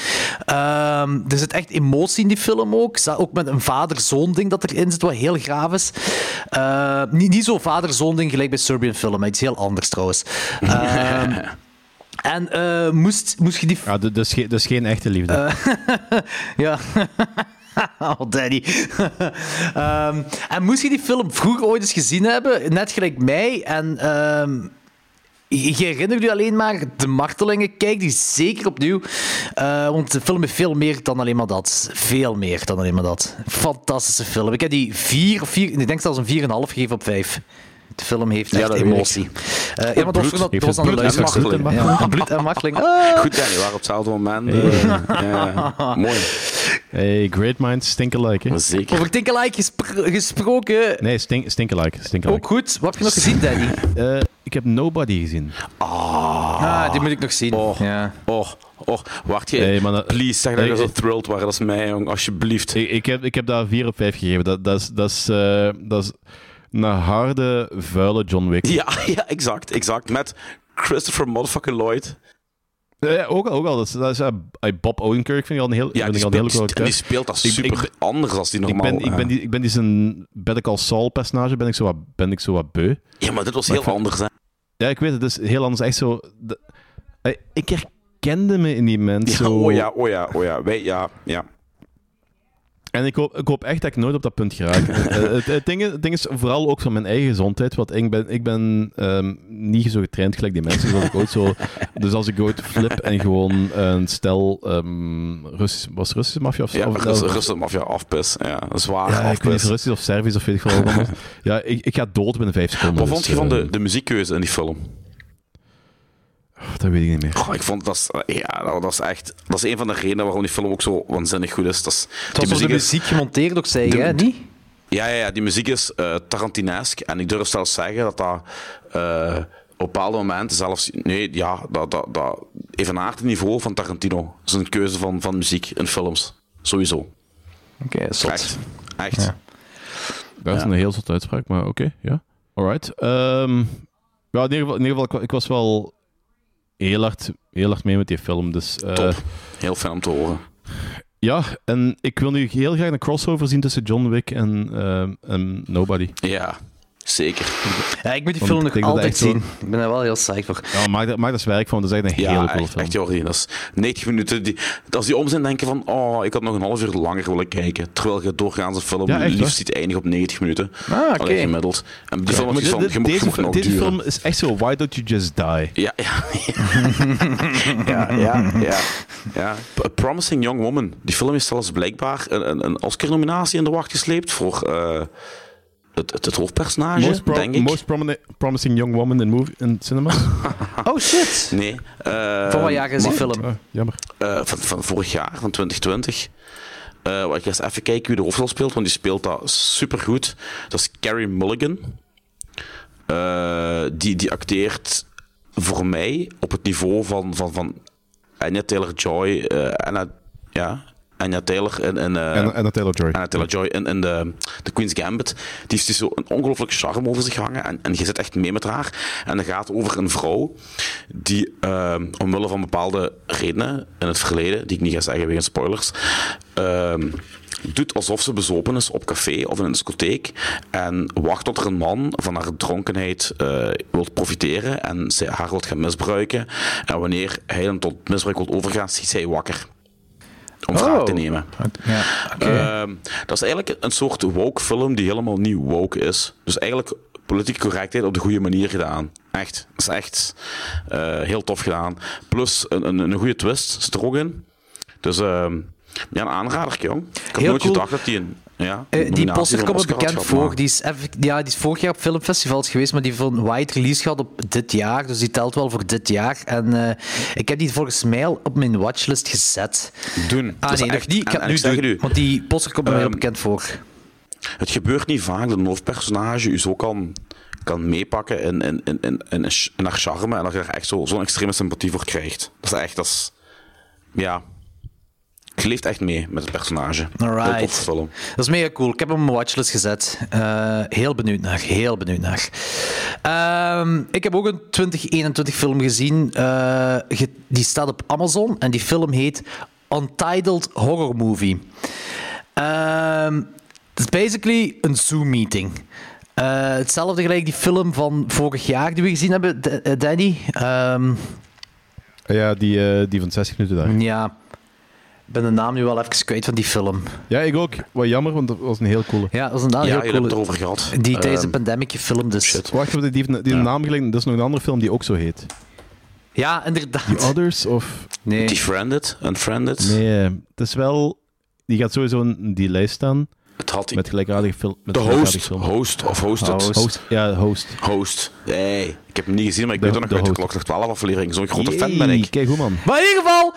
Speaker 2: Ehm, er zit echt emotie in die film ook. Za- Ook met een vader-zoon ding dat erin zit, wat heel graaf is. Eh, niet, niet zo'n vader-zoon ding gelijk bij Serbian film, maar iets heel anders trouwens. Ehm, en
Speaker 1: Ah,
Speaker 2: eh, moest, moest je die...
Speaker 1: Ja, d- dus, ge- dus geen echte liefde.
Speaker 2: Ja. oh, Danny. Ehm, en moest je die film vroeger ooit eens gezien hebben, net gelijk mij, en ehm, je je herinnert u alleen maar de martelingen. Kijk die zeker opnieuw. Eh, want de film heeft veel meer dan alleen maar dat. Veel meer dan alleen maar dat. Fantastische film. Ik heb die vier of vier, ik denk zelfs een 4,5 gegeven op 5. De film heeft
Speaker 3: Ja,
Speaker 2: echt
Speaker 3: dat weet ik.
Speaker 2: emotie. Eh, ja, maar dat was,
Speaker 1: bloed.
Speaker 2: dat
Speaker 1: Heeft
Speaker 2: was
Speaker 1: het
Speaker 2: aan de
Speaker 1: bloed en
Speaker 2: luisteraars.
Speaker 3: marteling.
Speaker 2: Ja, bloed en marteling. Ah.
Speaker 3: Goed, Danny, we waren op hetzelfde moment. eh, ja, ja. Mooi.
Speaker 1: Hey, great minds stink alike. Hè?
Speaker 3: Zeker.
Speaker 2: Over Tinkerlike gespr- gesproken.
Speaker 1: Nee, stink, stink alike. Stink
Speaker 2: Ook
Speaker 1: alike.
Speaker 2: goed. Wat heb je nog gezien, Danny?
Speaker 1: Eh, ik heb Nobody gezien.
Speaker 2: Ah, die moet ik nog zien.
Speaker 3: Oh,
Speaker 2: Ja.
Speaker 3: oh, oh. Wacht, jij.
Speaker 1: Hey, maar dat-
Speaker 3: Please, zeg dat
Speaker 1: Hey,
Speaker 3: je zo
Speaker 1: hey.
Speaker 3: thrilled waren als mij, jong. Alsjeblieft.
Speaker 1: Ik, ik, heb, ik heb daar 4 op 5 gegeven. Dat, dat, is, dat, is, eh, dat is een harde, vuile John Wick.
Speaker 3: Ja, ja, exact, exact. Met Christopher motherfucking Lloyd.
Speaker 1: Eh, ook al, ook al. Dat is, dat is, eh, Bob Odenkirk vind ik al een heel,
Speaker 3: Ja,
Speaker 1: vind ik
Speaker 3: die
Speaker 1: al een
Speaker 3: speelt,
Speaker 1: heel groot
Speaker 3: die, die speelt dat
Speaker 1: Ik-
Speaker 3: super
Speaker 1: ik-
Speaker 3: anders als die
Speaker 1: ik
Speaker 3: normaal.
Speaker 1: ben, ik, ben
Speaker 3: eh.
Speaker 1: die, ik ben die zijn Better Call Saul personage ben ik zo wat, ben ik zo wat beu.
Speaker 3: Ja, maar dit was heel
Speaker 1: ik vind-
Speaker 3: anders. Hè.
Speaker 1: Ja, ik weet het. Het is heel anders. Echt zo... de- eh, ik herkende me in die mens.
Speaker 3: Ja,
Speaker 1: zo.
Speaker 3: oh ja, oh ja, oh ja. Wij, ja, ja.
Speaker 1: En ik hoop, ik hoop echt dat ik nooit op dat punt geraak. Eh, het, het ding, is- het ding is vooral ook van mijn eigen gezondheid. Want ik ben, ik ben ehm, niet zo getraind gelijk die mensen. Zoals ik ooit zo, dus als ik ooit flip en gewoon een stel ehm, Russisch, was het Russische maffia of
Speaker 3: Ja,
Speaker 1: of-
Speaker 3: Rus- Russen maffia afpis. Ja, zwaar
Speaker 1: Ja, ik weet niet,
Speaker 3: afpis.
Speaker 1: Russisch Ah, of Servisch of weet ik veel wat anders. Ja, ik, ik ga dood binnen vijf seconden.
Speaker 3: Wat vond
Speaker 1: dus,
Speaker 3: je van
Speaker 1: eh,
Speaker 3: de, de muziekkeuze in die film?
Speaker 1: Dat weet ik niet meer.
Speaker 3: Goh, ik vond dat, is- ja, dat dat is echt... Dat is een van de redenen waarom die film ook zo waanzinnig goed is. Dat is
Speaker 2: Het was
Speaker 3: die
Speaker 2: door de
Speaker 3: muziek is,
Speaker 2: muziek gemonteerd ook, zei je, hè? Niet?
Speaker 3: ja, ja, ja, die muziek is eh, Tarantinesk. En ik durf zelfs zeggen dat dat... eh, op bepaalde momenten zelfs... Nee, ja, dat, dat, dat evenaart het niveau van Tarantino. Zijn keuze van, van muziek in films. Sowieso.
Speaker 2: Oké, zot.
Speaker 3: Echt. Echt.
Speaker 1: Dat is een heel zotte uitspraak, maar oké, ja. Alright. Ehm, ja, in ieder geval, in ieder geval ik, wa- ik was wel heel hard, heel hard mee met die film. Dus, eh,
Speaker 3: Top. Heel fijn om te horen.
Speaker 1: Ja, en ik wil nu heel graag een crossover zien tussen John Wick en, ehm, en Nobody.
Speaker 3: Ja, zeker.
Speaker 2: Ja, ik moet die
Speaker 1: Want
Speaker 2: film
Speaker 1: ik
Speaker 2: nog
Speaker 1: denk dat
Speaker 2: altijd
Speaker 1: echt
Speaker 2: zien. Ik ben er wel heel psyched voor.
Speaker 1: Ja, maak, daar- maak daar eens werk van, dat is echt een
Speaker 3: Ja,
Speaker 1: hele coole
Speaker 3: echt,
Speaker 1: film.
Speaker 3: echt Jordi. Dat is 90 minuten. Die, als die om zijn, denken van... Oh, ik had nog een half uur langer willen kijken. Terwijl je doorgaans een film
Speaker 1: Ja, echt,
Speaker 3: liefst
Speaker 1: hoor.
Speaker 3: ziet eindigen op 90 minuten.
Speaker 2: Ah, oké.
Speaker 3: Alleen gemiddeld. En die film
Speaker 1: Maar
Speaker 3: had iets
Speaker 1: dit-
Speaker 3: van...
Speaker 1: dit-
Speaker 3: Je moet, je
Speaker 1: deze
Speaker 3: moet
Speaker 1: film-
Speaker 3: nog
Speaker 1: deze
Speaker 3: duren.
Speaker 1: film is echt zo, why don't you just die?
Speaker 3: Ja, ja. ja, ja, ja, ja. A Promising Young Woman. Die film is zelfs blijkbaar een, een, een Oscar-nominatie in de wacht gesleept voor... eh, het, het, het hoofdpersonage,
Speaker 1: Most, pro-
Speaker 3: denk ik.
Speaker 1: most promine- promising young woman in, movie, in cinema?
Speaker 2: Oh shit!
Speaker 3: Nee. eh,
Speaker 2: Van wat jaar is die
Speaker 3: maar-
Speaker 2: film?
Speaker 1: Ah, jammer.
Speaker 3: Eh, van, van vorig jaar, van 2020. Eh wat ik eens even kijken wie de hoofdrol speelt, want die speelt dat supergoed. Dat is Carrie Mulligan. Eh, die, die acteert voor mij op het niveau van, van, van Anya Taylor-Joy. eh Anna, ja, Anya Taylor en... en, eh,
Speaker 1: En, en dat Taylor Joy.
Speaker 3: Anna Taylor-Joy in, in de, de Queen's Gambit. Die heeft dus zo een ongelooflijke charme over zich hangen. En, en je zit echt mee met haar. En het gaat over een vrouw die, ehm, omwille van bepaalde redenen in het verleden, die ik niet ga zeggen wegens spoilers, ehm, doet alsof ze bezopen is op café of in een discotheek. En wacht tot er een man van haar dronkenheid eh wil profiteren en zij haar wil gaan misbruiken. En wanneer hij dan tot misbruik wil overgaan, ziet zij wakker. Om wraak te nemen. Ehm, dat is eigenlijk een soort woke film die helemaal niet woke is. Dus eigenlijk politieke correctheid op de goede manier gedaan. Echt. Dat is echt eh, heel tof gedaan. Plus een, een, een goede twist zit er ook in. Dus ehm, ja, een aanrader, jong. Ik had
Speaker 2: Heel
Speaker 3: nooit
Speaker 2: cool.
Speaker 3: gedacht dat die een. Ja,
Speaker 2: Eh,
Speaker 3: een
Speaker 2: die
Speaker 3: nominatie
Speaker 2: poster
Speaker 3: voor
Speaker 2: komt me
Speaker 3: Oscar had
Speaker 2: bekend
Speaker 3: gehad,
Speaker 2: voor.
Speaker 3: maar-
Speaker 2: Die is, effe- ja, die is vorig jaar op filmfestivals geweest, maar die heeft een wide release gehad op dit jaar. Dus die telt wel voor dit jaar. En eh, ik heb die volgens mij al op mijn watchlist gezet.
Speaker 3: Doen.
Speaker 2: Ah
Speaker 3: Dat is
Speaker 2: nee, nog
Speaker 3: echt-
Speaker 2: niet. Ik
Speaker 3: en-
Speaker 2: ga het
Speaker 3: en
Speaker 2: nu
Speaker 3: ik zeg
Speaker 2: doen.
Speaker 3: het u.
Speaker 2: Want die poster komt me heel
Speaker 3: Ehm,
Speaker 2: bekend voor.
Speaker 3: Het gebeurt niet vaak dat een hoofdpersonage u zo kan, kan meepakken in, in, in, in, in, in haar charme en dat je er echt zo- zo'n extreme sympathie voor krijgt. Dat is echt, dat is, ja, je leeft echt mee met het personage. Heel
Speaker 2: Alright.
Speaker 3: toffe film.
Speaker 2: Dat is mega cool. Ik heb hem op mijn watchlist gezet. Eh, heel benieuwd naar. Heel benieuwd naar. Ehm, ik heb ook een 2021 film gezien. Eh, ge- die staat op Amazon. En die film heet Untitled Horror Movie. Ehm, Het is basically een Zoom-meeting. Eh, hetzelfde gelijk die film van vorig jaar die we gezien hebben, D- eh, Danny. Ehm, Mhm.
Speaker 1: Ja, die, eh, die van 60 minuten daar.
Speaker 2: ja. ben de naam nu wel even kwijt van die film.
Speaker 1: Ja, ik ook. Wat jammer, want dat was een heel coole.
Speaker 2: Ja, dat is inderdaad
Speaker 3: Ja,
Speaker 2: heel
Speaker 3: jullie hebben
Speaker 2: cool.
Speaker 3: het erover gehad.
Speaker 2: Die tijdens de
Speaker 3: Ehm,
Speaker 2: pandemic gefilmd is.
Speaker 1: Wacht, die heeft die heeft een naam gelegen. Dat is nog een andere film die ook zo heet.
Speaker 2: Ja, inderdaad.
Speaker 1: The Others of...
Speaker 2: Nee.
Speaker 3: Defriended, Unfriended.
Speaker 1: Nee, eh, het is wel... Die gaat sowieso in die lijst staan
Speaker 3: Het had
Speaker 1: met gelijkaardige film. met
Speaker 3: de
Speaker 1: gelijkaardige
Speaker 3: host.
Speaker 1: films.
Speaker 3: Host of hosted.
Speaker 2: Host.
Speaker 1: Host. Ja, host.
Speaker 3: Host. Hey, ik heb hem niet gezien, maar ik
Speaker 1: De-
Speaker 3: weet er nog
Speaker 1: de
Speaker 3: uit de
Speaker 1: host.
Speaker 3: klok nog 12 aflevering. Zo'n grote fan
Speaker 1: Jee,
Speaker 3: ben ik.
Speaker 1: Kijk hoe man.
Speaker 2: Maar in ieder geval,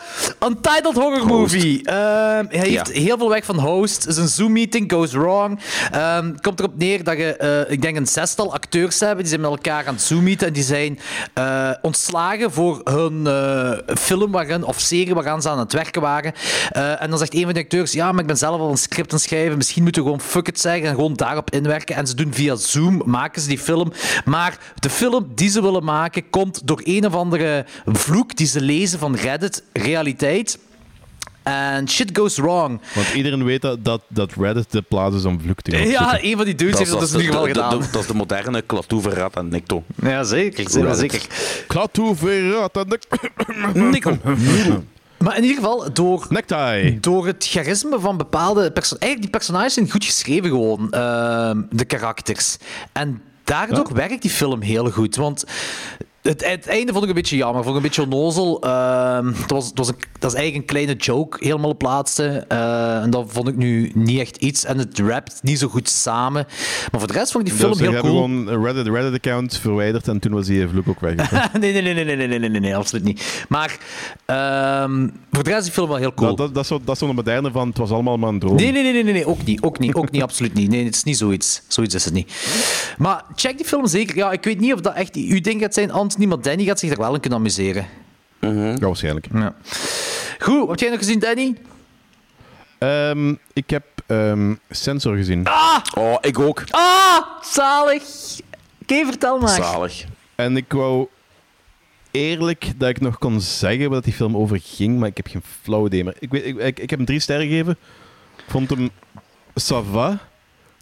Speaker 2: Untitled Horror Movie. Ehm, hij heeft
Speaker 3: Ja.
Speaker 2: heel veel weg van host. Zijn Zoom-meeting goes wrong. Ehm komt erop neer dat je, eh, ik denk, een zestal acteurs hebben. Die zijn met elkaar aan het Zoom-meeten. En die zijn eh, ontslagen voor hun eh, film waarin, of serie waaraan ze aan het werken waren. Eh, en dan zegt een van de acteurs: Ja, maar ik ben zelf al een script aan het schrijven. Misschien moeten we gewoon fuck it zeggen en gewoon daarop inwerken. En ze doen via Zoom, maken ze die film. Maar de film die ze willen maken komt door een of andere vloek die ze lezen van Reddit, realiteit. En shit goes wrong.
Speaker 1: Want iedereen weet dat, dat, dat Reddit de plaats is om vloek te gaan
Speaker 2: Ja,
Speaker 1: opzoeken.
Speaker 2: een van die dudes heeft dat dus in ieder geval
Speaker 3: de- de-
Speaker 2: gedaan.
Speaker 3: de- dat is de moderne Klatoeverrat en Nikto.
Speaker 2: Ja, zeker. zeker, zeker.
Speaker 1: Klaatu verrat aan de
Speaker 2: Nikkel. Maar in ieder geval, door
Speaker 1: necktie.
Speaker 2: Door het charisma van bepaalde personages. Eigenlijk, die personages zijn goed geschreven, gewoon. ehm, de karakters. En daardoor werkt die film heel goed. Want het, het einde vond ik een beetje jammer. Vond ik een beetje onnozel. Ehm, het was, het was een, dat is eigenlijk een kleine joke, helemaal op laatste. Eh, en dat vond ik nu niet echt iets. En het rapt niet zo goed samen. Maar voor de rest vond ik die film
Speaker 1: Dus ze
Speaker 2: heel
Speaker 1: hebben
Speaker 2: cool.
Speaker 1: gewoon een Reddit, Reddit account verwijderd en toen was die vloek ook weg.
Speaker 2: nee, nee, nee, nee, nee, nee, nee, nee, nee, absoluut niet. Maar ehm, voor de rest is die film wel heel cool.
Speaker 1: Nou, dat, dat, is zo, dat is zo'n moderne van het was allemaal maar een droom.
Speaker 2: Nee, nee, nee, nee, nee, nee, ook niet. Ook niet, ook niet absoluut niet. Nee, het is niet zoiets. Zoiets is het niet. Maar check die film zeker. Ja, ik weet niet of dat echt uw ding gaat zijn, Anthony, maar Danny gaat zich er wel in kunnen amuseren.
Speaker 1: Ja, waarschijnlijk.
Speaker 2: Goed, wat heb jij nog gezien, Danny?
Speaker 1: Ehm, ik heb ehm, Sensor gezien.
Speaker 3: Oh, ik ook.
Speaker 2: Ah, zalig. Oké, vertel maar.
Speaker 3: Zalig.
Speaker 1: En ik wou eerlijk dat ik nog kon zeggen wat die film over ging, maar ik heb geen flauw idee meer. Ik, weet, ik, ik, ik heb hem drie sterren gegeven. Ik vond hem sava,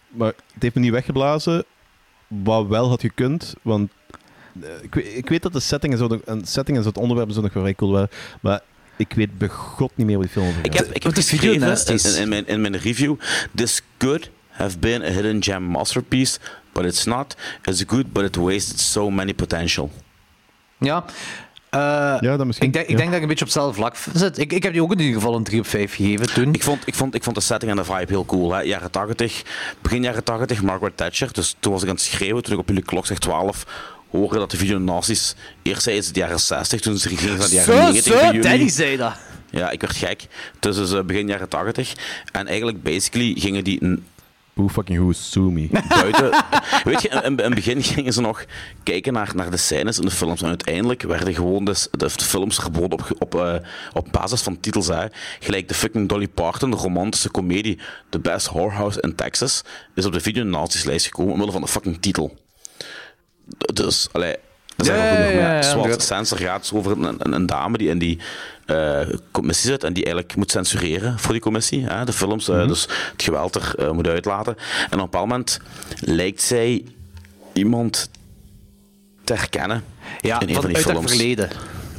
Speaker 1: maar het heeft me niet weggeblazen. Wat wel had gekund, want eh, ik, weet- ik weet dat de setting en, zo, nog- en setting en zo het onderwerp en zo nog wel vrij cool waren, maar ik weet begot niet meer wat die film over
Speaker 3: Ik
Speaker 1: gaat.
Speaker 3: heb, ik heb
Speaker 2: Wat is video
Speaker 3: geschreven
Speaker 2: naast is?
Speaker 3: in, in, in mijn, in mijn review: This could have been a hidden gem masterpiece, but it's not. It's good, but it wasted so many potential.
Speaker 2: Ja. Eh,
Speaker 1: Ja, dat misschien,
Speaker 2: Ik denk, ik
Speaker 1: ja.
Speaker 2: denk dat ik een beetje op hetzelfde vlak zit. Ik, ik heb die ook in ieder geval een 3 op 5 gegeven toen.
Speaker 3: Ik vond, ik, vond, ik vond de setting en de vibe heel cool. Hè? Jaren 80, begin jaren 80, Margaret Thatcher. Dus toen was ik aan het schreeuwen, toen ik op jullie klok zeg 12 hoorde dat de videonazis. Eerst zei ze het jaren 60, toen ze gingen naar de jaren
Speaker 2: Zo,
Speaker 3: 90. bij
Speaker 2: zo,
Speaker 3: jullie.
Speaker 2: Danny zei dat.
Speaker 3: Ja, ik werd gek. Dus is eh, begin jaren 80. En eigenlijk, basically, gingen die n-
Speaker 1: Who fucking who sue me?
Speaker 3: buiten. Weet je, in- in in het begin gingen ze nog kijken naar, naar de scènes in de films. En uiteindelijk werden gewoon de, de films verboden op, ge- op, eh, op basis van titels. Hè. Gelijk de fucking Dolly Parton, de romantische komedie The Best Whorehouse in Texas, is op de video nazi's lijst gekomen omwille van de fucking titel. D- Dus, allee. Er zijn
Speaker 2: Ja,
Speaker 3: ook nog
Speaker 2: ja, ja,
Speaker 3: meer. Zoals
Speaker 2: inderdaad.
Speaker 3: het censor gaat is over een, een, een dame die in die eh, commissie zit en die eigenlijk moet censureren voor die commissie. Hè, de films,
Speaker 2: Mhm.
Speaker 3: eh, dus het geweld er eh, moet uitlaten. En op een bepaald moment lijkt zij iemand te herkennen
Speaker 2: Ja,
Speaker 3: in een
Speaker 2: van,
Speaker 3: van die
Speaker 2: uit haar
Speaker 3: films.
Speaker 2: verleden.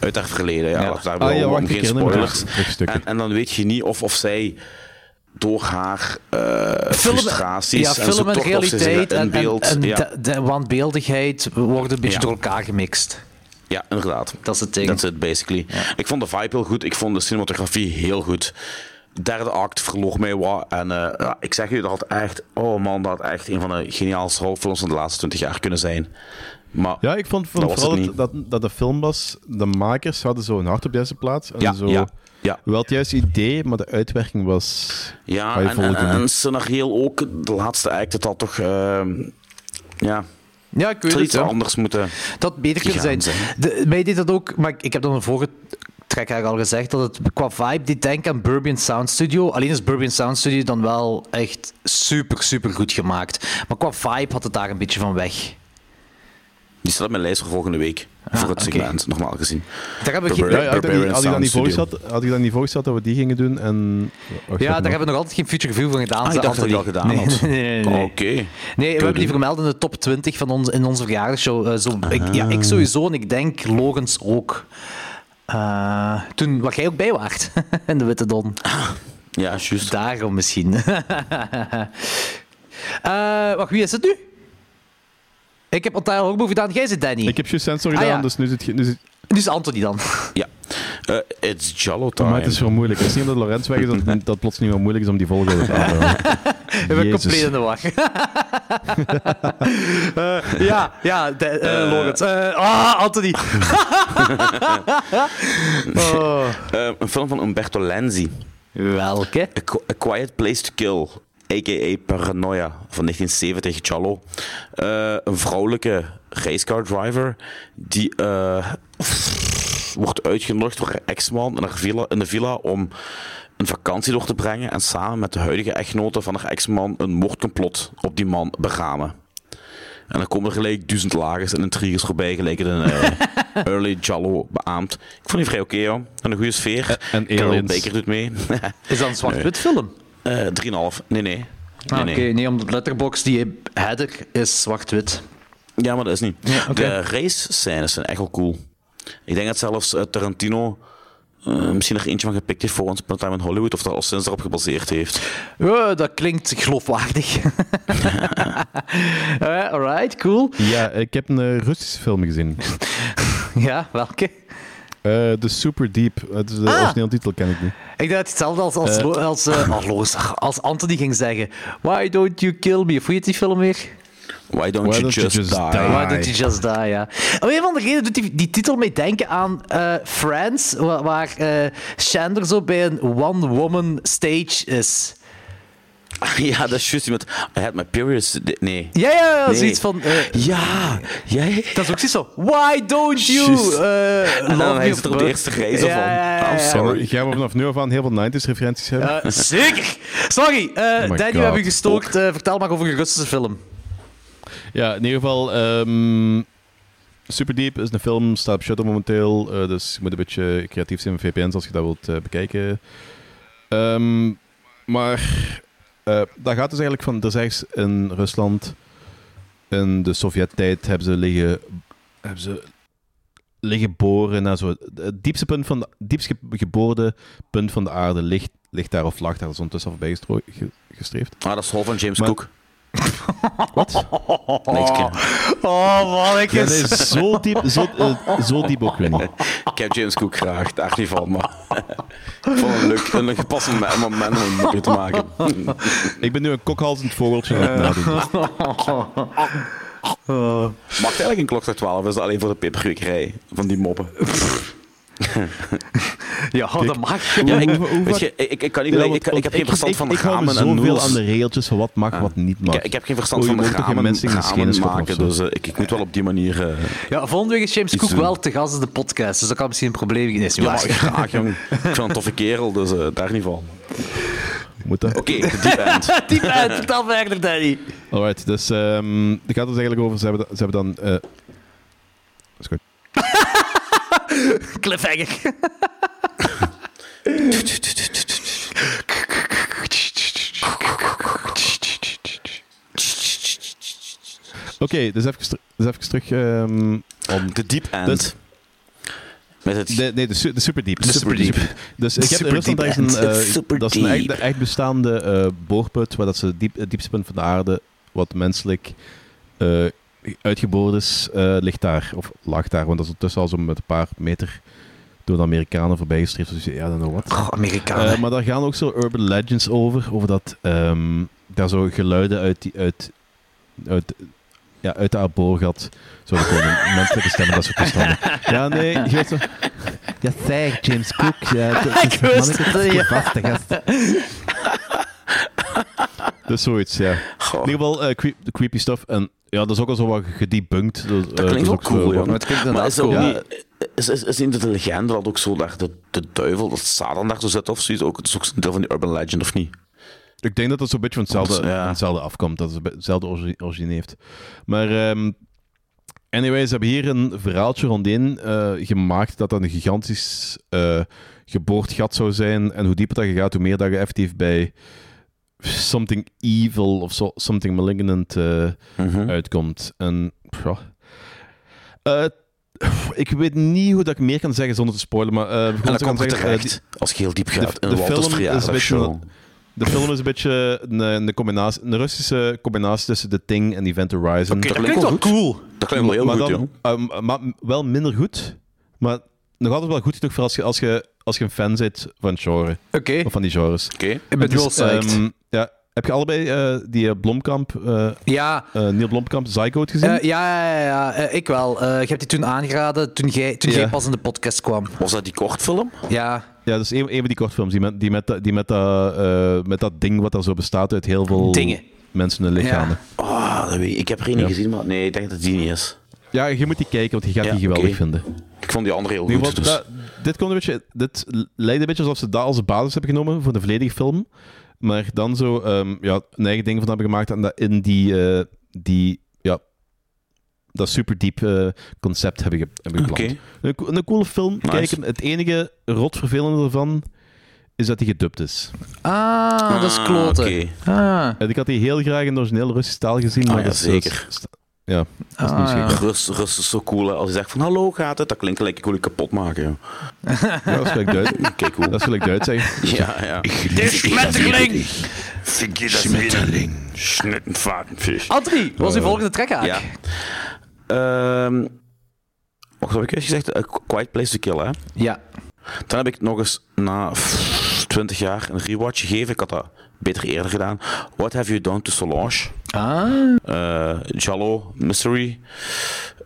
Speaker 3: Uit haar verleden, ja.
Speaker 2: Ja.
Speaker 3: laten we Daar
Speaker 1: Ah, ja,
Speaker 3: wel
Speaker 1: wacht,
Speaker 3: om
Speaker 1: ik
Speaker 3: geen
Speaker 1: herinner me
Speaker 3: spoilers.
Speaker 1: dat stukje.
Speaker 3: En, en dan weet je niet of, of zij door haar eh
Speaker 2: Film-
Speaker 3: frustraties
Speaker 2: ja,
Speaker 3: en zo
Speaker 2: film en
Speaker 3: toch nog steeds
Speaker 2: realiteit
Speaker 3: in
Speaker 2: en, en,
Speaker 3: beeld...
Speaker 2: en
Speaker 3: ja.
Speaker 2: de, de waanbeeldigheid worden een beetje
Speaker 3: Ja.
Speaker 2: door elkaar gemixt.
Speaker 3: Ja, inderdaad.
Speaker 2: Dat is het ding.
Speaker 3: Dat is het, basically. Ik vond de vibe heel goed. Ik vond de cinematografie heel goed. Derde act verloor mij wat. En eh, ja, ik zeg je, dat had echt... Oh man, dat had echt een van de geniaalste horrorfilms van de laatste 20 jaar kunnen zijn. Maar
Speaker 1: Ja, ik vond, vond
Speaker 3: Dat was
Speaker 1: vooral
Speaker 3: het
Speaker 1: dat, dat, dat de film was, de makers hadden zo een hart op de juiste plaats. En
Speaker 3: Ja,
Speaker 1: zo,
Speaker 3: ja, ja.
Speaker 1: Wel het juiste idee, maar de uitwerking was...
Speaker 3: ja
Speaker 1: Ga je
Speaker 3: en, en,
Speaker 1: volgen,
Speaker 3: en,
Speaker 1: hè?
Speaker 3: en scenarioel ook. De laatste act, het had toch... ehm, ja,
Speaker 2: Ja, ik weet
Speaker 3: het had
Speaker 2: het.
Speaker 3: iets
Speaker 2: hoor.
Speaker 3: anders moeten...
Speaker 2: Dat beter kunnen zijn.
Speaker 3: gaan zijn.
Speaker 2: De, mij deed dat ook, maar ik, ik heb dan een vorige track eigenlijk al gezegd, dat het qua vibe die denk aan Burbian Sound Studio. Alleen is Burbian Sound Studio dan wel echt super, super goed gemaakt. Maar qua vibe had het daar een beetje van weg.
Speaker 3: Die staat op mijn lijst voor volgende week. voor het
Speaker 2: Ah, oké.
Speaker 3: segment, normaal gezien.
Speaker 2: Daar hebben we geen...
Speaker 3: Burbian-
Speaker 1: Ja, ja, had, ik dat niet-
Speaker 3: Barbarian
Speaker 1: had ik dat
Speaker 3: Sound
Speaker 1: niet
Speaker 3: Studio.
Speaker 1: voorgesteld, had ik dat niet voorgesteld dat we die gingen doen? En, Oh, wacht,
Speaker 2: Ja,
Speaker 1: even
Speaker 2: daar
Speaker 1: nog.
Speaker 2: hebben we nog altijd geen future review van gedaan.
Speaker 3: Ah, ik
Speaker 2: ze
Speaker 3: dacht dat je al
Speaker 2: Anthony.
Speaker 3: gedaan
Speaker 2: nee,
Speaker 3: had. Oh,
Speaker 2: Nee, nee, nee. nee.
Speaker 3: Oké.
Speaker 2: Nee, we hebben die vermeld in de top 20
Speaker 1: Ah.
Speaker 2: van ons, in onze verjaardagshow. Eh, zo, ik, ja, ik sowieso en ik denk Logans ook. Eh, Eh, toen waar jij ook bij waart, in de Witte Don.
Speaker 3: Ja, juist.
Speaker 2: Daarom misschien. Eh, wacht, wie is het nu? Ik heb Ontario Horbo gedaan, jij zit Danny.
Speaker 1: Ik heb juist sensor
Speaker 2: Ah,
Speaker 1: gedaan,
Speaker 2: ja.
Speaker 1: dus nu zit je... Nu zit...
Speaker 2: Nu is Anthony dan.
Speaker 3: Ja. Eh, it's Jallo time.
Speaker 1: Maar het is wel moeilijk. Het is niet omdat Lorenz weg is dat dat het plots niet meer moeilijk is om die volgorde te houden.
Speaker 2: Ik ben compleet in de war. Eh, ja, ja, de, eh, Lawrence. Eh, ah, Anthony. Oh.
Speaker 3: Eh, een film van Umberto Lenzi.
Speaker 2: Welke?
Speaker 3: A, Qu- A Quiet Place to Kill, a.k.a. Paranoia, van 1970, Jallo. Eh, een vrouwelijke racecar driver die eh, wordt uitgenodigd door haar ex-man in, haar villa, in de villa om een vakantie door te brengen en samen met de huidige echtgenote van haar ex-man een moordcomplot op die man beramen. En dan komen er gelijk duizend lagers en intriges voorbij, gelijk in een eh, early Jallo beaamd. Ik vond die vrij oké, joh. En een goede sfeer.
Speaker 1: En
Speaker 3: Carol
Speaker 1: aliens.
Speaker 3: Baker doet mee.
Speaker 2: Is dat een zwart-wit film?
Speaker 3: Eh, 3,5. Nee, nee. nee,
Speaker 2: Ah,
Speaker 3: nee.
Speaker 2: Oké, nee, omdat letterbox die header is zwart-wit.
Speaker 3: Ja, maar dat is niet.
Speaker 2: oké.
Speaker 3: De race scènes zijn echt wel cool. Ik denk dat zelfs eh, Tarantino eh, misschien er eentje van gepikt heeft voor Once Upon a Time in Hollywood, of dat al sinds daarop gebaseerd heeft.
Speaker 2: Eh, dat klinkt geloofwaardig. Eh, alright, cool.
Speaker 1: Ja, ik heb een eh, Russische film gezien.
Speaker 2: Ja, welke?
Speaker 1: Eh The Super Deep. Het is de
Speaker 2: Ah.
Speaker 1: originele titel ken ik niet.
Speaker 2: Ik dacht hetzelfde als, als, Lo- als, eh, oh, Loos, ach, als Anthony ging zeggen: Why don't you kill me? Of hoe heet die film weer?
Speaker 3: Why don't, you, just die?
Speaker 2: Why don't you just die? Ah, Ja. Om een van de redenen doet die, die titel mee denken aan eh, Friends, wa- waar, eh, Chandler zo bij een one-woman stage is.
Speaker 3: Ja, dat is juist die met I had my periods. today- Nee.
Speaker 2: Ja, ja, ja,
Speaker 3: Nee.
Speaker 2: zoiets van. eh,
Speaker 3: Ja, jij.
Speaker 2: dat is ook zoiets zo. Why don't you?
Speaker 3: Juist.
Speaker 2: eh,
Speaker 3: En
Speaker 2: love
Speaker 3: dan
Speaker 2: me
Speaker 3: hij
Speaker 2: of
Speaker 3: zit er op de
Speaker 2: birth-
Speaker 3: eerste reis
Speaker 2: Ja,
Speaker 3: van.
Speaker 2: ja, ja,
Speaker 3: I'm
Speaker 2: ja.
Speaker 3: sorry.
Speaker 1: Gaan we vanaf nu af aan heel veel 90s referenties hebben?
Speaker 2: Eh, zeker! Sorry, eh
Speaker 3: Oh
Speaker 1: my
Speaker 2: Danny, we
Speaker 1: God.
Speaker 2: hebben je gestookt. Eh, vertel maar over een Russische film.
Speaker 1: Ja, in ieder geval. ehm Superdeep is een film, staat op Shutter momenteel. eh, dus je moet een beetje creatief zijn met VPN's als je dat wilt eh, bekijken. Ehm, maar eh daar gaat dus eigenlijk van. Er is ergens in Rusland, in de Sovjet-tijd, hebben ze liggen. Hebben ze liggen boren naar zo. Het diepste punt van de, diepst ge- geboorde punt van de aarde ligt, ligt daar of lag daar. Dat is ondertussen al voorbij gestro- ge- gestreefd.
Speaker 3: Ah, dat is hol van James
Speaker 1: Maar-
Speaker 3: Cook.
Speaker 1: Wat?
Speaker 3: Nee, ik ken-
Speaker 2: Oh,
Speaker 1: Ja,
Speaker 2: mannetjes.
Speaker 1: nee, zo diep, zo, eh, zo diep ook weer niet.
Speaker 3: Ik heb James Cook graag, daar niet van, maar ik vond het een leuk, een gepast moment om een mopje te maken.
Speaker 1: Ik ben nu een kokhalzend vogeltje aan het nadoen.
Speaker 3: Mag het eigenlijk een klok naar 12? Is dat alleen voor de peperkwekerij van die moppen?
Speaker 2: Ja, dat mag.
Speaker 3: Ja, ik,
Speaker 1: hoe- hoe
Speaker 3: weet
Speaker 1: vaak-
Speaker 3: je, ik, ik kan niet ik, ik, ik heb geen verstand van
Speaker 1: ik, ik hou me
Speaker 3: ramen en
Speaker 1: zoveel
Speaker 3: noedels.
Speaker 1: aan de regeltjes van wat mag, wat niet mag.
Speaker 3: Ik, ik heb geen verstand
Speaker 1: Oh, je
Speaker 3: van
Speaker 1: moet toch geen
Speaker 3: ramen,
Speaker 1: mensen in de schenen
Speaker 3: ramen
Speaker 1: schoppen
Speaker 3: maken,
Speaker 1: of
Speaker 3: dus
Speaker 1: zo?
Speaker 3: eh, ik, ik moet wel op die manier... eh
Speaker 2: Ja, volgende week is James Cook wel te gast in de podcast, dus dat kan misschien een probleem zijn. Nee, is niet
Speaker 3: ja,
Speaker 2: waar.
Speaker 3: graag, jong. Ik vind hem een toffe kerel, dus eh, daar niet van.
Speaker 1: Moet dat?
Speaker 3: Oké, de deep end.
Speaker 2: Diep uit, vertel verder, Danny.
Speaker 1: Alright, dus ehm het gaat dus eigenlijk over, ze hebben, da- ze hebben dan... eh, is goed.
Speaker 2: Cliffhanger.
Speaker 1: Oké, dus even, ter- dus even terug... ehm,
Speaker 3: Om de deep end.
Speaker 1: Dus-
Speaker 3: met het...
Speaker 1: de, nee, de, su- de superdiep.
Speaker 3: De superdiep.
Speaker 1: Dus ik heb in Rusland daar is een...
Speaker 3: Superdiep.
Speaker 1: eh,
Speaker 3: Superdiep.
Speaker 1: dat is een echt, de echt bestaande eh, boorput, waar dat ze diep, het diepste punt van de aarde, wat menselijk eh, uitgeboord is, eh, ligt daar. Of lag daar, want dat is ondertussen al zo met een paar meter door de Amerikanen voorbij gestreefd. Dus ja, dan know what.
Speaker 2: Oh, Amerikanen.
Speaker 1: Eh, maar daar gaan ook zo urban legends over. Over dat ehm, daar zo geluiden uit, die, uit, uit, ja, uit de aboorgat zouden komen. Menselijke stemmen, dat soort toestanden. Ja, nee. je weet zo- Ja, zeg, James Cook. Ja, dat
Speaker 2: Ik wist het, ja.
Speaker 1: vaste gast. Dus zoiets, ja.
Speaker 3: Goh.
Speaker 1: In ieder geval eh, creep- de creepy stuff. En ja, dat is ook al zo wat gedebunked. Dat, eh,
Speaker 3: Dat
Speaker 1: is
Speaker 3: klinkt wel
Speaker 1: ook zo
Speaker 3: cool,
Speaker 1: wat-
Speaker 3: ja.
Speaker 2: maar het klinkt
Speaker 3: Maar
Speaker 2: inderdaad
Speaker 3: is dat ook
Speaker 1: cool.
Speaker 3: niet... Is, is, is niet dat de legende dat ook zo daar de, de duivel, dat Satan daar zo zit of zoiets? Ook, het is ook een deel van die urban legend, of niet?
Speaker 1: Ik denk dat dat zo'n beetje van hetzelfde,
Speaker 3: Ja.
Speaker 1: van hetzelfde afkomt. Dat het hetzelfde origi- origine heeft. Maar ehm anyway, ze hebben hier een verhaaltje rondin eh, gemaakt dat dat een gigantisch eh, geboord gat zou zijn. En hoe dieper dat je gaat, hoe meer dat je effectief bij something evil of so- something
Speaker 3: Mhm.
Speaker 1: malignant eh, uitkomt. En pff, ja. Eh, pff, ik weet niet hoe dat ik meer kan zeggen zonder te spoilen, maar... eh, gewoon
Speaker 3: En
Speaker 1: zo
Speaker 3: dan
Speaker 1: kan
Speaker 3: komt het
Speaker 1: zeggen, eh,
Speaker 3: terecht, als je heel diep gaat, in Walters
Speaker 1: een beetje
Speaker 3: verjaardagshow.
Speaker 1: een- de film is een beetje een, een, combinatie, een Russische combinatie tussen The Thing en Event Horizon.
Speaker 3: dat
Speaker 2: dat klinkt wel
Speaker 3: goed.
Speaker 2: cool.
Speaker 3: Dat klinkt wel heel
Speaker 1: maar
Speaker 3: goed,
Speaker 1: dan,
Speaker 3: joh.
Speaker 1: ehm, maar wel minder goed, maar nog altijd wel goed genoeg voor als je, als je, als je een fan bent van het genre,
Speaker 2: Oké,
Speaker 1: of van die genres.
Speaker 3: Oké.
Speaker 2: ik ben
Speaker 1: Het is,
Speaker 2: wel psyched.
Speaker 1: ehm, ja, heb je allebei eh, die eh, Blomkamp, eh
Speaker 2: ja,
Speaker 1: eh, Neil Blomkamp, Zygote gezien?
Speaker 2: eh, ja, ja, ja, ja, eh, ik wel. Eh je hebt die toen aangeraden toen jij, toen
Speaker 1: Ja.
Speaker 2: jij pas in de podcast kwam.
Speaker 3: Was dat die kortfilm?
Speaker 2: Ja,
Speaker 1: ja, dat is een, een van die kortfilms die met, die met, dat- die met, dat, eh, met dat ding wat er zo bestaat uit heel veel
Speaker 2: Dingen.
Speaker 1: mensen hun lichamen.
Speaker 3: Ah, dat weet ik. ik heb er één niet gezien, maar nee, ik denk dat die niet is.
Speaker 1: Ja. je moet die kijken, want je gaat
Speaker 3: Ja,
Speaker 1: die geweldig
Speaker 3: oké.
Speaker 1: vinden.
Speaker 3: Ik vond die andere heel
Speaker 1: Nu,
Speaker 3: goed,
Speaker 1: wat,
Speaker 3: dus...
Speaker 1: dat- dit, komt een beetje, dit lijkt een beetje alsof ze dat als basis hebben genomen voor de volledige film. Maar dan zo ehm, ja, een eigen ding van hebben gemaakt. En dat in die, eh, die ja, dat superdiep eh, concept hebben, ge, hebben gepland.
Speaker 3: Oké.
Speaker 1: Een, co- een coole film.
Speaker 3: Nice.
Speaker 1: Kijken. Het enige rotvervelende ervan is dat hij gedubt is.
Speaker 2: ah, dat is
Speaker 3: Ah,
Speaker 2: kloten.
Speaker 3: oké.
Speaker 2: Ah,
Speaker 1: En ik had die heel graag in de origineel Russisch taal gezien. Maar
Speaker 3: Ah ja,
Speaker 1: dat is- dat is-
Speaker 3: zeker.
Speaker 1: sta- ja, dat is
Speaker 2: Ah,
Speaker 1: niet zo
Speaker 2: ja.
Speaker 1: gek.
Speaker 3: Rust, rust is zo cool. hè. Als je zegt van hallo gaat het, dat klinkt gelijk ik wil je kapot maken. joh.
Speaker 1: Ja, dat is gelijk Duits.
Speaker 3: Kijk hoe.
Speaker 1: Dat is gelijk Duits zeggen.
Speaker 3: Ja, ja.
Speaker 4: Schmetterling!
Speaker 3: Schmetterling. Schnittenvatenfisch.
Speaker 2: Anthony, wat is uw volgende trek
Speaker 3: Ja. Ehm wacht, wat heb ik juist gezegd? A Quiet Place to Kill, hè?
Speaker 2: ja.
Speaker 3: Dan heb ik nog eens na pff, 20 jaar een rewatch gegeven. Ik had dat beter eerder gedaan. What Have You Done to Solange?
Speaker 2: Ah,
Speaker 3: Eh Jallo, Mystery.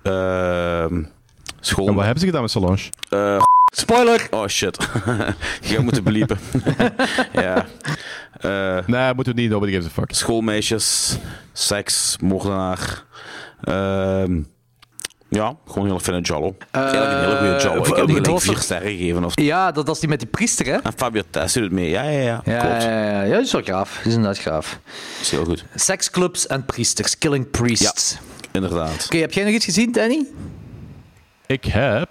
Speaker 3: Ehm school.
Speaker 1: En wat hebben ze gedaan met Solange?
Speaker 3: Eh,
Speaker 2: spoiler!
Speaker 3: oh shit. Je gaat moeten beliepen. ja. Eh,
Speaker 1: Nee, moeten we niet. Nobody gives a fuck.
Speaker 3: schoolmeisjes, seks, moordenaar. Ehm, ja, gewoon heel fijn Jallo. Eigenlijk een hele goede Jallo. Ik
Speaker 2: eh,
Speaker 3: heb die
Speaker 2: dat
Speaker 3: gelijk
Speaker 2: was
Speaker 3: vier
Speaker 2: toch-
Speaker 3: sterren gegeven. Of...
Speaker 2: Ja, dat was die met die priester, hè?
Speaker 3: En Fabio Tess doet het mee. Ja, ja, ja.
Speaker 2: Ja,
Speaker 3: Ah, Klopt.
Speaker 2: ja, ja, ja, dat is wel graaf. Dat is inderdaad graaf.
Speaker 3: Is heel goed.
Speaker 2: Seksclubs en priesters. Killing priests. Oké,
Speaker 3: Inderdaad.
Speaker 2: heb jij nog iets gezien, Danny?
Speaker 1: Ik heb.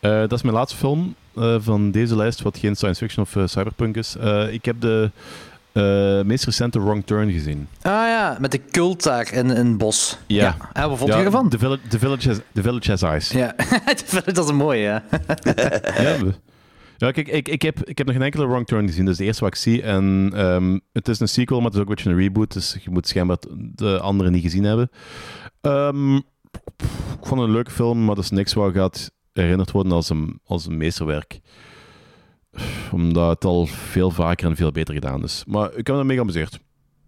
Speaker 1: eh, dat is mijn laatste film eh, van deze lijst, wat geen science fiction of eh, cyberpunk is. Eh, ik heb de eh, meest recente Wrong Turn gezien.
Speaker 2: Ah ja, met de cult daar in, in het bos.
Speaker 1: Ja.
Speaker 2: En Ah, wat vond je ervan?
Speaker 1: The Village, The Village, has, The Village Has Eyes.
Speaker 2: Ja, dat is een mooie, hè?
Speaker 1: Ja, dus- we- Eh, ja kijk, ik, ik, heb, ik heb nog geen enkele Wrong Turn gezien. Dat is de eerste wat ik zie. En ehm, het is een sequel, maar het is ook een beetje een reboot. Dus je moet schijnbaar de anderen niet gezien hebben. Ehm, pff, ik vond het een leuke film, maar dat is niks wat gaat herinnerd worden als een, als een meesterwerk. Omdat het al veel vaker en veel beter gedaan is. Maar ik heb me ermee geamuseerd.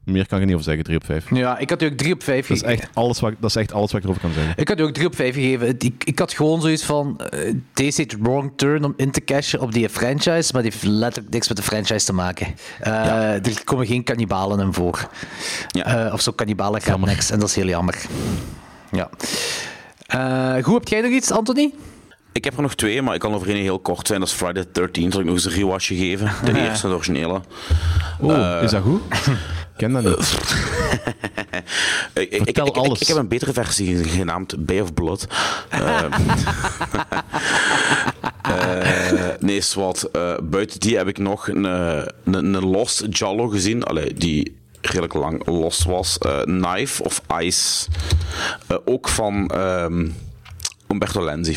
Speaker 1: Meer kan ik er niet over zeggen, 3 op 5.
Speaker 2: Ja, ik had die ook 3 op 5
Speaker 1: Dat is echt alles wat, dat is echt alles wat ik erover kan zeggen.
Speaker 2: Ik had die ook 3 op 5 gegeven. Het- Ik, ik had gewoon zoiets van. eh, deze heet Wrong Turn om in te cashen op die franchise. Maar die heeft letterlijk niks met de franchise te maken. Eh, Er komen geen kannibalen in voor.
Speaker 3: Ja.
Speaker 2: Eh, of zo kannibalen gaat niks. En dat is heel jammer. Ja. Eh, goed, heb jij nog iets, Anthony?
Speaker 3: Ik heb er nog twee, maar ik kan over één heel kort zijn. Dat is Friday the 13th. Zal ik nog eens een rewatch gegeven. De eerste, de originele.
Speaker 1: Oh, is dat goed? Ik ken dat niet.
Speaker 3: Eh, Ik, ik,
Speaker 1: Vertel
Speaker 3: ik, ik-
Speaker 1: alles.
Speaker 3: Ik, heb een betere versie ge- genaamd Bay of Blood. Eh, eh, nee, zwart. Eh, buiten die heb ik nog een, eh, een, een Lost Jallo gezien. Allee, die redelijk lang Lost was. Eh, Knife of Ice. Eh, ook van ehm, Umberto Lenzi.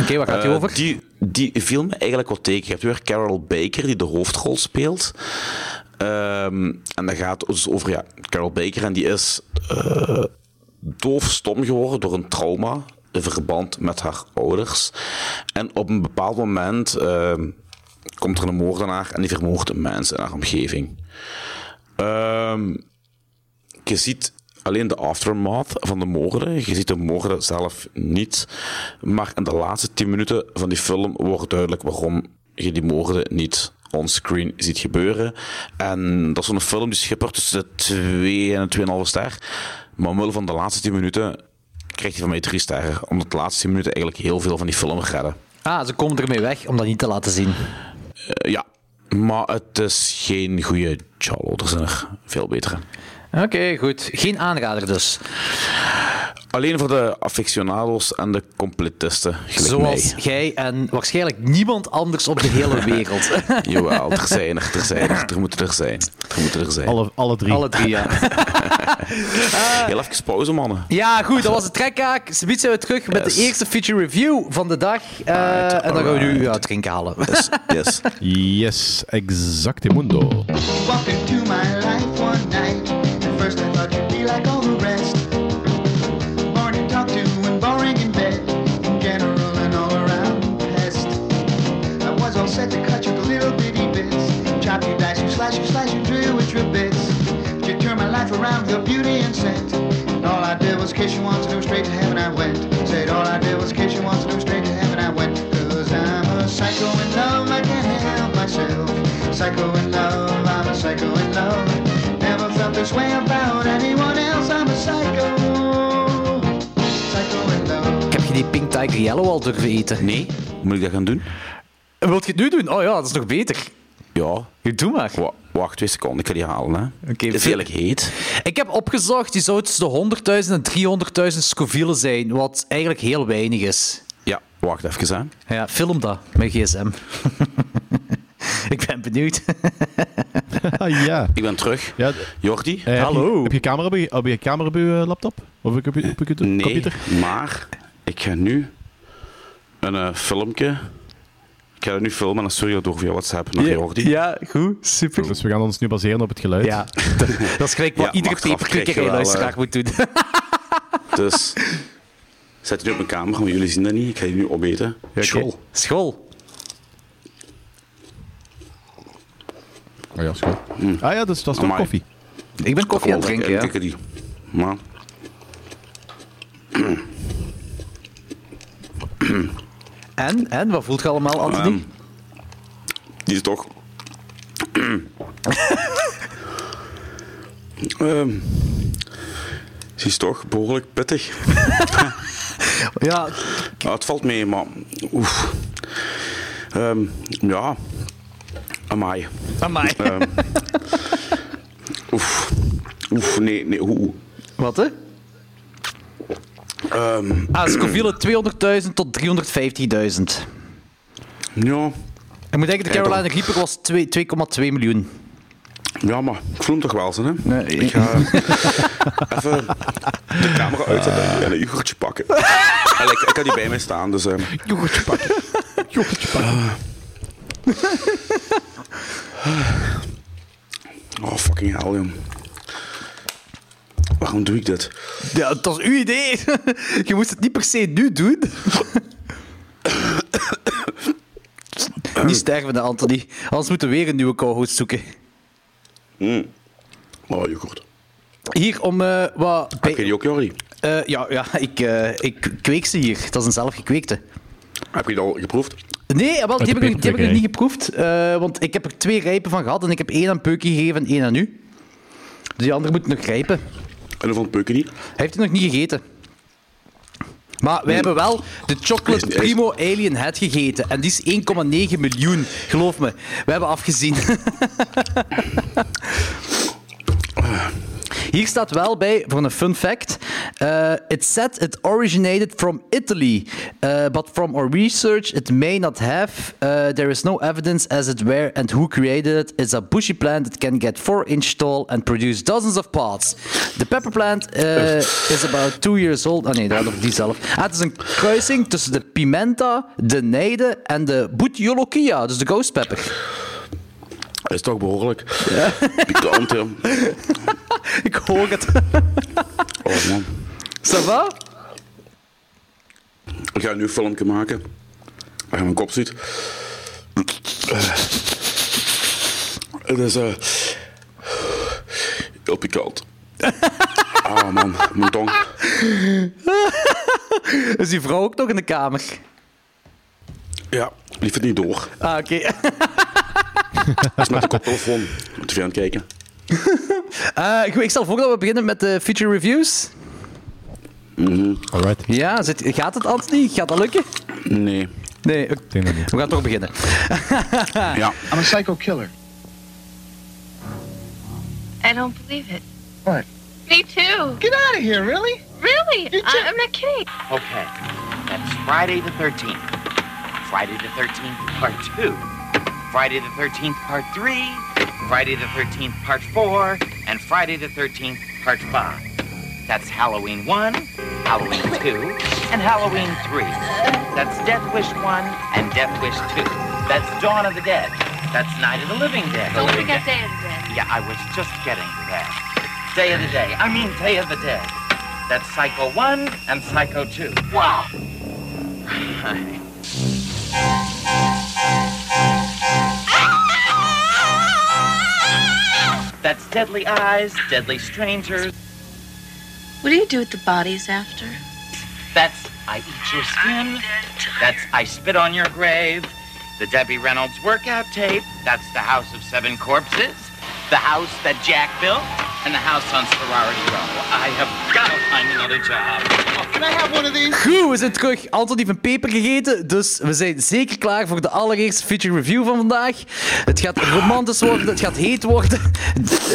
Speaker 2: Oké, waar gaat die
Speaker 3: Eh,
Speaker 2: over?
Speaker 3: Die, die viel me eigenlijk wat tegen. Je hebt weer Carol Baker die de hoofdrol speelt. Ehm, en dat gaat dus over ja, Carol Baker. En die is eh, doof stom geworden door een trauma in verband met haar ouders. En op een bepaald moment ehm, komt er een moordenaar en die vermoordt een mens in haar omgeving. Ehm, je ziet alleen de aftermath van de moorden. Je ziet de moorden zelf niet. Maar in de laatste 10 minuten van die film wordt duidelijk waarom je die moorden niet onscreen ziet gebeuren. En dat is zo'n film die schippert tussen de 2 en de 2,5 ster. Maar omwille van de laatste 10 minuten krijgt hij van mij 3 sterren. Omdat de laatste 10 minuten eigenlijk heel veel van die film redden.
Speaker 2: Ah, ze komen ermee weg om dat niet te laten zien.
Speaker 3: Eh, ja, maar het is geen goede Charlo. Er zijn er veel betere.
Speaker 2: Oké, goed. Geen aanrader dus.
Speaker 3: Alleen voor de aficionados en de completisten. Gelijk
Speaker 2: Zoals
Speaker 3: mij.
Speaker 2: jij en waarschijnlijk niemand anders op de hele wereld.
Speaker 3: Jawel, er zijn er, er zijn er, er moeten er zijn. Er moeten er zijn.
Speaker 1: Alle, alle drie.
Speaker 2: Alle drie, ja.
Speaker 3: Heel even pauze, mannen.
Speaker 2: Ja, goed, dat was de trekhaak. Ze zijn we terug met
Speaker 3: Yes.
Speaker 2: de eerste feature review van de dag. Eh, en dan gaan we nu uw uitdrink halen.
Speaker 3: Yes, yes.
Speaker 1: Yes, exactemundo.
Speaker 7: Walked into my life one night. At first I thought you'd be like all the rest. Boring to talk to and boring in bed. In general and all around pest. I was all set to cut you to little bitty bits. Chop you, dice you, slice you, slice you, drill with your bits. But you turned my life around with your beauty and scent. And all I did was kiss you once and it was straight to heaven I went. Said all I did was kiss you once and it was straight to heaven I went. Cause I'm a psycho in love, I can't help myself. Psycho in love, I'm a psycho in love. Never felt this way about anyone else, I'm a psycho. Psycho in love.
Speaker 2: Heb je die Pink Tiger Yellow al durven eten?
Speaker 3: Nee, moet ik dat gaan doen?
Speaker 2: En wilt je het nu doen? Oh ja, dat is nog beter.
Speaker 3: Ja.
Speaker 2: Doe maar.
Speaker 3: Wa- wacht twee seconden, ik ga die halen. Hè.
Speaker 2: Oké,
Speaker 3: het is
Speaker 2: veel-
Speaker 3: heerlijk heet.
Speaker 2: Ik heb opgezocht, die zou tussen de 100.000 en 300.000 Scoville zijn, wat eigenlijk heel weinig is.
Speaker 3: Ja, wacht even. Hè.
Speaker 2: Ja, film dat met gsm. Ik ben benieuwd.
Speaker 1: Ah, ja.
Speaker 3: Ik ben terug.
Speaker 1: ja
Speaker 3: Jordi?
Speaker 1: eh, heb
Speaker 2: Hallo.
Speaker 1: je- Heb je camera op je, op je, camera op je eh, laptop? Of op je, op je computer?
Speaker 3: nee,
Speaker 1: computer?
Speaker 3: maar ik ga nu een eh, filmpje... Ik ga dat nu filmen en dan stuur je dat door via WhatsApp naar Jordi.
Speaker 2: Ja, goed, super.
Speaker 1: Dus we gaan ons nu baseren op het geluid.
Speaker 2: Ja, dat, dat is gelijk wat
Speaker 3: Ja,
Speaker 2: iedere
Speaker 3: maar achteraf krijg je
Speaker 2: paperklikker
Speaker 3: wel,
Speaker 2: luisteraar
Speaker 3: eh,
Speaker 2: moet doen.
Speaker 3: Dus zet die nu op mijn camera, want jullie zien dat niet. Ik ga die nu opeten. School.
Speaker 2: School.
Speaker 1: Oh ja, schoon. Ah ja, dus dat is toch
Speaker 3: Amai.
Speaker 1: koffie.
Speaker 2: Ik ben koffie aan het
Speaker 3: Kom,
Speaker 2: drinken,
Speaker 3: ik-
Speaker 2: ja.
Speaker 3: ik- ik- die. Maar...
Speaker 2: En, en, wat voelt je allemaal, Anthony?
Speaker 3: Ehm, die is toch. Ehm die is toch behoorlijk pittig.
Speaker 2: ja,
Speaker 3: Ja, het valt mee, maar. Oef. Ehm ja. Amai.
Speaker 2: amai.
Speaker 3: Oef. Oef, nee, nee. Oeh.
Speaker 2: Wat, hè?
Speaker 3: Ehm,
Speaker 2: Ah, Scoville 200.000 tot 350.000.
Speaker 3: Ja.
Speaker 2: Ik moet denken, de
Speaker 3: Ja, dan-
Speaker 2: Carolina Reaper was twee- 2,2 miljoen.
Speaker 3: Ja, maar ik voel hem toch wel, zo, hè?
Speaker 2: Nee,
Speaker 3: ik ga even de camera uitzetten
Speaker 1: Ah.
Speaker 3: en een yoghurtje pakken. Allee, ik, ik had die bij mij staan, dus... ehm,
Speaker 1: Yoghurtje pakken. Yoghurtje pakken.
Speaker 3: Ah. Oh, fucking hell, jong. Waarom doe ik dit?
Speaker 2: Ja, dat was uw idee. Je moest het niet per se nu doen. niet sterven, hè, Anthony. Anders moeten we weer een nieuwe co-host zoeken.
Speaker 3: Oh, yoghurt.
Speaker 2: Hier om eh, wat. bij-
Speaker 3: Heb je die ook, Jordi?
Speaker 2: eh, ja, ja ik, eh, ik kweek ze hier. Dat is een zelfgekweekte.
Speaker 3: Heb je die al geproefd?
Speaker 2: Nee, wel, die,
Speaker 1: de
Speaker 2: heb ik, nog- die heb ik
Speaker 1: peperkwekerij.
Speaker 2: nog niet geproefd. eh, want ik heb er twee rijpen van gehad. En ik heb één aan Peukie gegeven en één aan u. Dus die andere moet nog rijpen.
Speaker 3: En hoeveel peuken die?
Speaker 2: Hij heeft het nog niet gegeten. Maar wij hebben wel de Chocolate
Speaker 3: Is- is-
Speaker 2: Primo Alien Head gegeten. En die is 1,9 miljoen, geloof me. We hebben afgezien. Hier staat wel bij, voor een fun fact. eh, it said it originated from Italy. eh, but from our research, it may not have. eh, there is no evidence as it where and who created it. It's a bushy plant that can get 4 inch tall and produce dozens of pods. The pepper plant eh, is about 2 years old. Oh nee, dat hadden we die zelf. Ah, het is een kruising tussen de pimenta, de neide en de butiolokia, dus de ghost pepper.
Speaker 3: Dat is toch behoorlijk. Pikant, hè?
Speaker 2: Ik hoor het.
Speaker 3: Oh, man.
Speaker 2: Ça va?
Speaker 3: Ik ga nu een filmpje maken. Waar je mijn kop ziet. Eh, Het is... eh heel pikant. Ah, man. Mijn tong.
Speaker 2: Is die vrouw ook nog in de kamer?
Speaker 3: Ja, die vindt niet door.
Speaker 2: Ah, oké.
Speaker 3: Dat is met de koptelefoon. Moet je aan het kijken.
Speaker 2: Eh, goed, ik stel voor dat we beginnen met de feature reviews.
Speaker 1: Alright.
Speaker 2: Ja, zit, gaat het, Anthony? Gaat dat lukken?
Speaker 3: Nee.
Speaker 2: Nee, oké,
Speaker 1: denk dat niet.
Speaker 2: we gaan toch beginnen.
Speaker 3: Ja.
Speaker 8: I'm a psycho killer.
Speaker 7: I don't believe it. What?
Speaker 9: Me too.
Speaker 7: Get out of here, really?
Speaker 9: Really? I, I'm not kidding.
Speaker 10: Okay, that's Friday the 13th, Friday the 13th, part 2, Friday the 13th, part 3, Friday the 13th, part 4, and Friday the 13th, part 5. That's Halloween 1, Halloween 2, and Halloween 3. That's Death Wish 1 and Death Wish 2. That's Dawn of the Dead. That's Night of the Living Dead.
Speaker 9: Don't
Speaker 10: Living
Speaker 9: forget
Speaker 10: Dead.
Speaker 9: Day of the Dead.
Speaker 10: Yeah, I was just getting to that. Day of the Day. I mean, Day of the Dead. That's Psycho 1 and Psycho 2. Wow. That's Deadly Eyes, Deadly Strangers.
Speaker 9: What do you do with the bodies after?
Speaker 10: That's I Eat Your Skin. That's I Spit on Your Grave. The Debbie Reynolds workout tape. That's the House of Seven Corpses. The house that Jack built. And the house on Sorority Row. I have got to find another job.
Speaker 7: Can I have one of these?
Speaker 2: Goed, we zijn terug. Anton heeft een peper gegeten, dus we zijn zeker klaar voor de allereerste feature review van vandaag. Het gaat romantisch worden, het gaat heet worden.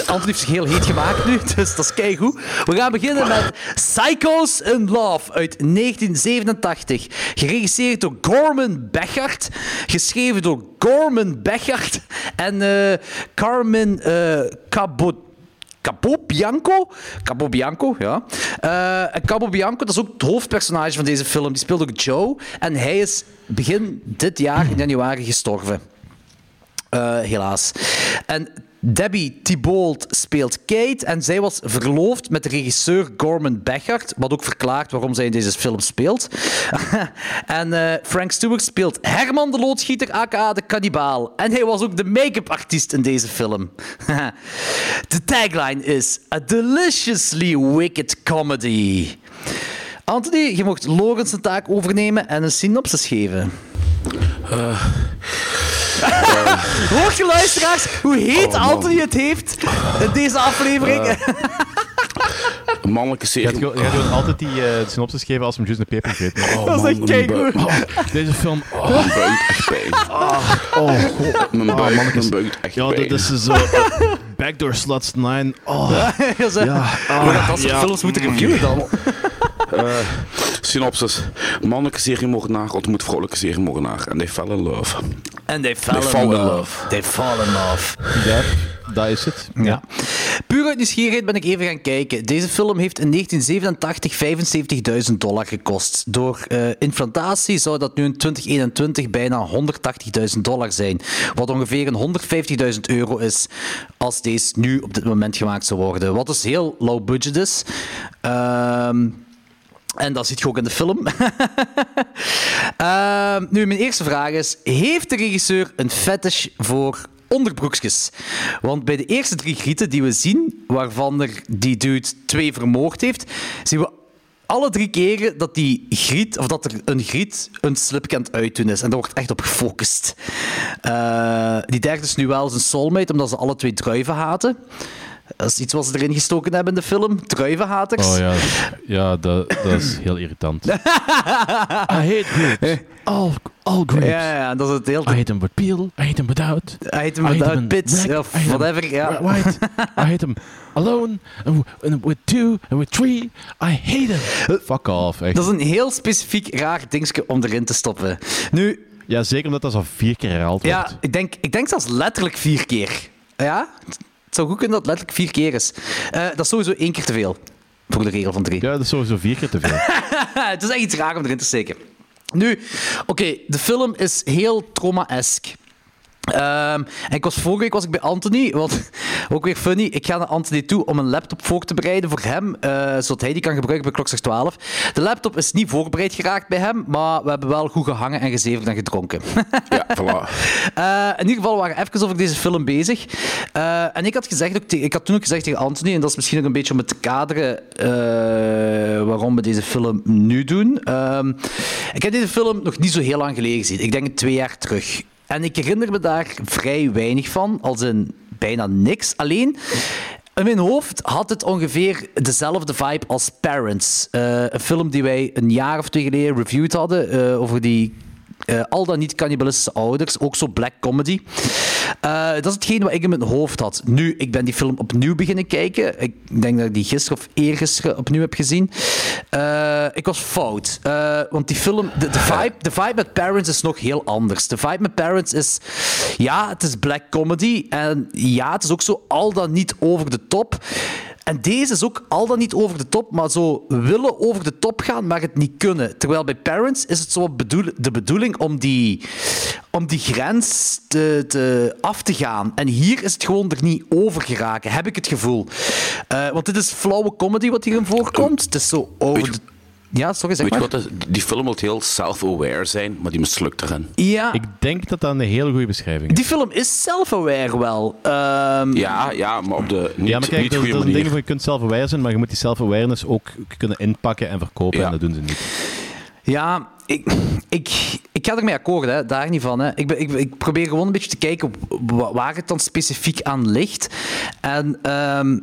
Speaker 2: Anton heeft zich heel heet gemaakt nu, dus dat is keigoed. We gaan beginnen met Psychos in Love uit 1987. Geregisseerd door Gorman Bechard, geschreven door Gorman Bechard en eh, Carmen eh Cabot. Capobianco? Capobianco, ja. Eh, en Capobianco, dat is ook het hoofdpersonage van deze film. Die speelt ook Joe. En hij is begin dit jaar, in januari, gestorven. Eh, helaas. En Debbie Thibault speelt Kate en zij was verloofd met de regisseur Gorman Bechard, wat ook verklaart waarom zij in deze film speelt. en eh, Frank Stewart speelt Herman de loodschieter, aka de kannibaal. En hij was ook de make-up artiest in deze film. de tagline is A Deliciously Wicked Comedy. Anthony, je mocht Lorenz een taak overnemen en een synopsis geven. Hoort je luisteraars hoe heet Anthony het heeft in deze aflevering?
Speaker 3: Mannelijke
Speaker 1: Jij
Speaker 3: serie.
Speaker 1: gaat gewoon- jij gaat gewoon altijd die eh synopsis geven als hem juist een peper geeft.
Speaker 3: Dat is echt keigoed.
Speaker 1: Deze film...
Speaker 3: Oh, mijn buik echt pijn.
Speaker 1: Oh, god.
Speaker 3: Mijn buik, mijn buik doet echt
Speaker 1: Ja,
Speaker 3: pijn.
Speaker 1: dat is zo... eh, Backdoor Sluts 9. Oh.
Speaker 2: Ja, zo.
Speaker 1: Ah,
Speaker 2: We gaan Oh, dat soort
Speaker 1: ja.
Speaker 2: films moeten reviewen dan.
Speaker 3: Eh, synopsis. Mannelijke seriemoordenaar ontmoet vrouwelijke seriemoordenaar. En they fell in love.
Speaker 2: En they fell,
Speaker 3: They fall in love.
Speaker 2: They fall in love.
Speaker 1: Ja, dat is het. Ja.
Speaker 2: Puur uit nieuwsgierigheid ben ik even gaan kijken. Deze film heeft in 1987 75.000 dollar gekost. Door eh, inflatie zou dat nu in 2021 bijna 180.000 dollar zijn. Wat ongeveer een 150.000 euro is als deze nu op dit moment gemaakt zou worden. Wat dus heel low budget is. Ehm, en dat ziet je ook in de film. Ehm, nu, mijn eerste vraag is: Heeft de regisseur een fetish voor onderbroekjes? Want bij de eerste drie grieten die we zien, waarvan er die dude twee vermoord heeft, zien we alle drie keren dat die griet, of dat er een griet een slipje aan het uitdoen is. En daar wordt echt op gefocust. Eh, die derde is nu wel zijn soulmate, omdat ze alle twee druiven haten. Dat is iets wat ze erin gestoken hebben in de film. Druivenhaters.
Speaker 1: Oh ja, ja dat, dat is heel irritant. I hate groups. All, all groups.
Speaker 2: Ja, ja, dat is het heel...
Speaker 1: I hate them with peel. I hate them without.
Speaker 2: I hate them
Speaker 1: I hate
Speaker 2: without
Speaker 1: them in
Speaker 2: pits,
Speaker 1: black.
Speaker 2: of
Speaker 1: I hate them
Speaker 2: whatever, ja.
Speaker 1: wi- White. I hate them alone. And, w- and with two. And with three. I hate them. Fuck off, echt.
Speaker 2: Dat is een heel specifiek raar dingetje om erin te stoppen. Nu,
Speaker 1: Ja, zeker omdat dat al vier keer herhaald wordt.
Speaker 2: ja, ik denk, ik denk zelfs letterlijk vier keer. Ja? Het zou goed kunnen dat het letterlijk vier keer is. Eh, dat is sowieso één keer te veel. Voor de regel van drie.
Speaker 1: Ja, dat is sowieso vier keer te veel.
Speaker 2: het is echt iets raar om erin te steken. Nu, oké, de film is heel trauma-esk. Ehm, en ik was, vorige week was ik bij Anthony, wat ook weer funny. Ik ga naar Anthony toe om een laptop voor te bereiden voor hem, eh, zodat hij die kan gebruiken bij klokslag 12. De laptop is niet voorbereid geraakt bij hem, maar we hebben wel goed gehangen en gezeverd en gedronken.
Speaker 3: Ja, voilà.
Speaker 2: Eh, in ieder geval waren we even over deze film bezig. Eh, en ik had, gezegd, ook te- ik had toen ook gezegd tegen Anthony, en dat is misschien ook een beetje om het te kaderen eh, waarom we deze film nu doen. Ehm, ik heb deze film nog niet zo heel lang geleden gezien. Ik denk twee jaar terug. En ik herinner me daar vrij weinig van, als in bijna niks. Alleen, in mijn hoofd had het ongeveer dezelfde vibe als Parents. Eh, een film die wij een jaar of twee geleden reviewed hadden eh, over die eh, al dan niet cannibalistische ouders. Ook zo black comedy. Eh, dat is hetgeen wat ik in mijn hoofd had. Nu, ik ben die film opnieuw beginnen kijken. Ik denk dat ik die gisteren of eergisteren opnieuw heb gezien. Eh, ik was fout. Eh, want die film, de, de, vibe, de vibe met Parents is nog heel anders. De vibe met Parents is, ja, het is black comedy. En ja, het is ook zo al dan niet over de top. En deze is ook al dan niet over de top, maar zo willen over de top gaan, maar het niet kunnen. Terwijl bij Parents is het zo bedoel- de bedoeling om die, om die grens te, te af te gaan. En hier is het gewoon er niet over geraken, heb ik het gevoel. Eh, want dit is flauwe comedy wat hierin voorkomt. Het is zo over de... Ja, sorry, zeg
Speaker 3: Weet je
Speaker 2: maar.
Speaker 3: wat, dat- die film wil heel self-aware zijn, maar die mislukt erin.
Speaker 2: Ja.
Speaker 1: Ik denk dat dat een hele goede beschrijving is.
Speaker 2: Die film is self-aware wel. Ehm,
Speaker 3: Ja, ja, maar op de niet,
Speaker 1: ja, maar kijk,
Speaker 3: niet
Speaker 1: dat,
Speaker 3: goede
Speaker 1: dat is een
Speaker 3: manier.
Speaker 1: ding van je kunt self-aware zijn, maar je moet die self-awareness ook k- kunnen inpakken en verkopen. En dat doen ze niet.
Speaker 2: Ja, ik, ik, ik ga ermee akkoord, hè. daar niet van. Hè. Ik, ben, ik, ik probeer gewoon een beetje te kijken wa- waar het dan specifiek aan ligt. En ehm,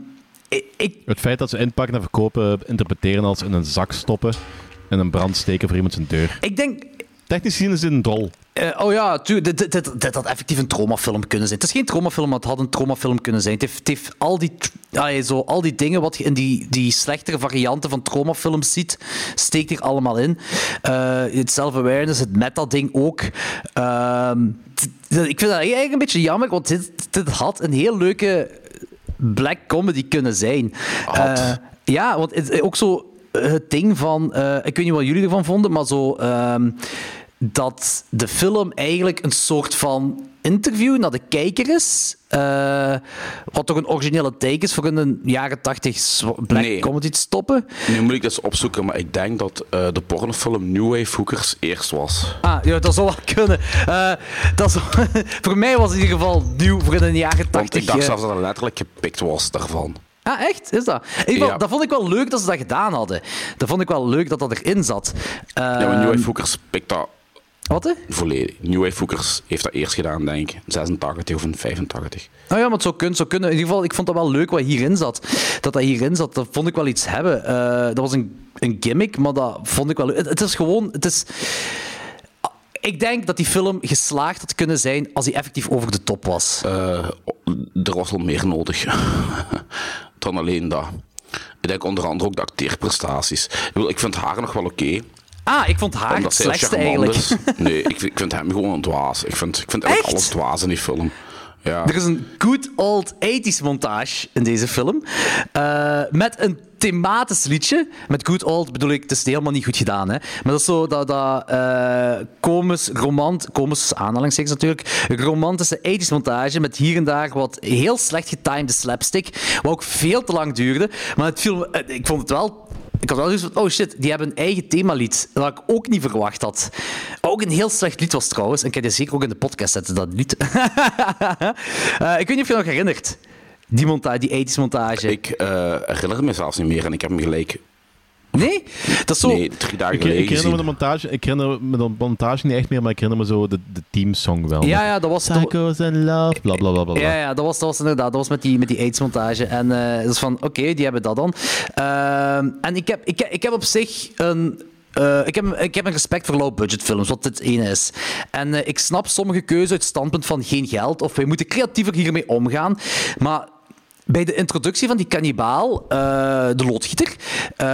Speaker 2: ik, ik-
Speaker 1: Het feit dat ze inpakken en verkopen, interpreteren als in een zak stoppen en een brand steken voor iemand zijn deur.
Speaker 2: ik denk.
Speaker 1: Technisch gezien is dit een drol.
Speaker 2: eh, oh ja, tuur, dit, dit, dit, dit had effectief een traumafilm kunnen zijn. Het is geen traumafilm, maar het had een traumafilm kunnen zijn. Het heeft, het heeft al, die, tr- ah, ja, zo, al die dingen wat je in die, die slechtere varianten van traumafilms ziet, steekt hier allemaal in. Eh, het self-awareness, het meta-ding ook. Ehm, t- t- ik vind dat eigenlijk een beetje jammer, want dit, dit had een heel leuke black comedy kunnen zijn. Eh, ja, want het, ook zo het ding van, eh, ik weet niet wat jullie ervan vonden, maar zo ehm, dat de film eigenlijk een soort van interview naar de kijker is. eh, wat toch een originele take is voor een jaren tachtig black
Speaker 3: Nee.
Speaker 2: comedy te stoppen.
Speaker 3: Nu moet ik dat eens opzoeken, maar ik denk dat eh, de pornofilm New Wave Hookers eerst was.
Speaker 2: Ah, ja, dat zou wel kunnen. Eh, dat zou- voor mij was het in ieder geval nieuw voor in de jaren
Speaker 3: Want
Speaker 2: tachtig.
Speaker 3: ik dacht
Speaker 2: eh,
Speaker 3: zelfs dat het letterlijk gepikt was daarvan.
Speaker 2: Ah, echt? Is dat? In ieder geval,
Speaker 3: Ja.
Speaker 2: Dat vond ik wel leuk dat ze dat gedaan hadden. Dat vond ik wel leuk dat dat erin zat.
Speaker 3: ja, maar New
Speaker 2: Ehm,
Speaker 3: Wave Hookers pikt dat
Speaker 2: Wat? hè?
Speaker 3: volledig. New Wave Hookers heeft dat eerst gedaan, denk ik. 86 of een 85.
Speaker 2: Nou ja, maar het zou kunnen, zou kunnen. In ieder geval, ik vond dat wel leuk wat hierin zat. Dat dat hierin zat, dat vond ik wel iets hebben. Eh, dat was een, een gimmick, maar dat vond ik wel leuk. Het, het is gewoon... Het is... Ik denk dat die film geslaagd had kunnen zijn als hij effectief over de top was.
Speaker 3: Eh, er was wel meer nodig dan alleen dat. Ik denk onder andere ook de acteerprestaties. Ik, bedoel, ik vind haar nog wel oké.
Speaker 2: Ah, ik vond haar het
Speaker 3: omdat zij
Speaker 2: slechtste
Speaker 3: charmant
Speaker 2: eigenlijk.
Speaker 3: is. Nee, ik, vind- ik vind hem gewoon een dwaas. Ik vind, ik vind eigenlijk alles dwaas in die film. Ja.
Speaker 2: Er is een good old 80s montage in deze film. eh, met een thematisch liedje. Met good old bedoel ik, het is helemaal niet goed gedaan. Hè? Maar dat is zo dat, dat eh komisch, romant, komisch aanhalingstekens natuurlijk, romantische 80s montage met hier en daar wat heel slecht getimede slapstick. Wat ook veel te lang duurde. Maar het viel, me- eh, ik vond het wel... Ik had wel zoiets van, oh shit, die hebben een eigen themalied. Dat ik ook niet verwacht had. Wat ook een heel slecht lied was trouwens. En ik kan je zeker ook in de podcast zetten, dat lied. Eh, ik weet niet of je nog herinnert. Die montage, die ethische montage.
Speaker 3: Ik eh, herinner me zelfs niet meer en ik heb hem gelijk.
Speaker 2: Nee? Dat is zo...
Speaker 3: Nee, drie dagen
Speaker 1: Ik, ik
Speaker 3: geleden
Speaker 1: herinner me de
Speaker 3: gezien.
Speaker 1: montage, ik herinner me de montage niet echt meer, maar ik herinner me zo de, de teamsong wel.
Speaker 2: Ja, ja, dat was... dat-
Speaker 1: Psychos and love, bla bla bla bla. bla.
Speaker 2: Ja, ja dat, was, dat was inderdaad. Dat was met die, met die AIDS-montage. En eh dat is van, oké, die hebben dat dan. Ehm, en ik heb, ik, heb- ik heb op zich een... eh, ik, heb, ik heb een respect voor low-budget films, wat dit ene is. En eh, ik snap sommige keuzes uit het standpunt van geen geld of wij moeten creatiever hiermee omgaan. Maar bij de introductie van die kannibaal, eh, de loodgieter, eh,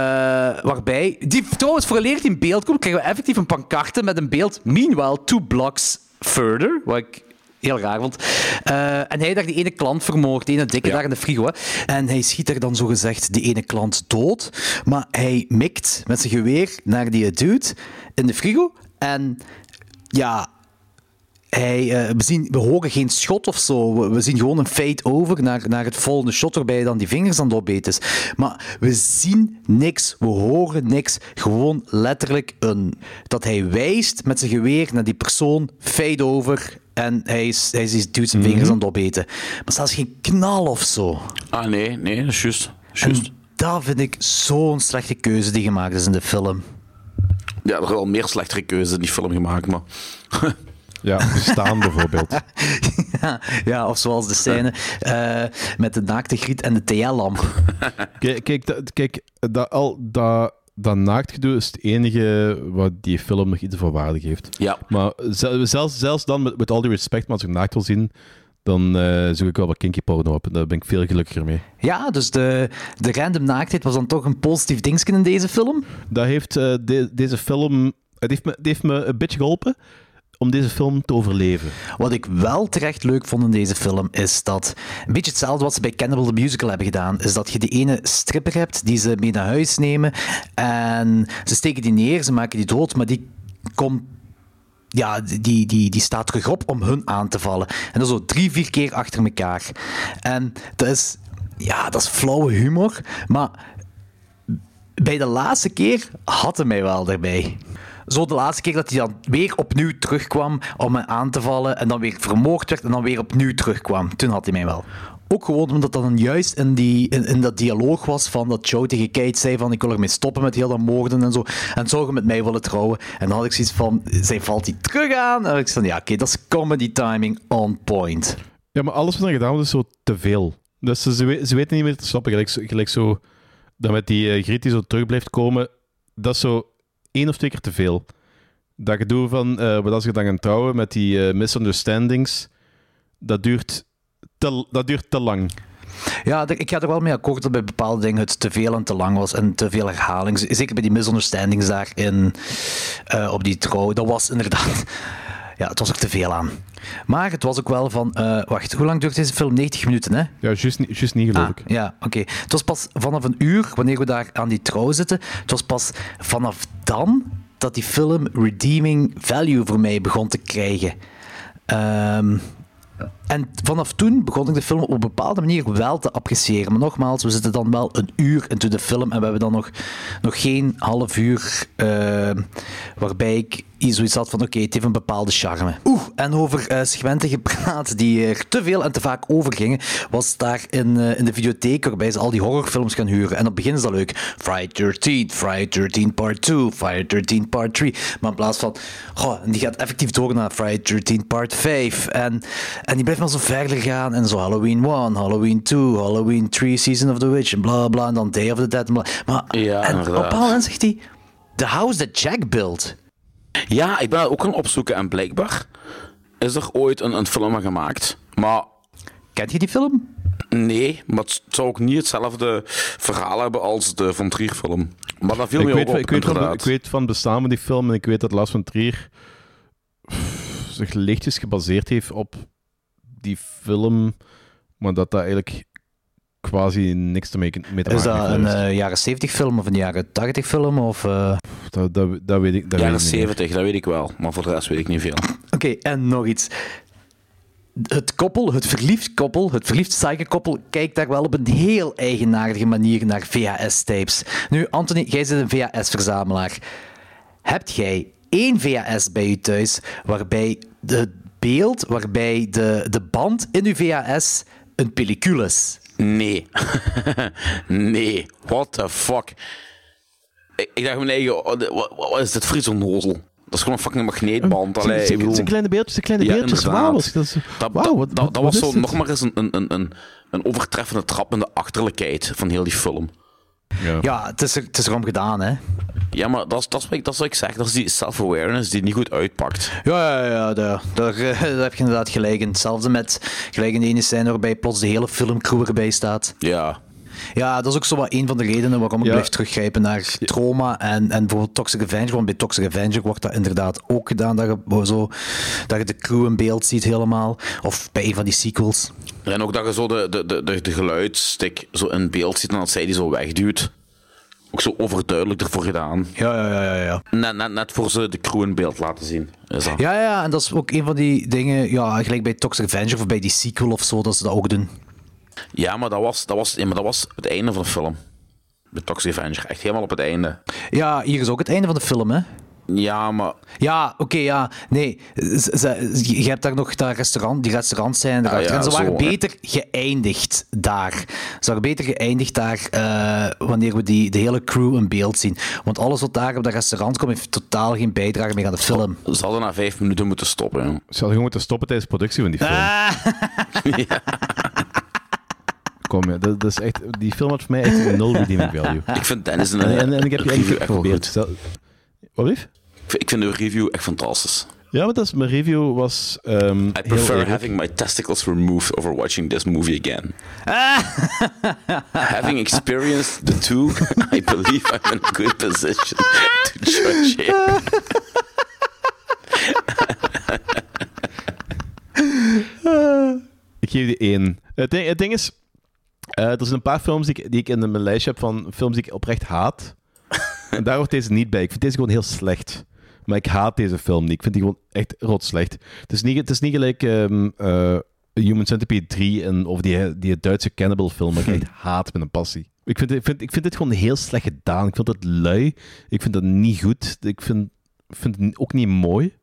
Speaker 2: waarbij... Die trouwens, vooraleer die in beeld komt, krijgen we effectief een pancarte met een beeld. Meanwhile, two blocks further, wat ik Heel raar, want... eh, en hij daar die ene klant vermoord, die ene dikke daar in de frigo. Hè. En hij schiet daar dan zogezegd die ene klant dood. Maar hij mikt met zijn geweer naar die dude in de frigo. En ja, hij, eh, we, zien, we horen geen schot of zo. We, we zien gewoon een fade over naar, naar het volgende shot waarbij hij dan die vingers aan het opeten is. Maar we zien niks, we horen niks. Gewoon letterlijk een, dat hij wijst met zijn geweer naar die persoon, fade over. En hij, is, hij is, duwt zijn vingers aan het opeten. Maar zelfs geen knal of zo.
Speaker 3: Ah nee, nee, dat is juist. Juist.
Speaker 2: Dat vind ik zo'n slechte keuze die gemaakt is in de film.
Speaker 3: Ja, er zijn wel meer slechtere keuzes in die film gemaakt, maar...
Speaker 1: Ja, staan bijvoorbeeld.
Speaker 2: Ja, ja, of zoals de scène eh, met de naakte griet en de TL-lamp.
Speaker 1: Kijk, kijk, dat- kijk dat, al, dat dat naaktgedoe is het enige wat die film nog iets van waarde geeft.
Speaker 3: Ja.
Speaker 1: Maar zel- zelfs, zelfs dan, met, met al die respect, maar als ik naakt wil zien, dan eh, zoek ik wel wat kinky porno op. En daar ben ik veel gelukkiger mee.
Speaker 2: Ja, dus de, de random naaktheid was dan toch een positief dingetje in deze film.
Speaker 1: Dat heeft eh, de- deze film... Het heeft, me, het heeft me een beetje geholpen om deze film te overleven.
Speaker 2: Wat ik wel terecht leuk vond in deze film is dat een beetje hetzelfde wat ze bij Cannibal the Musical hebben gedaan, is dat je die ene stripper hebt die ze mee naar huis nemen en ze steken die neer, ze maken die dood, maar die komt ja, die, die, die staat terug op om hun aan te vallen. En dat zo drie, vier keer achter elkaar. En dat is, ja, dat is flauwe humor, maar bij de laatste keer had hij mij wel erbij. Zo de laatste keer dat hij dan weer opnieuw terugkwam om me aan te vallen en dan weer vermoord werd en dan weer opnieuw terugkwam. Toen had hij mij wel. Ook gewoon omdat dat dan juist in, die, in, in dat dialoog was van dat Joe tegen Kate zei van ik wil ermee stoppen met heel dat moorden en zo. En zou je met mij willen trouwen? En dan had ik zoiets van, zij valt die terug aan. En ik zei van, ja oké, dat is comedy timing on point.
Speaker 1: Ja, maar alles wat er gedaan wordt is zo te veel. Dus ze, ze, we- ze weten niet meer te snappen. Gelijk, zo- gelijk zo, dat met die eh, Griet die zo terug blijft komen, dat is zo één of twee keer te veel. Dat gedoe van, eh wat als je dan gaan trouwen met die eh, misunderstandings, dat duurt te, dat duurt te lang.
Speaker 2: Ja, d- ik ga er wel mee akkoord dat bij bepaalde dingen het te veel en te lang was en te veel herhaling. Z- Zeker bij die misunderstandings daar in, eh, op die trouw. Dat was inderdaad... Ja, het was er te veel aan. Maar het was ook wel van... eh, wacht, hoe lang duurt deze film? 90 minuten, hè?
Speaker 1: Ja, juist niet, juist niet geloof
Speaker 2: Ah,
Speaker 1: ik.
Speaker 2: Ja, oké. Het was pas vanaf een uur, wanneer we daar aan die trouw zitten, het was pas vanaf dan dat die film redeeming value voor mij begon te krijgen. Ehm, en vanaf toen begon ik de film op een bepaalde manier wel te appreciëren. Maar nogmaals, we zitten dan wel een uur into de film en we hebben dan nog, nog geen half uur eh, waarbij ik iets- zoiets had van oké, het heeft een bepaalde charme. Oeh, en over eh segmenten gepraat die er te veel en te vaak over gingen, was daar in, eh, in de videotheek waarbij ze al die horrorfilms gaan huren. En op het begin is dat leuk. Friday 13, Friday 13 part 2, Friday 13 part 3. Maar in plaats van, goh, en die gaat effectief door naar Friday 13 part 5. En, en die blijft maar zo verder gaan. En zo Halloween 1, Halloween 2, Halloween 3, Season of the Witch, en bla bla. En dan Day of the Dead. En bla. Maar
Speaker 3: Ja,
Speaker 2: en op een
Speaker 3: inderdaad.
Speaker 2: bepaald moment zegt hij, The house that Jack built.
Speaker 3: Ja, ik ben dat ook gaan opzoeken en blijkbaar is er ooit een, een film aan gemaakt. Maar...
Speaker 2: Kent je die film?
Speaker 3: Nee, maar het zou ook niet hetzelfde verhaal hebben als de Von Trier film. Maar dat viel
Speaker 1: Ik
Speaker 3: mij
Speaker 1: weet,
Speaker 3: ook op,
Speaker 1: ik, weet van,
Speaker 3: inderdaad.
Speaker 1: ik weet van het bestaan van die film en ik weet dat Lars van Trier pff, zich lichtjes gebaseerd heeft op die film, maar dat dat eigenlijk quasi niks te maken mee te
Speaker 2: Is
Speaker 1: maken
Speaker 2: dat
Speaker 1: heeft.
Speaker 2: een eh, jaren 70 film of een jaren 80 film? Of, eh?
Speaker 1: Dat, dat, dat weet ik. Dat
Speaker 3: Jaren
Speaker 1: weet ik niet meer.
Speaker 3: 70, dat weet ik wel. Maar voor de rest weet ik niet veel.
Speaker 2: Oké, en nog iets. Het koppel, het verliefd koppel, het verliefd psyche koppel, kijkt daar wel op een heel eigenaardige manier naar VHS-tapes. Nu, Anthony, jij bent een VHS-verzamelaar. Hebt jij één VHS bij je thuis waarbij het beeld, waarbij de, de band in uw VHS een pellicule is?
Speaker 3: Nee. nee. What the fuck? Ik, ik dacht mijn eigen... oh, de- wa- wa- Wat, is dit voor iets onnozel? Dat is gewoon een fucking magneetband. Allee,
Speaker 1: Zijn-
Speaker 3: ik bedoel-
Speaker 1: zijn kleine beeldjes, zijn kleine beeldjes.
Speaker 3: inderdaad.
Speaker 1: Wauw, wat- dat is-
Speaker 3: dat,
Speaker 1: wauw,
Speaker 3: dat-
Speaker 1: wat-
Speaker 3: dat- dat
Speaker 1: wat
Speaker 3: was
Speaker 1: is
Speaker 3: zo
Speaker 1: dit?
Speaker 3: nog maar eens een, een, een, een, een overtreffende trap in de achterlijkheid van heel die film.
Speaker 1: Ja,
Speaker 2: Ja, het is, er, het is erom gedaan, hè?
Speaker 3: Ja, maar dat is, dat, is wat ik, dat is wat ik zeg. Dat is die self-awareness die het niet goed uitpakt.
Speaker 2: Ja, ja, ja daar, daar, eh, daar heb je inderdaad gelijk in. Hetzelfde met gelijk in de ene scène waarbij plots de hele filmcrew erbij staat.
Speaker 3: Ja.
Speaker 2: Ja, dat is ook zo wat een van de redenen waarom ik
Speaker 1: Ja.
Speaker 2: blijf teruggrijpen naar trauma en, en bijvoorbeeld Toxic Avenger. Want bij Toxic Avenger wordt dat inderdaad ook gedaan, dat je, zo, dat je de crew in beeld ziet helemaal. Of bij een van die sequels.
Speaker 3: En ook dat je zo de, de, de, de, de geluidsstik zo in beeld ziet en dat zij die zo wegduwt. Ook zo overduidelijk ervoor gedaan.
Speaker 2: Ja, ja, ja, ja. ja.
Speaker 3: Net, net, net voor ze de crew in beeld laten zien. Is dat.
Speaker 2: Ja, ja, en dat is ook een van die dingen, ja, gelijk bij Toxic Avenger of bij die sequel of zo, dat ze dat ook doen.
Speaker 3: Ja, maar dat was, dat was, ja, maar dat was het einde van de film. De Toxic Avenger, echt helemaal op het einde.
Speaker 2: Ja, hier is ook het einde van de film, hè.
Speaker 3: Ja, maar
Speaker 2: Ja, oké, ja. Nee, z- z- je hebt daar nog dat restaurant, die restaurants zijn erachter.
Speaker 3: Ah, ja,
Speaker 2: en ze waren
Speaker 3: zo, hè.
Speaker 2: beter geëindigd daar. Ze waren beter geëindigd daar eh, wanneer we die, de hele crew in beeld zien. Want alles wat daar op dat restaurant komt, heeft totaal geen bijdrage meer aan de film.
Speaker 3: ze hadden na vijf minuten moeten stoppen. joh. Ah.
Speaker 1: Ze hadden gewoon moeten stoppen tijdens de productie van die film.
Speaker 2: Ah,
Speaker 1: Ik komen. Dat, dat is echt, die film had voor mij echt nul redeeming value.
Speaker 3: Ik vind Dennis een,
Speaker 1: En, en, en ik heb je
Speaker 3: review
Speaker 1: één keer
Speaker 3: echt wel
Speaker 1: geprobeerd.
Speaker 3: goed.
Speaker 1: Stel- Wat lief?
Speaker 3: Ik vind- Ik vind de review echt fantastisch.
Speaker 1: Ja, want dat is, mijn review was ehm
Speaker 3: I
Speaker 1: heel
Speaker 3: prefer
Speaker 1: eerlijk.
Speaker 3: having my testicles removed over watching this movie again. having experienced the two, I believe I'm in a good position to judge
Speaker 2: Ah.
Speaker 3: it.
Speaker 1: Ik geef die één. Het ding, het ding is, eh, er zijn een paar films die ik, die ik in mijn lijstje heb van films die ik oprecht haat. En daar hoort deze niet bij. Ik vind deze gewoon heel slecht. Maar ik haat deze film niet. Ik vind die gewoon echt rot slecht. Het is niet, het is niet gelijk ehm, eh, Human Centipede 3 en, of die, die Duitse cannibal film. Maar ik echt haat met een passie. Ik vind, ik, vind, ik vind dit gewoon heel slecht gedaan. Ik vind dat lui. Ik vind dat niet goed. Ik vind, vind het ook niet mooi.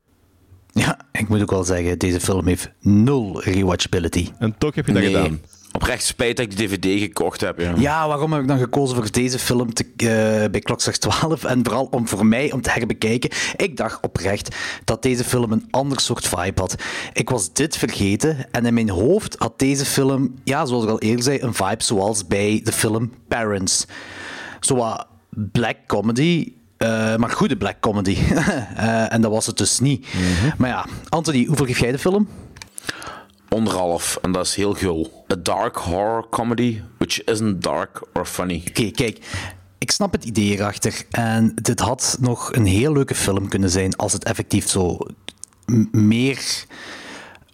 Speaker 2: Ja, ik moet ook wel zeggen, deze film heeft nul rewatchability.
Speaker 1: En toch heb je dat
Speaker 3: Nee.
Speaker 1: gedaan.
Speaker 3: Oprecht spijt dat ik die DVD gekocht heb. Ja.
Speaker 2: Ja, waarom heb ik dan gekozen voor deze film te, eh, bij Klokslag 12? En vooral om voor mij om te herbekijken. Ik dacht oprecht dat deze film een ander soort vibe had. Ik was dit vergeten en in mijn hoofd had deze film, ja, zoals ik al eerder zei, een vibe zoals bij de film Parents. Zo wat black comedy. eh, maar goede black comedy. Eh, en dat was het dus niet. Maar ja, Anthony, hoeveel geef jij de film?
Speaker 3: Onderhalf, en dat is heel gul. A dark horror comedy, which isn't dark or funny.
Speaker 2: Oké, kijk. Ik snap het idee erachter. En dit had nog een heel leuke film kunnen zijn als het effectief zo m- meer.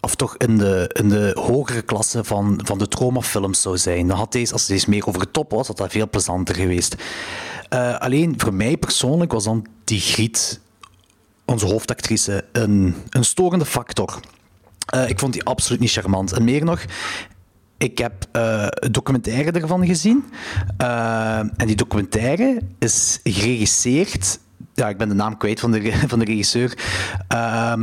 Speaker 2: Of toch in de, in de hogere klasse van, van de traumafilms zou zijn. Dan had deze, als deze meer over de top was, had dat veel plezanter geweest. Eh, alleen voor mij persoonlijk was dan die Griet, onze hoofdactrice, een, een storende factor. Eh, ik vond die absoluut niet charmant. En meer nog, ik heb eh, een documentaire ervan gezien. Eh, en die documentaire is geregisseerd. Ja, ik ben de naam kwijt van de, re- van de regisseur. Ehm,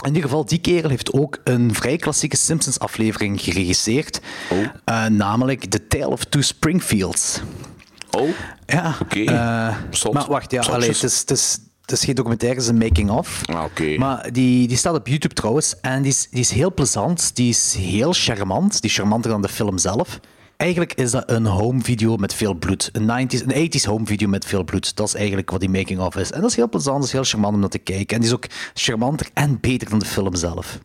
Speaker 2: in ieder geval, die kerel heeft ook een vrij klassieke Simpsons-aflevering geregisseerd. Eh, namelijk The Tale of Two Springfields.
Speaker 3: Oh,
Speaker 2: Ja.
Speaker 3: Oké.
Speaker 2: eh,
Speaker 3: Zot.
Speaker 2: maar wacht, ja,
Speaker 3: Zotjes.
Speaker 2: allee, het, is, het, is, het is geen documentaire, het is een making-of.
Speaker 3: Ah, oké.
Speaker 2: Maar die, die staat op YouTube trouwens. En die is, die is heel plezant. Die is heel charmant. Die is charmanter dan de film zelf. Eigenlijk is dat een home video met veel bloed. Een 90s, een 80s home video met veel bloed. Dat is eigenlijk wat die making-of is. En dat is heel plezant. Dat is heel charmant om naar te kijken. En die is ook charmanter en beter dan de film zelf.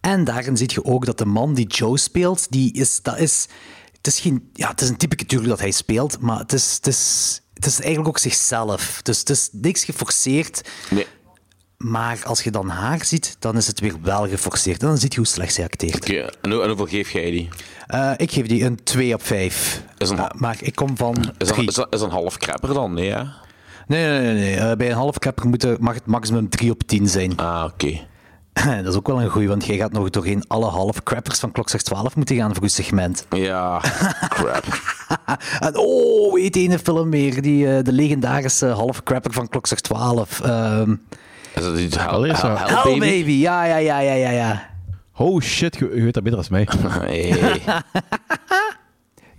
Speaker 2: En daarin zie je ook dat de man die Joe speelt, die is, dat is, het is geen, ja, het is een typische natuurlijk dat hij speelt, maar het is, het is, het is eigenlijk ook zichzelf. Dus het is niks geforceerd.
Speaker 3: Nee.
Speaker 2: Maar als je dan haar ziet, dan is het weer wel geforceerd. En dan ziet je hoe slecht zij acteert.
Speaker 3: Oké, en, hoe- en hoeveel geef jij die?
Speaker 2: Eh, ik geef die een 2 op 5.
Speaker 3: Is een-
Speaker 2: maar ik kom van
Speaker 3: Is dat,
Speaker 2: 3.
Speaker 3: is dat, is dat een half crapper dan? Nee, hè?
Speaker 2: Nee, nee, nee. nee. Eh, bij een half kapper moet er- mag het maximum 3 op 10 zijn.
Speaker 3: Ah, oké.
Speaker 2: dat is ook wel een goeie, want jij gaat nog doorheen alle half crappers van klokslag 12 moeten gaan voor je segment.
Speaker 3: Ja, crap.
Speaker 2: En oh, weet ene film meer, die, eh, de legendarische halfcrapper van Klokzak 12. ehm
Speaker 3: Is dat niet hell,
Speaker 1: Allee,
Speaker 3: hell,
Speaker 1: zo.
Speaker 3: hell,
Speaker 2: Hell
Speaker 3: baby?
Speaker 2: Baby, ja, ja, ja, ja, ja. ja.
Speaker 1: Oh shit, je, je weet dat beter als mij.
Speaker 3: Hey.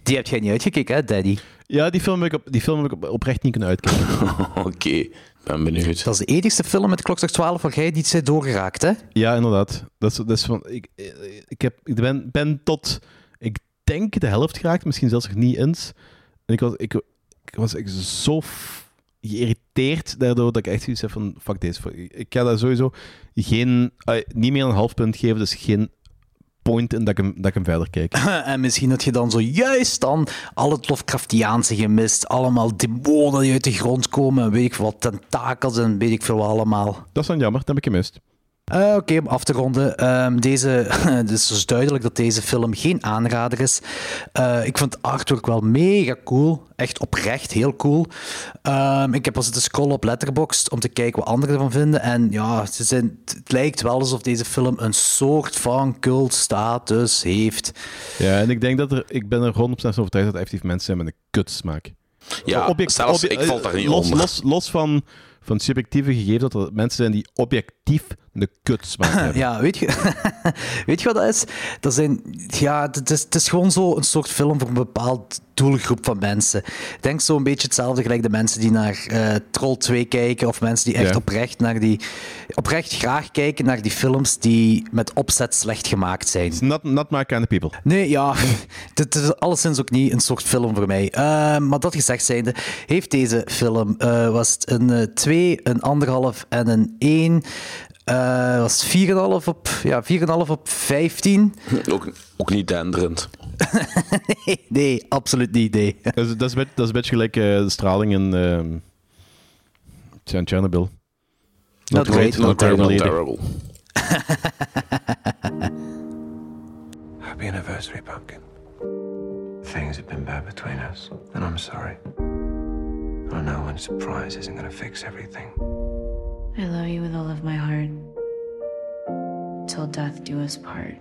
Speaker 2: Die heb jij niet uitgekeken, hè, Daddy?
Speaker 1: Ja, die film heb ik, op, die film heb ik op- oprecht niet kunnen uitkijken.
Speaker 3: Oké, ben benieuwd.
Speaker 2: Dat is de enigste film met Klokzak 12 waar jij niet bent doorgeraakt, hè?
Speaker 1: Ja, inderdaad. Dat is, dat is van, ik, eh, ik, heb, ik ben, ben tot, ik denk de helft geraakt, misschien zelfs nog niet eens. En ik was, ik, ik was echt zo f- geïrriteerd daardoor dat ik echt zoiets heb van, fuck deze. fuck- Ik ga daar sowieso geen, eh, niet meer een half punt geven, dus geen point in dat ik hem, dat ik hem verder kijk.
Speaker 2: En misschien had je dan zojuist dan al het Lovecraftiaanse gemist. Allemaal demonen die uit de grond komen. en Weet ik veel wat, tentakels en weet ik veel wat allemaal.
Speaker 1: Dat is dan jammer, dat heb ik gemist.
Speaker 2: Eh, Oké, om af te ronden. ehm, deze, het is dus duidelijk dat deze film geen aanrader is. Eh, ik vond het artwork wel mega cool. Echt oprecht heel cool. Ehm, ik heb al zitten scrollen op Letterboxd om te kijken wat anderen ervan vinden. En ja, ze zijn, het lijkt wel alsof deze film een soort van cultstatus heeft.
Speaker 1: Ja, en ik denk dat er, ik ben er 100% van overtuigd dat er effectief mensen zijn met een kutsmaak.
Speaker 3: Ja,
Speaker 1: Object-
Speaker 3: zelfs
Speaker 1: obje- eh,
Speaker 3: ik val daar niet
Speaker 1: los,
Speaker 3: onder.
Speaker 1: Los, los van, van subjectieve gegevens dat er mensen zijn die object,
Speaker 11: effectief een kutsmaak hebben.
Speaker 2: Ja, weet je, weet je wat dat is? Dat zijn, ja, het is, het is gewoon zo een soort film voor een bepaald doelgroep van mensen. Ik denk zo'n beetje hetzelfde gelijk de mensen die naar eh, Troll 2 kijken of mensen die echt
Speaker 11: Ja.
Speaker 2: oprecht, naar die, oprecht graag kijken naar die films die met opzet slecht gemaakt zijn. It's
Speaker 11: not, not my kind of people.
Speaker 2: Nee, ja, dit is alleszins ook niet een soort film voor mij. Eh, maar dat gezegd zijnde, heeft deze film, eh, was het een 2, een 1,5 en een 1... Eh was 4,5 op, ja, 4,5 op 15.
Speaker 3: Ook, ook niet denderend.
Speaker 2: Nee, nee, absoluut niet. Nee.
Speaker 1: Dat is, dat is, een beetje- dat is een beetje gelijk eh, de straling in ehm, tja, in Chernobyl. Not,
Speaker 2: Not great, not terrible, not
Speaker 12: Happy anniversary, Pumpkin. Things have been bad between us, and I'm sorry. I know one surprise isn't going to fix everything.
Speaker 13: I love you with all of my heart. Till death do us part.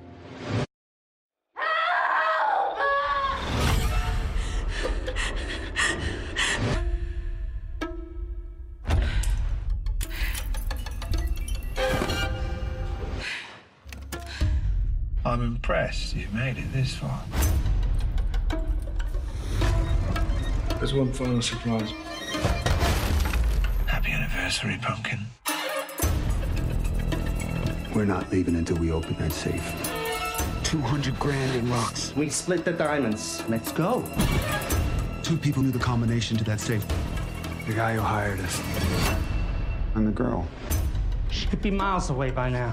Speaker 12: I'm impressed you made it this far. There's one final surprise. Happy anniversary, Pumpkin.
Speaker 14: We're not leaving until we open that safe. 200 grand in rocks. We split the diamonds. Let's go. Two people knew the combination to that safe the guy who hired us, and the girl.
Speaker 15: She could be miles away by now.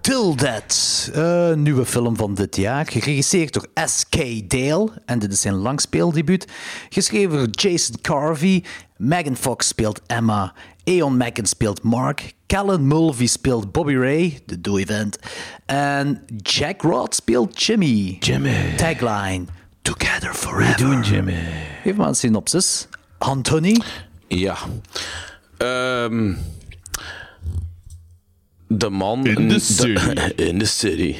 Speaker 2: Till That, eh, nieuwe film van dit jaar, geregisseerd door S.K. Dale, en dit is zijn langspeeldebuut, geschreven door Jason Carvey, Megan Fox speelt Emma, Eon Mackin speelt Mark, Callan Mulvey speelt Bobby Ray, de doei-vent, en Jack Rod speelt Jimmy. Jimmy. Tagline, Together Forever. doen Jimmy. Even maar een synopsis. Anthony?
Speaker 3: Ja. Ehm, de man.
Speaker 1: In the
Speaker 3: de-
Speaker 1: city.
Speaker 3: in the city.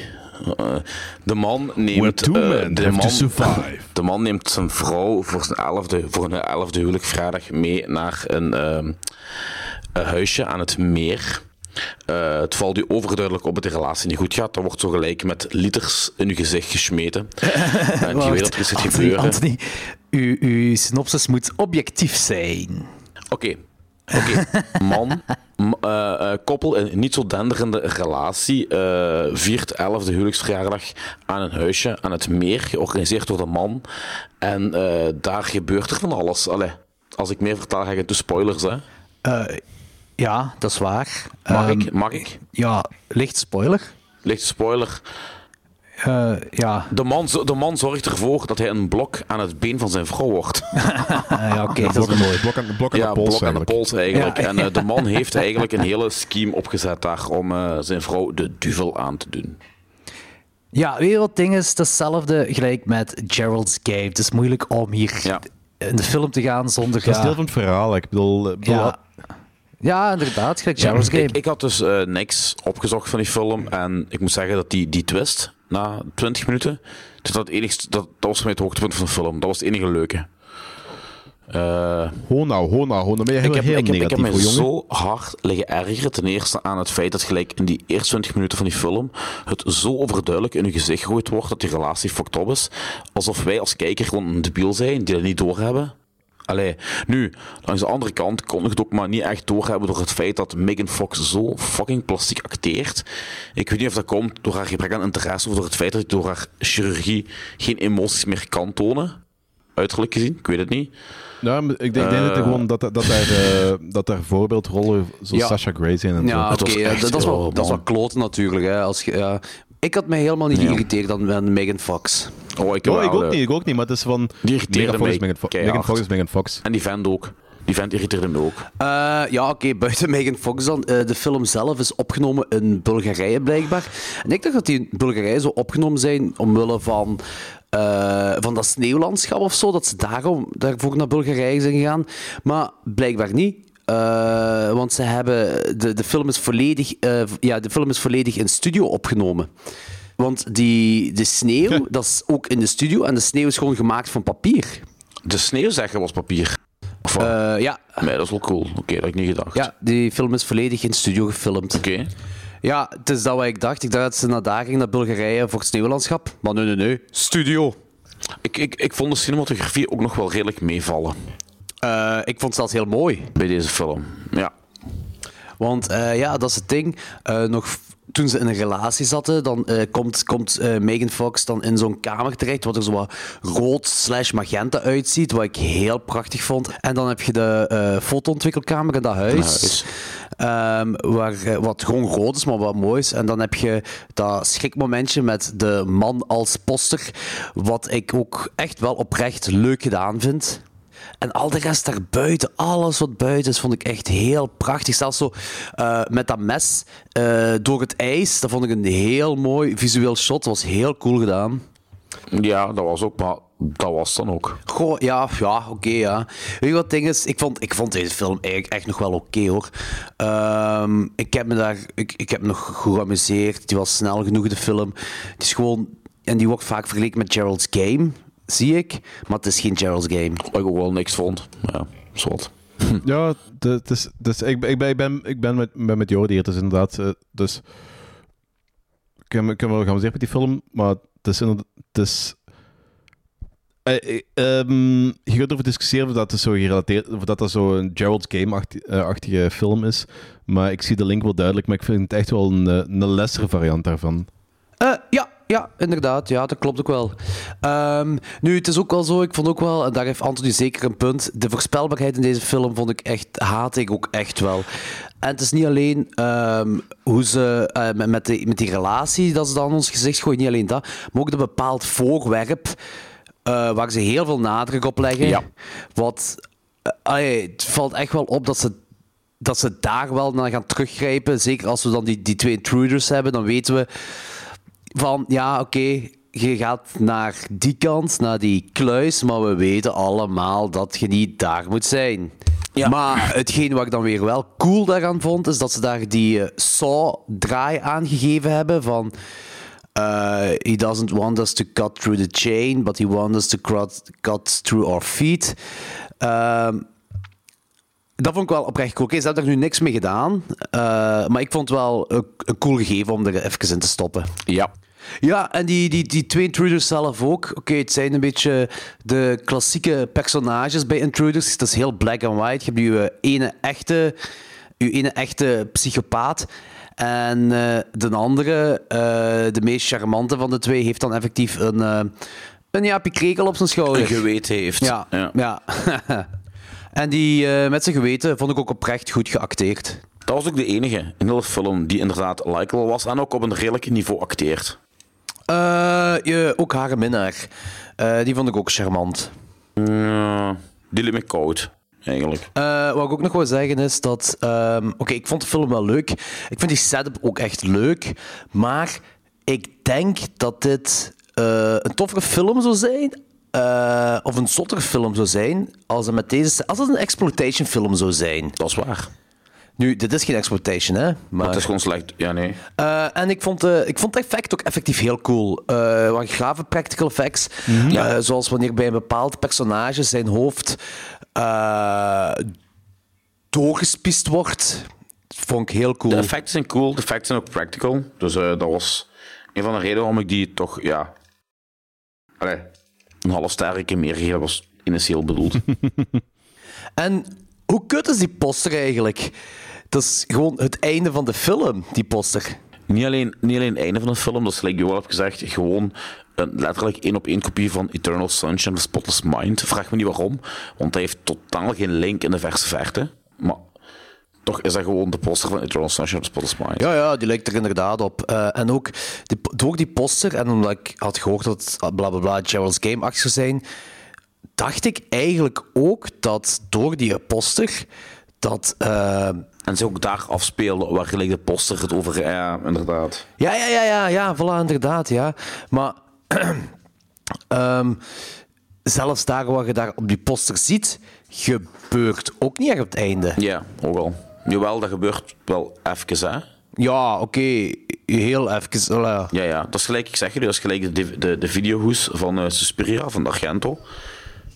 Speaker 3: Eh, de man neemt.
Speaker 1: Where two
Speaker 3: eh,
Speaker 1: men have to survive.
Speaker 3: De man neemt zijn vrouw voor zijn elfde, voor hun elfde huwelijk vrijdag mee naar een, ehm, een huisje aan het meer. Eh, het valt u overduidelijk op dat de relatie niet goed gaat. Dat wordt zo gelijk met liters in uw gezicht gesmeten. en je
Speaker 2: Wacht,
Speaker 3: weet dat er iets gaat
Speaker 2: Anthony,
Speaker 3: gebeuren.
Speaker 2: Anthony, uw, uw synopsis moet objectief zijn.
Speaker 3: Oké. Oké, man, m- eh, eh, koppel in niet zo denderende relatie eh, viert 11e huwelijksverjaardag aan een huisje aan het meer, georganiseerd door de man. En eh, daar gebeurt er van alles. Allee, als ik meer vertel, ga ik het de spoilers, hè?
Speaker 2: Eh, ja, dat is waar.
Speaker 3: Mag
Speaker 2: Ehm,
Speaker 3: ik? Mag ik?
Speaker 2: Ja, licht spoiler. Eh,
Speaker 3: Licht spoiler.
Speaker 2: ja.
Speaker 3: de, man, zo- de man zorgt ervoor dat hij een blok aan het been van zijn vrouw wordt.
Speaker 2: ja, oké, dat is mooi. Blok aan,
Speaker 3: ja, blok aan de pols eigenlijk.
Speaker 2: Ja.
Speaker 3: En eh, de man heeft eigenlijk een hele scheme opgezet daar om eh, zijn vrouw de duvel aan te doen.
Speaker 2: Ja, weet je wat het ding is? Hetzelfde gelijk met Gerald's Game. Het is moeilijk om hier in de film te gaan zonder...
Speaker 1: Dat is deel
Speaker 2: Ja,
Speaker 1: van het verhaal. hè. Ik bedoel, eh, bedoel,
Speaker 2: ja. ja, inderdaad, gelijk Gerald's
Speaker 3: Ja,
Speaker 2: Game.
Speaker 3: ik, ik had dus eh, niks opgezocht van die film. En ik moet zeggen dat die, die twist na 20 minuten. Dat, dat, enigst, dat, dat was voor mij het hoogtepunt van de film. Dat was het enige leuke. Eh
Speaker 1: Ho nou, ho nou, ho nou. Ben je
Speaker 3: ik, heb,
Speaker 1: heel
Speaker 3: ik, heb, ik heb
Speaker 1: negatief,
Speaker 3: me
Speaker 1: hoor, jongen.
Speaker 3: zo hard liggen ergeren. Ten eerste aan het feit dat gelijk in die eerste 20 minuten van die film. het zo overduidelijk in hun gezicht gegooid wordt dat die relatie fucked up is. Alsof wij als kijker gewoon een debiel zijn die dat niet doorhebben. Allee, nu, langs de andere kant kon ik het ook maar niet echt doorhebben door het feit dat Megan Fox zo fucking plastiek acteert. Ik weet niet of dat komt door haar gebrek aan interesse of door het feit dat ik door haar chirurgie geen emoties meer kan tonen. Uiterlijk gezien, ik weet het niet.
Speaker 1: Nou, maar ik denk, ik denk dat, er
Speaker 3: Eh.
Speaker 1: gewoon dat, dat, daar, eh, dat daar voorbeeldrollen zoals
Speaker 16: Ja.
Speaker 1: Sasha Grey zijn en
Speaker 16: Ja,
Speaker 1: zo.
Speaker 16: oké, ja, dat, dat is wel,
Speaker 1: oh,
Speaker 16: dat is wel
Speaker 1: man.
Speaker 16: kloten natuurlijk. Hè, als, je- ja. ik had mij helemaal niet geïrriteerd aan, aan Megan Fox.
Speaker 3: Oh,
Speaker 1: Ja, ik ook niet, ik ook niet, maar het is van...
Speaker 3: Die
Speaker 1: Megan
Speaker 3: irriteerde
Speaker 1: Fox
Speaker 3: mij
Speaker 1: is Megan Fo-
Speaker 3: keihard.
Speaker 1: Megan Fox is Megan Fox.
Speaker 3: En die vent ook. Die vent irriteerde me ook.
Speaker 16: Eh, ja, oké, buiten Megan Fox dan. Eh, de film zelf is opgenomen in Bulgarije blijkbaar. En ik dacht dat die in Bulgarije zo opgenomen zijn omwille van, eh, van dat sneeuwlandschap of zo. Dat ze daarom, daarvoor naar Bulgarije zijn gegaan. Maar blijkbaar niet. Eh, want ze hebben, de, de, film is volledig, eh, ja, de film is volledig in studio opgenomen. Want die, de sneeuw, dat is ook in de studio. En de sneeuw is gewoon gemaakt van papier. Eh,
Speaker 3: De sneeuw zeggen was papier. van.
Speaker 2: ja.
Speaker 3: Nee, dat is wel cool. Oké, dat heb ik niet gedacht.
Speaker 2: Ja, die film is volledig in studio gefilmd.
Speaker 3: Oké.
Speaker 2: Ja, het is dat wat ik dacht. Ik dacht dat ze naar daar ging, naar Bulgarije voor het sneeuwlandschap. Maar nee, nee, nee. Studio.
Speaker 3: Ik, ik, ik vond de cinematografie ook nog wel redelijk meevallen.
Speaker 2: Eh, ik vond het zelfs heel mooi.
Speaker 3: Bij deze film, ja.
Speaker 2: Want eh, ja, dat is het ding. Eh, nog v- toen ze in een relatie zaten, dan eh, komt, komt eh, Megan Fox dan in zo'n kamer terecht, wat er zo wat rood slash magenta uitziet, wat ik heel prachtig vond. En dan heb je de eh fotoontwikkelkamer in dat huis,
Speaker 3: huis.
Speaker 2: ehm, waar, eh, wat gewoon rood is, maar wat mooi is. En dan heb je dat schrikmomentje met de man als poster, wat ik ook echt wel oprecht leuk gedaan vind. En al de rest daarbuiten, alles wat buiten is, vond ik echt heel prachtig. Zelfs zo eh, met dat mes eh, door het ijs, dat vond ik een heel mooi visueel shot. Dat was heel cool gedaan.
Speaker 3: Ja, dat was ook, maar dat was dan ook.
Speaker 2: Goh, ja, ja oké, ja. Weet je wat het ding is? Ik vond, ik vond deze film eigenlijk echt nog wel oké, hoor. Ehm, ik heb me daar... Ik, ik heb me nog goed geamuseerd. Die was snel genoeg, de film. Het is gewoon... En die wordt vaak vergeleken met Gerald's Game, zie ik. Maar het is geen Gerald's Game.
Speaker 3: Wat ik ook wel niks vond. Ja, zwart.
Speaker 1: Ja, dat is, dat is, ik, ik, ben- ik ben, ik ben met, ben met Jordi hier. Het is inderdaad... eh, dus, ik kan me- ik kan me wel gaan zeggen met die film, maar het is inderdaad... Het is, eh, eh, ehm, je kunt erover discussiëren of dat, het zo gerelateerd, of dat, dat zo een Gerald's Game-achtige film is. Maar ik zie de link wel duidelijk, maar ik vind het echt wel een, eh, een lessere variant daarvan.
Speaker 2: Eh, ja, ja, inderdaad. Ja, dat klopt ook wel. Ehm, nu, het is ook wel zo, ik vond ook wel, en daar heeft Anthony zeker een punt, de voorspelbaarheid in deze film vond ik echt, haat ik ook echt wel. En het is niet alleen ehm, hoe ze, eh, met- met, die, met die relatie dat ze dan ons gezicht gooien, niet alleen dat, maar ook dat bepaald voorwerp eh, waar ze heel veel nadruk op leggen.
Speaker 3: Ja.
Speaker 2: Wat, eh, allee, het valt echt wel op dat ze dat ze daar wel naar gaan teruggrijpen. Zeker als we dan die, die twee intruders hebben, dan weten we van ja, oké, je gaat naar die kant, naar die kluis, maar we weten allemaal dat je niet daar moet zijn. Maar hetgeen wat ik dan weer wel cool daaraan vond, is dat ze daar die eh, saw-draai aangegeven hebben van... eh, he doesn't want us to cut through the chain, but he wants us to cut, cut through our feet. Ehm, dat vond ik wel oprecht cool. Oké, ze hebben er nu niks mee gedaan. eh, maar ik vond het wel een, een cool gegeven om er even in te stoppen.
Speaker 3: Ja.
Speaker 2: Ja, en die, die, die twee intruders zelf ook. Oké, het zijn een beetje de klassieke personages bij intruders. Het is heel black and white. Je hebt uw eh, ene echte, uw ene echte psychopaat. En eh, de andere, eh, de meest charmante van de twee, heeft dan effectief een, eh, een jaapje krekel op zijn schouder.
Speaker 3: Een geweten heeft.
Speaker 2: Oh, Ja,
Speaker 3: Ja.
Speaker 2: ja. en die eh, met zijn geweten vond ik ook oprecht goed geacteerd.
Speaker 3: Dat was ook de enige in de hele film die inderdaad likable was en ook op een redelijk niveau acteert.
Speaker 2: Eh, je, ook haar minnaar. Eh, die vond ik ook charmant.
Speaker 3: Ja, die liet me koud, eigenlijk.
Speaker 2: Eh, wat ik ook nog wil zeggen is dat. ehm, Oké, ik vond de film wel leuk. Ik vind die setup ook echt leuk. Maar ik denk dat dit eh, een toffere film zou zijn. eh, of een zottere film zou zijn. Als het, met deze, als het een exploitation film zou zijn.
Speaker 3: Dat is waar.
Speaker 2: Nu, dit is geen exploitation, hè?
Speaker 3: Maar het is gewoon slecht. Ja, nee.
Speaker 2: Eh, en ik vond, eh, ik vond het effect ook effectief heel cool. Eh wat grave practical effects. Eh, zoals wanneer bij een bepaald personage zijn hoofd eh, doorgespiest wordt. Vond ik heel cool.
Speaker 3: De effecten zijn cool, de effecten zijn ook practical. Dus eh, dat was een van de redenen waarom ik die toch, ja... Allee, een half sterke meer gegeven was initieel bedoeld.
Speaker 2: En hoe kut is die poster eigenlijk? Dat is gewoon het einde van de film, die poster.
Speaker 3: Niet alleen, niet alleen het einde van de film, dat is gelijk je wel hebt gezegd, gewoon een letterlijk één op één kopie van Eternal Sunshine of the Spotless Mind. Vraag me niet waarom, want hij heeft totaal geen link in de verse verte. Maar toch is dat gewoon de poster van Eternal Sunshine of the Spotless Mind.
Speaker 2: Ja, ja, die lijkt er inderdaad op. Eh, en ook die, door die poster, en omdat ik had gehoord dat het, ah, bla bla bla Gerald's Game actie zou zijn, dacht ik eigenlijk ook dat door die poster dat. eh,
Speaker 3: En ze ook daar afspelen waar gelijk de poster het over... Ja, inderdaad.
Speaker 2: ja, ja, ja, ja, ja, voilà, inderdaad, ja. Maar ehm, zelfs daar wat je daar op die poster ziet, gebeurt ook niet echt op het einde.
Speaker 3: Ja, ook al. Jawel, dat gebeurt wel even, hè.
Speaker 2: Ja, oké, heel even. voilà.
Speaker 3: Ja, ja, dat is gelijk, ik zeg je, dat is gelijk de, de, de videohoes van eh Suspiria, van Argento.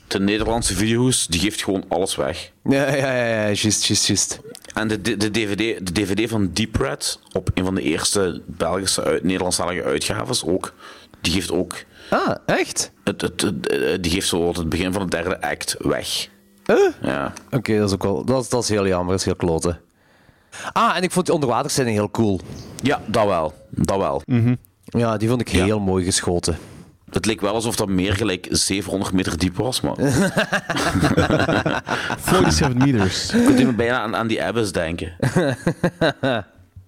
Speaker 3: de Nederlandse video's, die geeft gewoon alles weg.
Speaker 2: Ja, ja, ja, ja, juist, juist, juist.
Speaker 3: En de, de, de DVD, de DVD van Deep Red, op een van de eerste Belgische uit, Nederlandstalige uitgaves ook, die geeft ook...
Speaker 2: Ah, echt?
Speaker 3: Het, het, het- eh, die geeft zo het begin van de derde act weg.
Speaker 2: Eh?
Speaker 3: Ja.
Speaker 2: Oké, dat is ook wel... Dat is, dat is heel jammer, dat is heel kloten. Ah, en ik vond die onderwaterscène heel cool.
Speaker 3: Ja, dat wel. Dat wel.
Speaker 2: Ja, die vond ik heel mooi geschoten.
Speaker 3: Het leek wel alsof dat meer gelijk 700 meter diep was, man.
Speaker 17: 47 meters.
Speaker 3: Ik kunt me bijna aan, aan die Abbas denken.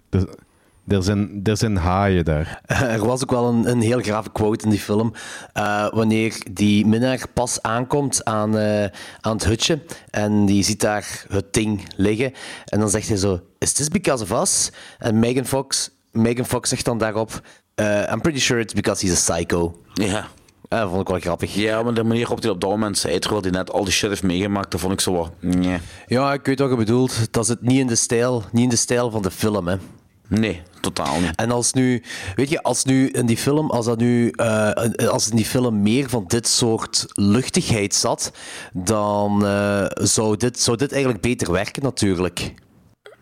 Speaker 1: Er, er zijn, er zijn haaien daar.
Speaker 2: Er was ook wel een, een heel grave quote in die film. eh, wanneer die minnaar pas aankomt aan, eh, aan het hutje en die ziet daar het ding liggen. En dan zegt hij zo, is this because of us? En Megan Fox, Megan Fox zegt dan daarop, eh, I'm pretty sure it's because he's a psycho.
Speaker 3: Ja.
Speaker 2: Eh, dat vond ik wel grappig.
Speaker 3: Ja, maar de manier waarop hij op dat moment zei, terwijl hij net al die shit heeft meegemaakt, dat vond ik zo wat... Nee.
Speaker 2: Ja, ik weet wat je bedoelt. Dat zit niet in de stijl, niet in de stijl van de film, hè.
Speaker 3: Nee, totaal niet.
Speaker 2: En als nu, weet je, als nu in die film, als dat nu, eh, als in die film meer van dit soort luchtigheid zat, dan eh, zou, dit, zou dit eigenlijk beter werken natuurlijk.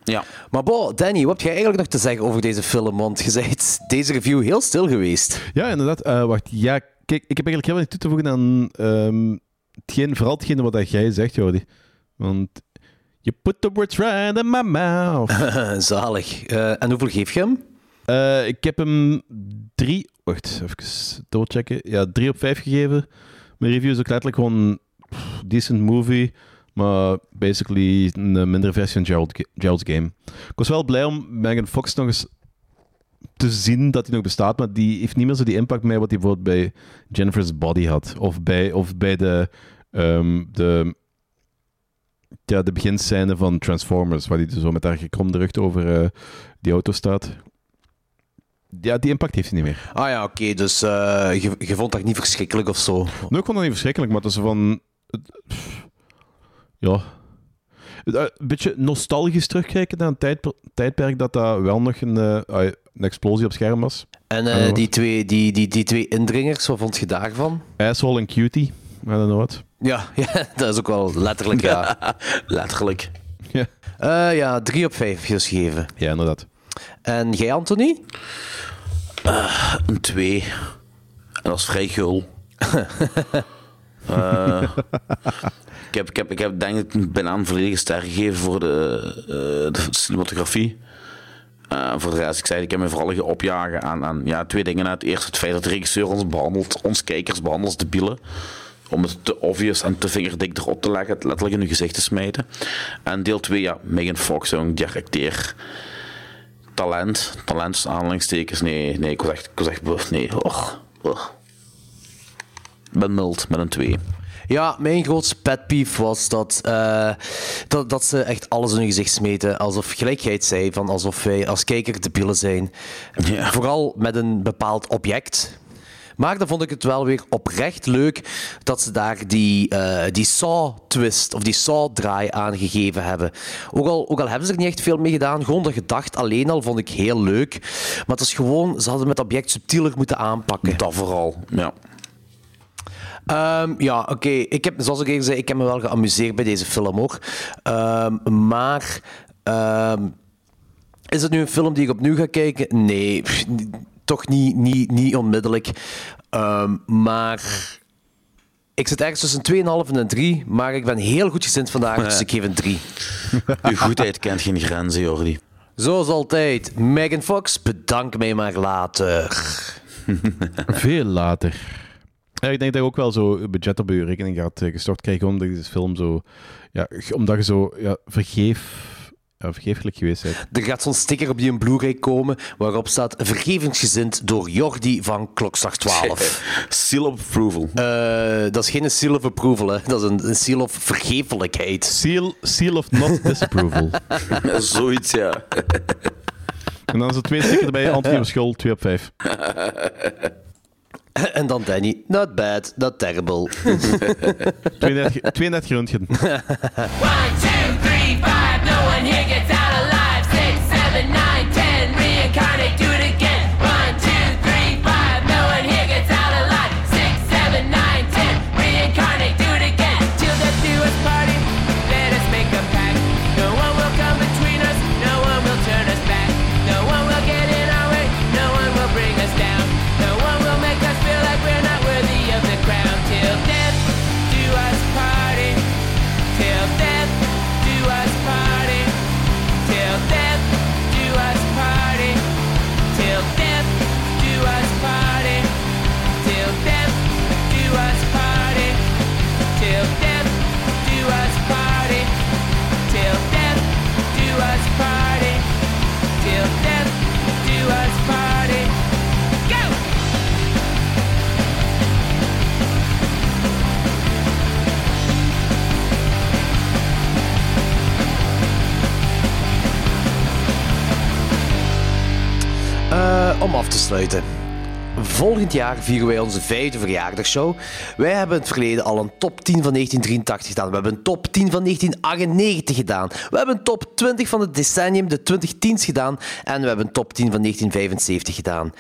Speaker 3: Ja.
Speaker 2: Maar bo, Danny, wat heb jij eigenlijk nog te zeggen over deze film? Want je bent deze review heel stil geweest.
Speaker 1: Ja, inderdaad. Eh, wacht, ja, kijk, ik heb eigenlijk heel weinig toe te voegen aan ehm, hetgeen, vooral hetgeen wat dat jij zegt, Jordi. Want you put the words right in my mouth.
Speaker 2: Zalig. Eh, en hoeveel geef je hem?
Speaker 1: Eh, ik heb hem drie... Wacht, even dubbelchecken. Ja, drie op vijf gegeven. Mijn review is ook letterlijk gewoon pff, decent movie, maar basically een eh, mindere versie van Gerald, Gerald's Game. Ik was wel blij om Megan Fox nog eens te zien dat hij nog bestaat, maar die heeft niet meer zo die impact mee wat hij bijvoorbeeld bij Jennifer's Body had. Of bij, of bij de, ehm, de, ja, de beginscène van Transformers, waar hij zo met haar gekromde rug over eh, die auto staat. Ja, die impact heeft hij niet meer.
Speaker 2: Ah ja, oké, dus eh, je, je vond dat niet verschrikkelijk of zo.
Speaker 1: Nee, ik vond dat niet verschrikkelijk, maar het is van... het- pff, Ja. Het, eh, Een beetje nostalgisch terugkijken naar een tijdper- tijdperk dat dat wel nog een, eh, ah, een explosie op scherm was.
Speaker 2: En eh,
Speaker 1: Ah,
Speaker 2: die, twee, die, die, die twee indringers, wat vond je daarvan?
Speaker 1: Asshole en Cutie. I don't know what.
Speaker 2: Ja, ja dat is ook wel letterlijk, ja.
Speaker 3: Letterlijk.
Speaker 1: Ja.
Speaker 2: Eh, ja, drie op vijf dus gegeven.
Speaker 1: Ja, inderdaad.
Speaker 2: En jij, Anthony?
Speaker 3: Een twee. En dat is vrij gul. Eh, ik, heb, ik, heb, ik heb denk ik een- bijna een volledige ster gegeven voor de, eh, de cinematografie. Eh, voor de rest, ik zei, ik heb me vooral opjagen aan, aan ja, twee dingen. Het eerste, het feit dat de regisseur ons behandelt, ons kijkers behandelt als debielen. Om het te obvious en te vingerdik erop te leggen, het letterlijk in hun gezicht te smijten. En deel 2, ja, Megan Fox, zo'n directeer talent. Talent is aanhalingstekens. Nee, nee, ik was echt, ik was echt buf. Nee, och. och. Ik ben mild met een 2.
Speaker 2: Ja, mijn grootste pet peeve was dat, eh, dat, dat ze echt alles in hun gezicht smeten. Alsof gelijkheid zei, van alsof wij als kijker debielen zijn. Vooral met een bepaald object. Maar dan vond ik het wel weer oprecht leuk dat ze daar die, eh, die saw-twist of die saw-draai aan gegeven hebben. Ook al, ook al hebben ze er niet echt veel mee gedaan, gewoon de gedachte alleen al vond ik heel leuk. Maar het is gewoon, ze hadden het object subtieler moeten aanpakken.
Speaker 3: Dat vooral, ja.
Speaker 2: Ehm, ja, oké. Ik heb, zoals ik eerder zei, ik heb me wel geamuseerd bij deze film hoor. Ehm, maar ehm, is het nu een film die ik opnieuw ga kijken? Nee, pff, n- toch niet, niet, niet onmiddellijk. Ehm, maar ik zit ergens tussen 2,5 en een 3. Maar ik ben heel goed gezind vandaag, dus ik geef een 3.
Speaker 3: Uw goedheid kent geen grenzen, Jordi.
Speaker 2: Zoals altijd, Megan Fox, bedank mij maar later.
Speaker 1: Veel later. Ja, ik denk dat je ook wel zo budget op je rekening gaat eh, gestort krijgen, omdat deze film zo... Ja, g- omdat je zo ja, vergeef... Ja, vergeeflijk geweest bent.
Speaker 2: Er gaat zo'n sticker op die een Blu-ray komen waarop staat vergevensgezind door Jordi van Klokslag 12.
Speaker 3: seal of approval.
Speaker 2: Eh, dat is geen seal of approval, hè. dat is een, een seal of vergevelijkheid.
Speaker 1: Seal, seal of not disapproval.
Speaker 3: Zoiets, ja.
Speaker 1: en dan is er twee stikken erbij. Anthony op school, 2 op 5.
Speaker 2: en dan Danny, not bad, not terrible.
Speaker 1: 32, 32 röntgen.
Speaker 10: One, two, three, five. No one here gets out alive. Six, seven, nine, ten. Reincarnate, do it again. One, two, three, five. No one here gets out alive. Six, seven, nine, ten. Reincarnate, do it again.
Speaker 2: eh, om af te sluiten. Volgend jaar vieren wij onze vijfde verjaardagshow. Wij hebben in het verleden al een top 10 van 1983 gedaan. We hebben een top 10 van 1998 gedaan. We hebben een top 20 van het decennium, de 2010s gedaan. En we hebben een top 10 van 1975 gedaan.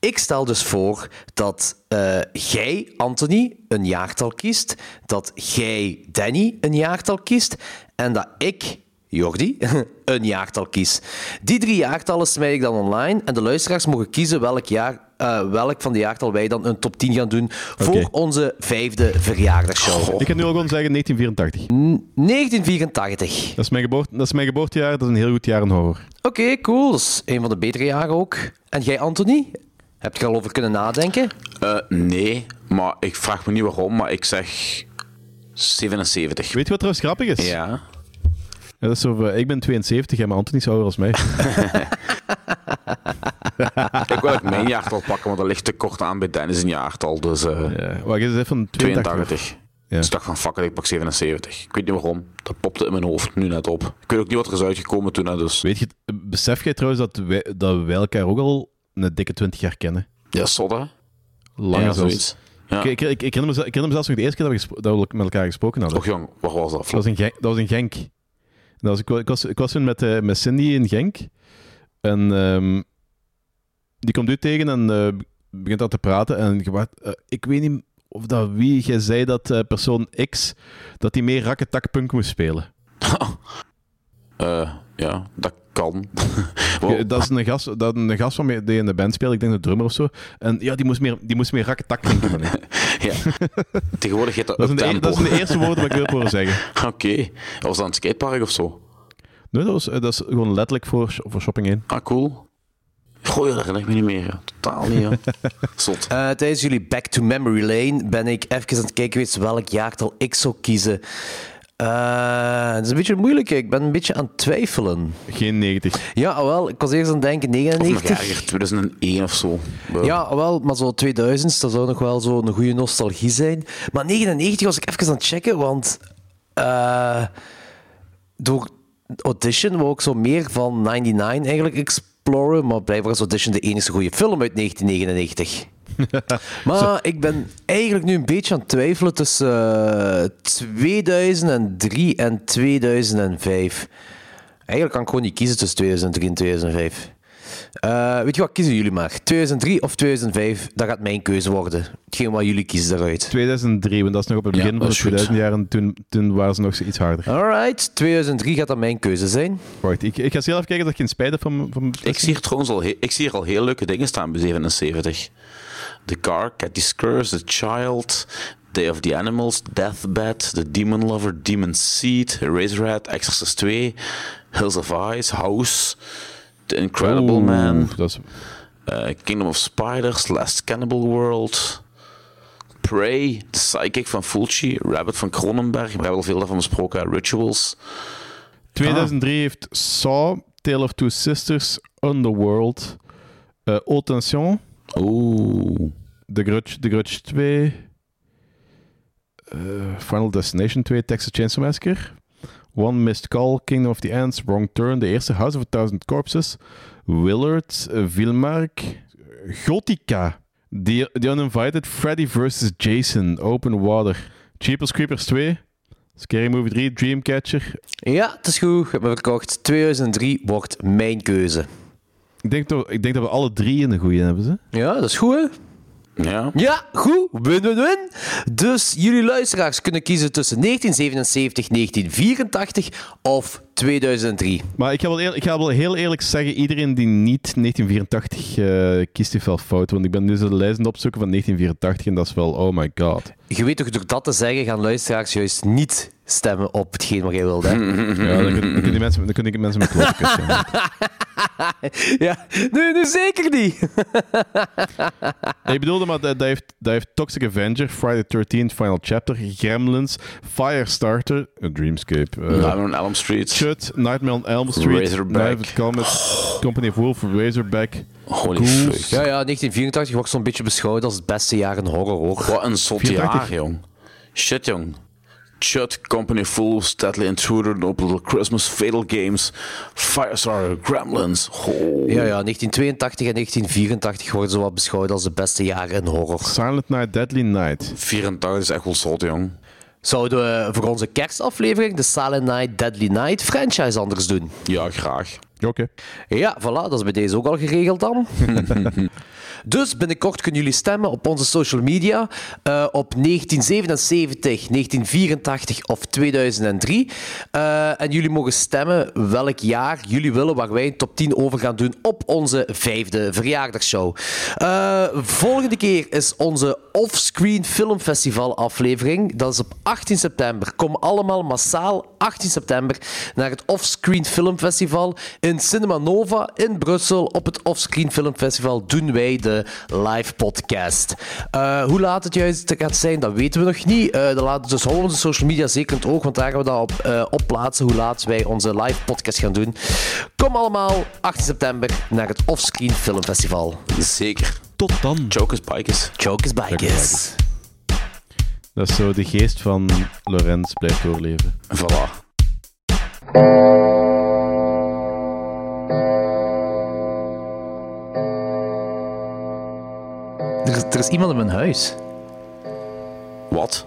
Speaker 2: Ik stel dus voor dat eh, jij, Anthony, een jaartal kiest. Dat jij, Danny, een jaartal kiest. En dat ik, Jordi, een jaartal kies. Die drie jaartallen smijt ik dan online en de luisteraars mogen kiezen welk, jaar, eh, welk van de jaartal wij dan een top 10 gaan doen voor
Speaker 1: Oké.
Speaker 2: onze vijfde verjaardagsshow.
Speaker 1: Ik kan nu al gewoon zeggen 1984.
Speaker 2: 1984.
Speaker 1: Dat is, mijn geboorte, dat is mijn geboortejaar, dat is een heel goed jaar in horror.
Speaker 2: Oké, cool. Dat is een van de betere jaren ook. En jij, Anthony? Heb je er al over kunnen nadenken?
Speaker 3: Eh, nee, maar ik vraag me niet waarom, maar ik zeg
Speaker 1: Weet
Speaker 3: 77.
Speaker 1: je wat trouwens grappig is?
Speaker 3: Ja.
Speaker 1: Ja, dat is zo, van, ik ben 72 en mijn Anthony is ouder als mij.
Speaker 3: ik wil ook mijn jaartal pakken, want dat ligt te kort aan bij Dennis' een jaartal. Dus, eh
Speaker 1: Wacht, is het van
Speaker 3: 82. Dus ik dacht van, fuck it, ik pak 77. Ik weet niet waarom. Dat popte in mijn hoofd nu net op. Ik weet ook niet wat er is uitgekomen toen. Hè, dus.
Speaker 1: Weet je, besef jij trouwens dat wij, dat wij elkaar ook al een dikke 20 jaar kennen?
Speaker 3: Ja, sodda.
Speaker 1: Langer
Speaker 3: Ja,
Speaker 1: zelfs.
Speaker 3: zoiets. Ja.
Speaker 1: Ik, ik, ik, ik herinner me, ze- ik herinner me zelfs nog de eerste keer dat we, gespro- dat we met elkaar gesproken hadden.
Speaker 3: Och jong, waar was dat?
Speaker 1: Dat was in Genk. Dat was in Genk. En dat was, ik, wa- ik was, ik was toen met, eh, met Cindy in Genk. En ehm, die komt u tegen en eh, begint daar te praten. En je waart- eh, ik weet niet of dat wie jij zei dat eh, persoon X dat die meer rakketakpunk moest spelen.
Speaker 3: Eh, ja, dat kan. Oh.
Speaker 1: Je- Dat is een gast, dat een gast van mij die in de band speelt, ik denk de drummer of zo. En ja, die moest meer, die moest meer rakketakpunk doen. hè.
Speaker 3: ja. Tegenwoordig heet dat
Speaker 1: Dat is een- e-
Speaker 3: uptempo.
Speaker 1: dat is een e- eerste woord wat ik wil horen zeggen.
Speaker 3: Oké. Dat was dat een skatepark of zo?
Speaker 1: Nee, dat, was, eh, dat is gewoon letterlijk voor, voor shopping in.
Speaker 3: Ah, cool. Goh, dat herinner ik me niet meer. ja. Totaal niet, ja. Zot.
Speaker 2: Eh, tijdens jullie Back to Memory Lane ben ik even aan het kijken geweest welk jaartal ik zou kiezen. Eh, het is een beetje moeilijk, ik ben een beetje aan het twijfelen.
Speaker 1: Geen 90.
Speaker 2: Ja, ah, wel, ik was eerst aan het denken 99.
Speaker 3: Of nog erger, 2001 of zo.
Speaker 2: Ja, wel, maar zo 2000, dat zou nog wel zo'n goede nostalgie zijn. Maar 99 was ik even aan het checken, want eh, door Audition wou ik zo meer van 99 eigenlijk exploren, maar blijkbaar is Audition de enige goede film uit 1999. maar ik ben eigenlijk nu een beetje aan het twijfelen tussen eh, 2003 en 2005. Eigenlijk kan ik gewoon niet kiezen tussen 2003 en 2005. Eh, weet je wat, kiezen jullie maar. 2003 of 2005, dat gaat mijn keuze worden. Hetgeen wat jullie kiezen daaruit.
Speaker 1: 2003, want dat is nog op het begin
Speaker 2: dat
Speaker 1: van de
Speaker 2: is goed.
Speaker 1: 2000 jaren. Toen, toen waren ze nog iets harder.
Speaker 2: Alright, 2003 gaat dan mijn keuze zijn.
Speaker 1: Wacht, ik, ik ga zelf kijken dat ik geen spijt heb van... mijn- van mijn
Speaker 3: Ik zie, hier trouwens al, he- ik zie hier al heel leuke dingen staan bij 77. The Car, Cathy's Curse, The Child, Day of the Animals, Deathbed, The Demon Lover, Demon Seed, Razorhead, Exorcist 2, Hills of Eyes, House, The Incredible
Speaker 1: Oeh,
Speaker 3: Man,
Speaker 1: dat is-
Speaker 3: eh, Kingdom of Spiders, Last Cannibal World, Prey, The Psychic van Fulci, Rabbit van Cronenberg, we hebben al veel daarvan besproken, hè, Rituals.
Speaker 1: 2003 heeft Saw, Tale of Two Sisters, Underworld, eh Haute Tension,
Speaker 3: Oeh.
Speaker 1: The Grudge, The Grudge 2, eh, Final Destination 2, Texas Chainsaw Massacre, One Missed Call, Kingdom of the Ants, Wrong Turn, de eerste House of a Thousand Corpses, Willard, eh, Vilmark, Gothica, The, The Uninvited, Freddy vs. Jason, Open Water, Jeepers Creepers 2, Scary Movie 3, Dreamcatcher.
Speaker 2: Ja, het is goed. Ik heb me verkocht. 2003 wordt mijn keuze.
Speaker 1: Ik denk, dat, ik denk dat we alle drie een goede hebben, ze.
Speaker 2: Ja, dat is goed, hè?
Speaker 3: Ja.
Speaker 2: Ja, goed. Win, win, win. Dus jullie luisteraars kunnen kiezen tussen 1977, 1984 of 2003.
Speaker 1: Maar ik ga, wel eer- ik ga wel heel eerlijk zeggen, iedereen die niet 1984 eh, kiest, heeft wel fout. Want ik ben nu zo de lijst aan het opzoeken van 1984 en dat is wel, oh my god.
Speaker 2: Je weet toch, door dat te zeggen gaan luisteraars juist niet stemmen op hetgeen wat jij wilde. Hè?
Speaker 1: Ja, dan kun- dan kunnen die mensen, dan kunnen die mensen met kloppen kussen.
Speaker 2: ja, nu, nu zeker niet.
Speaker 1: Nee, Ik bedoelde, maar dat, dat heeft, dat heeft Toxic Avenger, Friday 13th, Final Chapter, Gremlins, Firestarter, A Dreamscape, eh,
Speaker 3: Nightmare on Elm Street.
Speaker 1: Shut, Nightmare on Elm Street,
Speaker 3: Razorback.
Speaker 1: Knife of Comet, Company of Wolf, Razorback,
Speaker 3: Holy
Speaker 1: Ghouls.
Speaker 2: Ja, ja, 1984 wordt zo'n beetje beschouwd als het beste jaar in horror, hoor.
Speaker 3: Wat een zot
Speaker 1: 84.
Speaker 3: jaar, jong. Shit, jong. Chud, Company Fools, Deadly Intruder, Noble Christmas, Fatal Games, Firestar, Gremlins. Oh.
Speaker 2: Ja, ja, 1982 en 1984 worden zo wat beschouwd als de beste jaren in horror.
Speaker 1: Silent Night, Deadly Night.
Speaker 3: 84 is echt wel zot, jong.
Speaker 2: Zouden we voor onze kerstaflevering de Silent Night, Deadly Night franchise anders doen?
Speaker 3: Ja, graag.
Speaker 1: Oké.
Speaker 2: Ja, voilà, dat is bij deze ook al geregeld dan. dus binnenkort kunnen jullie stemmen op onze social media eh, op 1977, 1984 of 2003. Eh, en jullie mogen stemmen welk jaar jullie willen waar wij een top 10 over gaan doen op onze vijfde verjaardagsshow. Eh, volgende keer is onze Offscreen Filmfestival aflevering. Dat is op 18 september. Kom allemaal massaal 18 september naar het Offscreen Filmfestival in Cinema Nova in Brussel. Op het Offscreen Filmfestival doen wij de live podcast. Eh, hoe laat het juist gaat zijn, dat weten we nog niet. Eh dat laat, dus hou onze social media zeker in het oog, want daar gaan we dat op, eh, op plaatsen hoe laat wij onze live podcast gaan doen. Kom allemaal 18 september naar het Offscreen Filmfestival.
Speaker 3: Zeker.
Speaker 1: Tot dan.
Speaker 3: Chokers Bikers.
Speaker 2: Chokers Bikers.
Speaker 1: Dat is zo de geest van Lorenz blijft doorleven.
Speaker 3: Voilà.
Speaker 12: Er, is- er is iemand in mijn huis.
Speaker 3: Wat?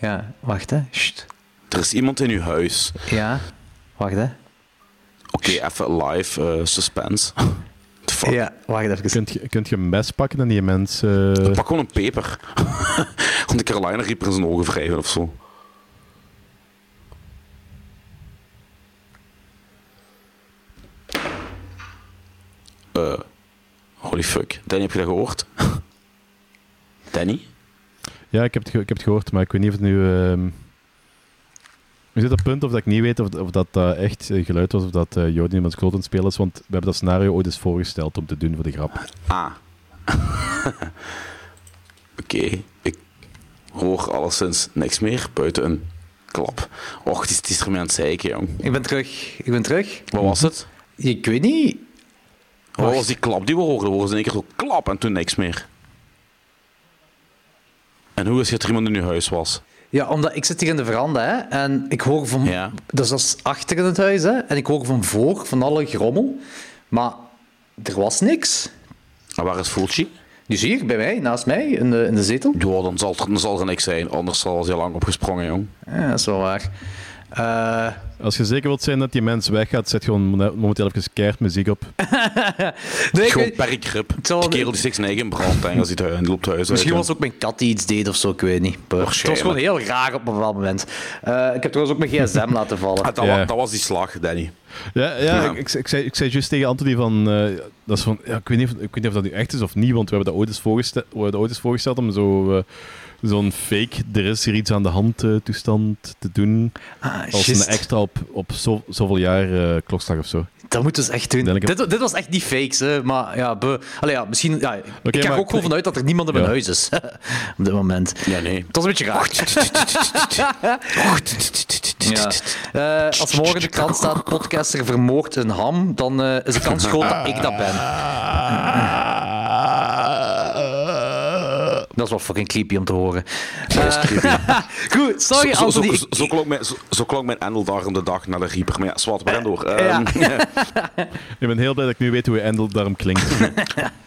Speaker 12: Ja, wacht hè. Sst.
Speaker 3: Er is iemand in uw huis.
Speaker 12: Ja, wacht hè.
Speaker 3: Oké, even live eh, suspense. The fuck?
Speaker 12: Ja, wacht even.
Speaker 1: Kunt je, kunt je een mes pakken en die mens... eh,
Speaker 3: Pak gewoon een peper. Want de Carolina Reaper in zijn ogen wrijven of zo. Eh, holy fuck. Danny, heb je dat gehoord? Danny?
Speaker 1: Ja, ik heb, het ge- ik heb het gehoord, maar ik weet niet of het nu... ehm Er zit op het punt of dat ik niet weet of, of dat eh, echt eh, geluid was of dat eh Jody met kloot aan het spelen is, want we hebben dat scenario ooit eens voorgesteld om te doen voor de grap.
Speaker 3: Ah. Oké, ik hoor alleszins niks meer buiten een klap. Och, het is, het is ermee aan het zeiken, jong.
Speaker 12: Ik ben terug. Ik ben terug.
Speaker 3: Wat was het?
Speaker 12: Ik weet niet.
Speaker 3: Wat was Oh, die klap die we hoorden? We hoorden in één keer zo klap en toen niks meer. En hoe is het dat er iemand in uw huis was?
Speaker 12: Ja, omdat ik zit hier in de veranda hè, en ik hoor van. Dus dat is achter in het huis hè, en ik hoor van voor van alle grommel. Maar er was niks.
Speaker 3: En waar is Fulci?
Speaker 12: Die is hier bij mij, naast mij, in de, in de zetel.
Speaker 3: Ja, dan zal, er, dan zal er niks zijn. Anders zal hij al lang opgesprongen, jong.
Speaker 12: Ja, dat is wel waar.
Speaker 1: Als je zeker wilt zijn dat die mens weggaat, zet gewoon mo- momenteel even keihard muziek op.
Speaker 12: Nee, ik
Speaker 3: Gewoon
Speaker 12: weet-
Speaker 3: perkrip. Die kerel die 6 9 in brand hangt als hij thuis, die loopt thuis
Speaker 12: Misschien
Speaker 3: uit,
Speaker 12: was het ook mijn kat die iets deed of zo, ik weet niet. Maar Het was gewoon
Speaker 3: Waarschijnlijk.
Speaker 12: heel raar op een bepaald moment. Eh, ik heb trouwens ook mijn gsm laten vallen.
Speaker 3: Ah, dat,
Speaker 1: Ja.
Speaker 3: wa- dat was die slag, Danny.
Speaker 1: Ja, ja,
Speaker 3: Ja.
Speaker 1: Ik, ik, ik zei, ik zei juist tegen Anthony van, eh, dat is van ja, ik, weet niet of, ik weet niet of dat nu echt is of niet, want we hebben dat ooit eens voorgesteld, we hebben dat ooit eens voorgesteld om zo, eh, zo'n fake, er is hier iets aan de hand eh, toestand te doen.
Speaker 3: Ah,
Speaker 1: als
Speaker 12: juist.
Speaker 1: een extra op, op zo, zoveel jaar eh, klokslag of zo.
Speaker 12: Dat moeten ze echt doen.
Speaker 1: Denk ik-
Speaker 12: Dit, dit was echt niet fakes, hè, maar ja, be, Allee, ja misschien. Ja, ik ga
Speaker 1: maar-
Speaker 12: er ook gewoon vanuit dat er niemand in mijn
Speaker 1: Ja.
Speaker 12: huis is op dit moment.
Speaker 3: Ja, nee.
Speaker 12: Dat is een beetje raar. Ja. Eh, als morgen in de krant staat: podcaster vermoord een ham, dan eh, is de kans groot dat ik dat ben. Dat is wel fucking creepy om te horen. Eh,
Speaker 3: Dat is creepy.
Speaker 12: Goed, sorry
Speaker 3: zo, zo,
Speaker 12: Anthony.
Speaker 3: zo, zo klonk mijn, zo, zo klonk mijn Endel daar om de dag naar de Reaper.
Speaker 12: Eh,
Speaker 3: Maar ja, zwart, we gaan door. Ehm,
Speaker 1: Ik ben heel blij dat ik nu weet hoe Endel daarom klinkt.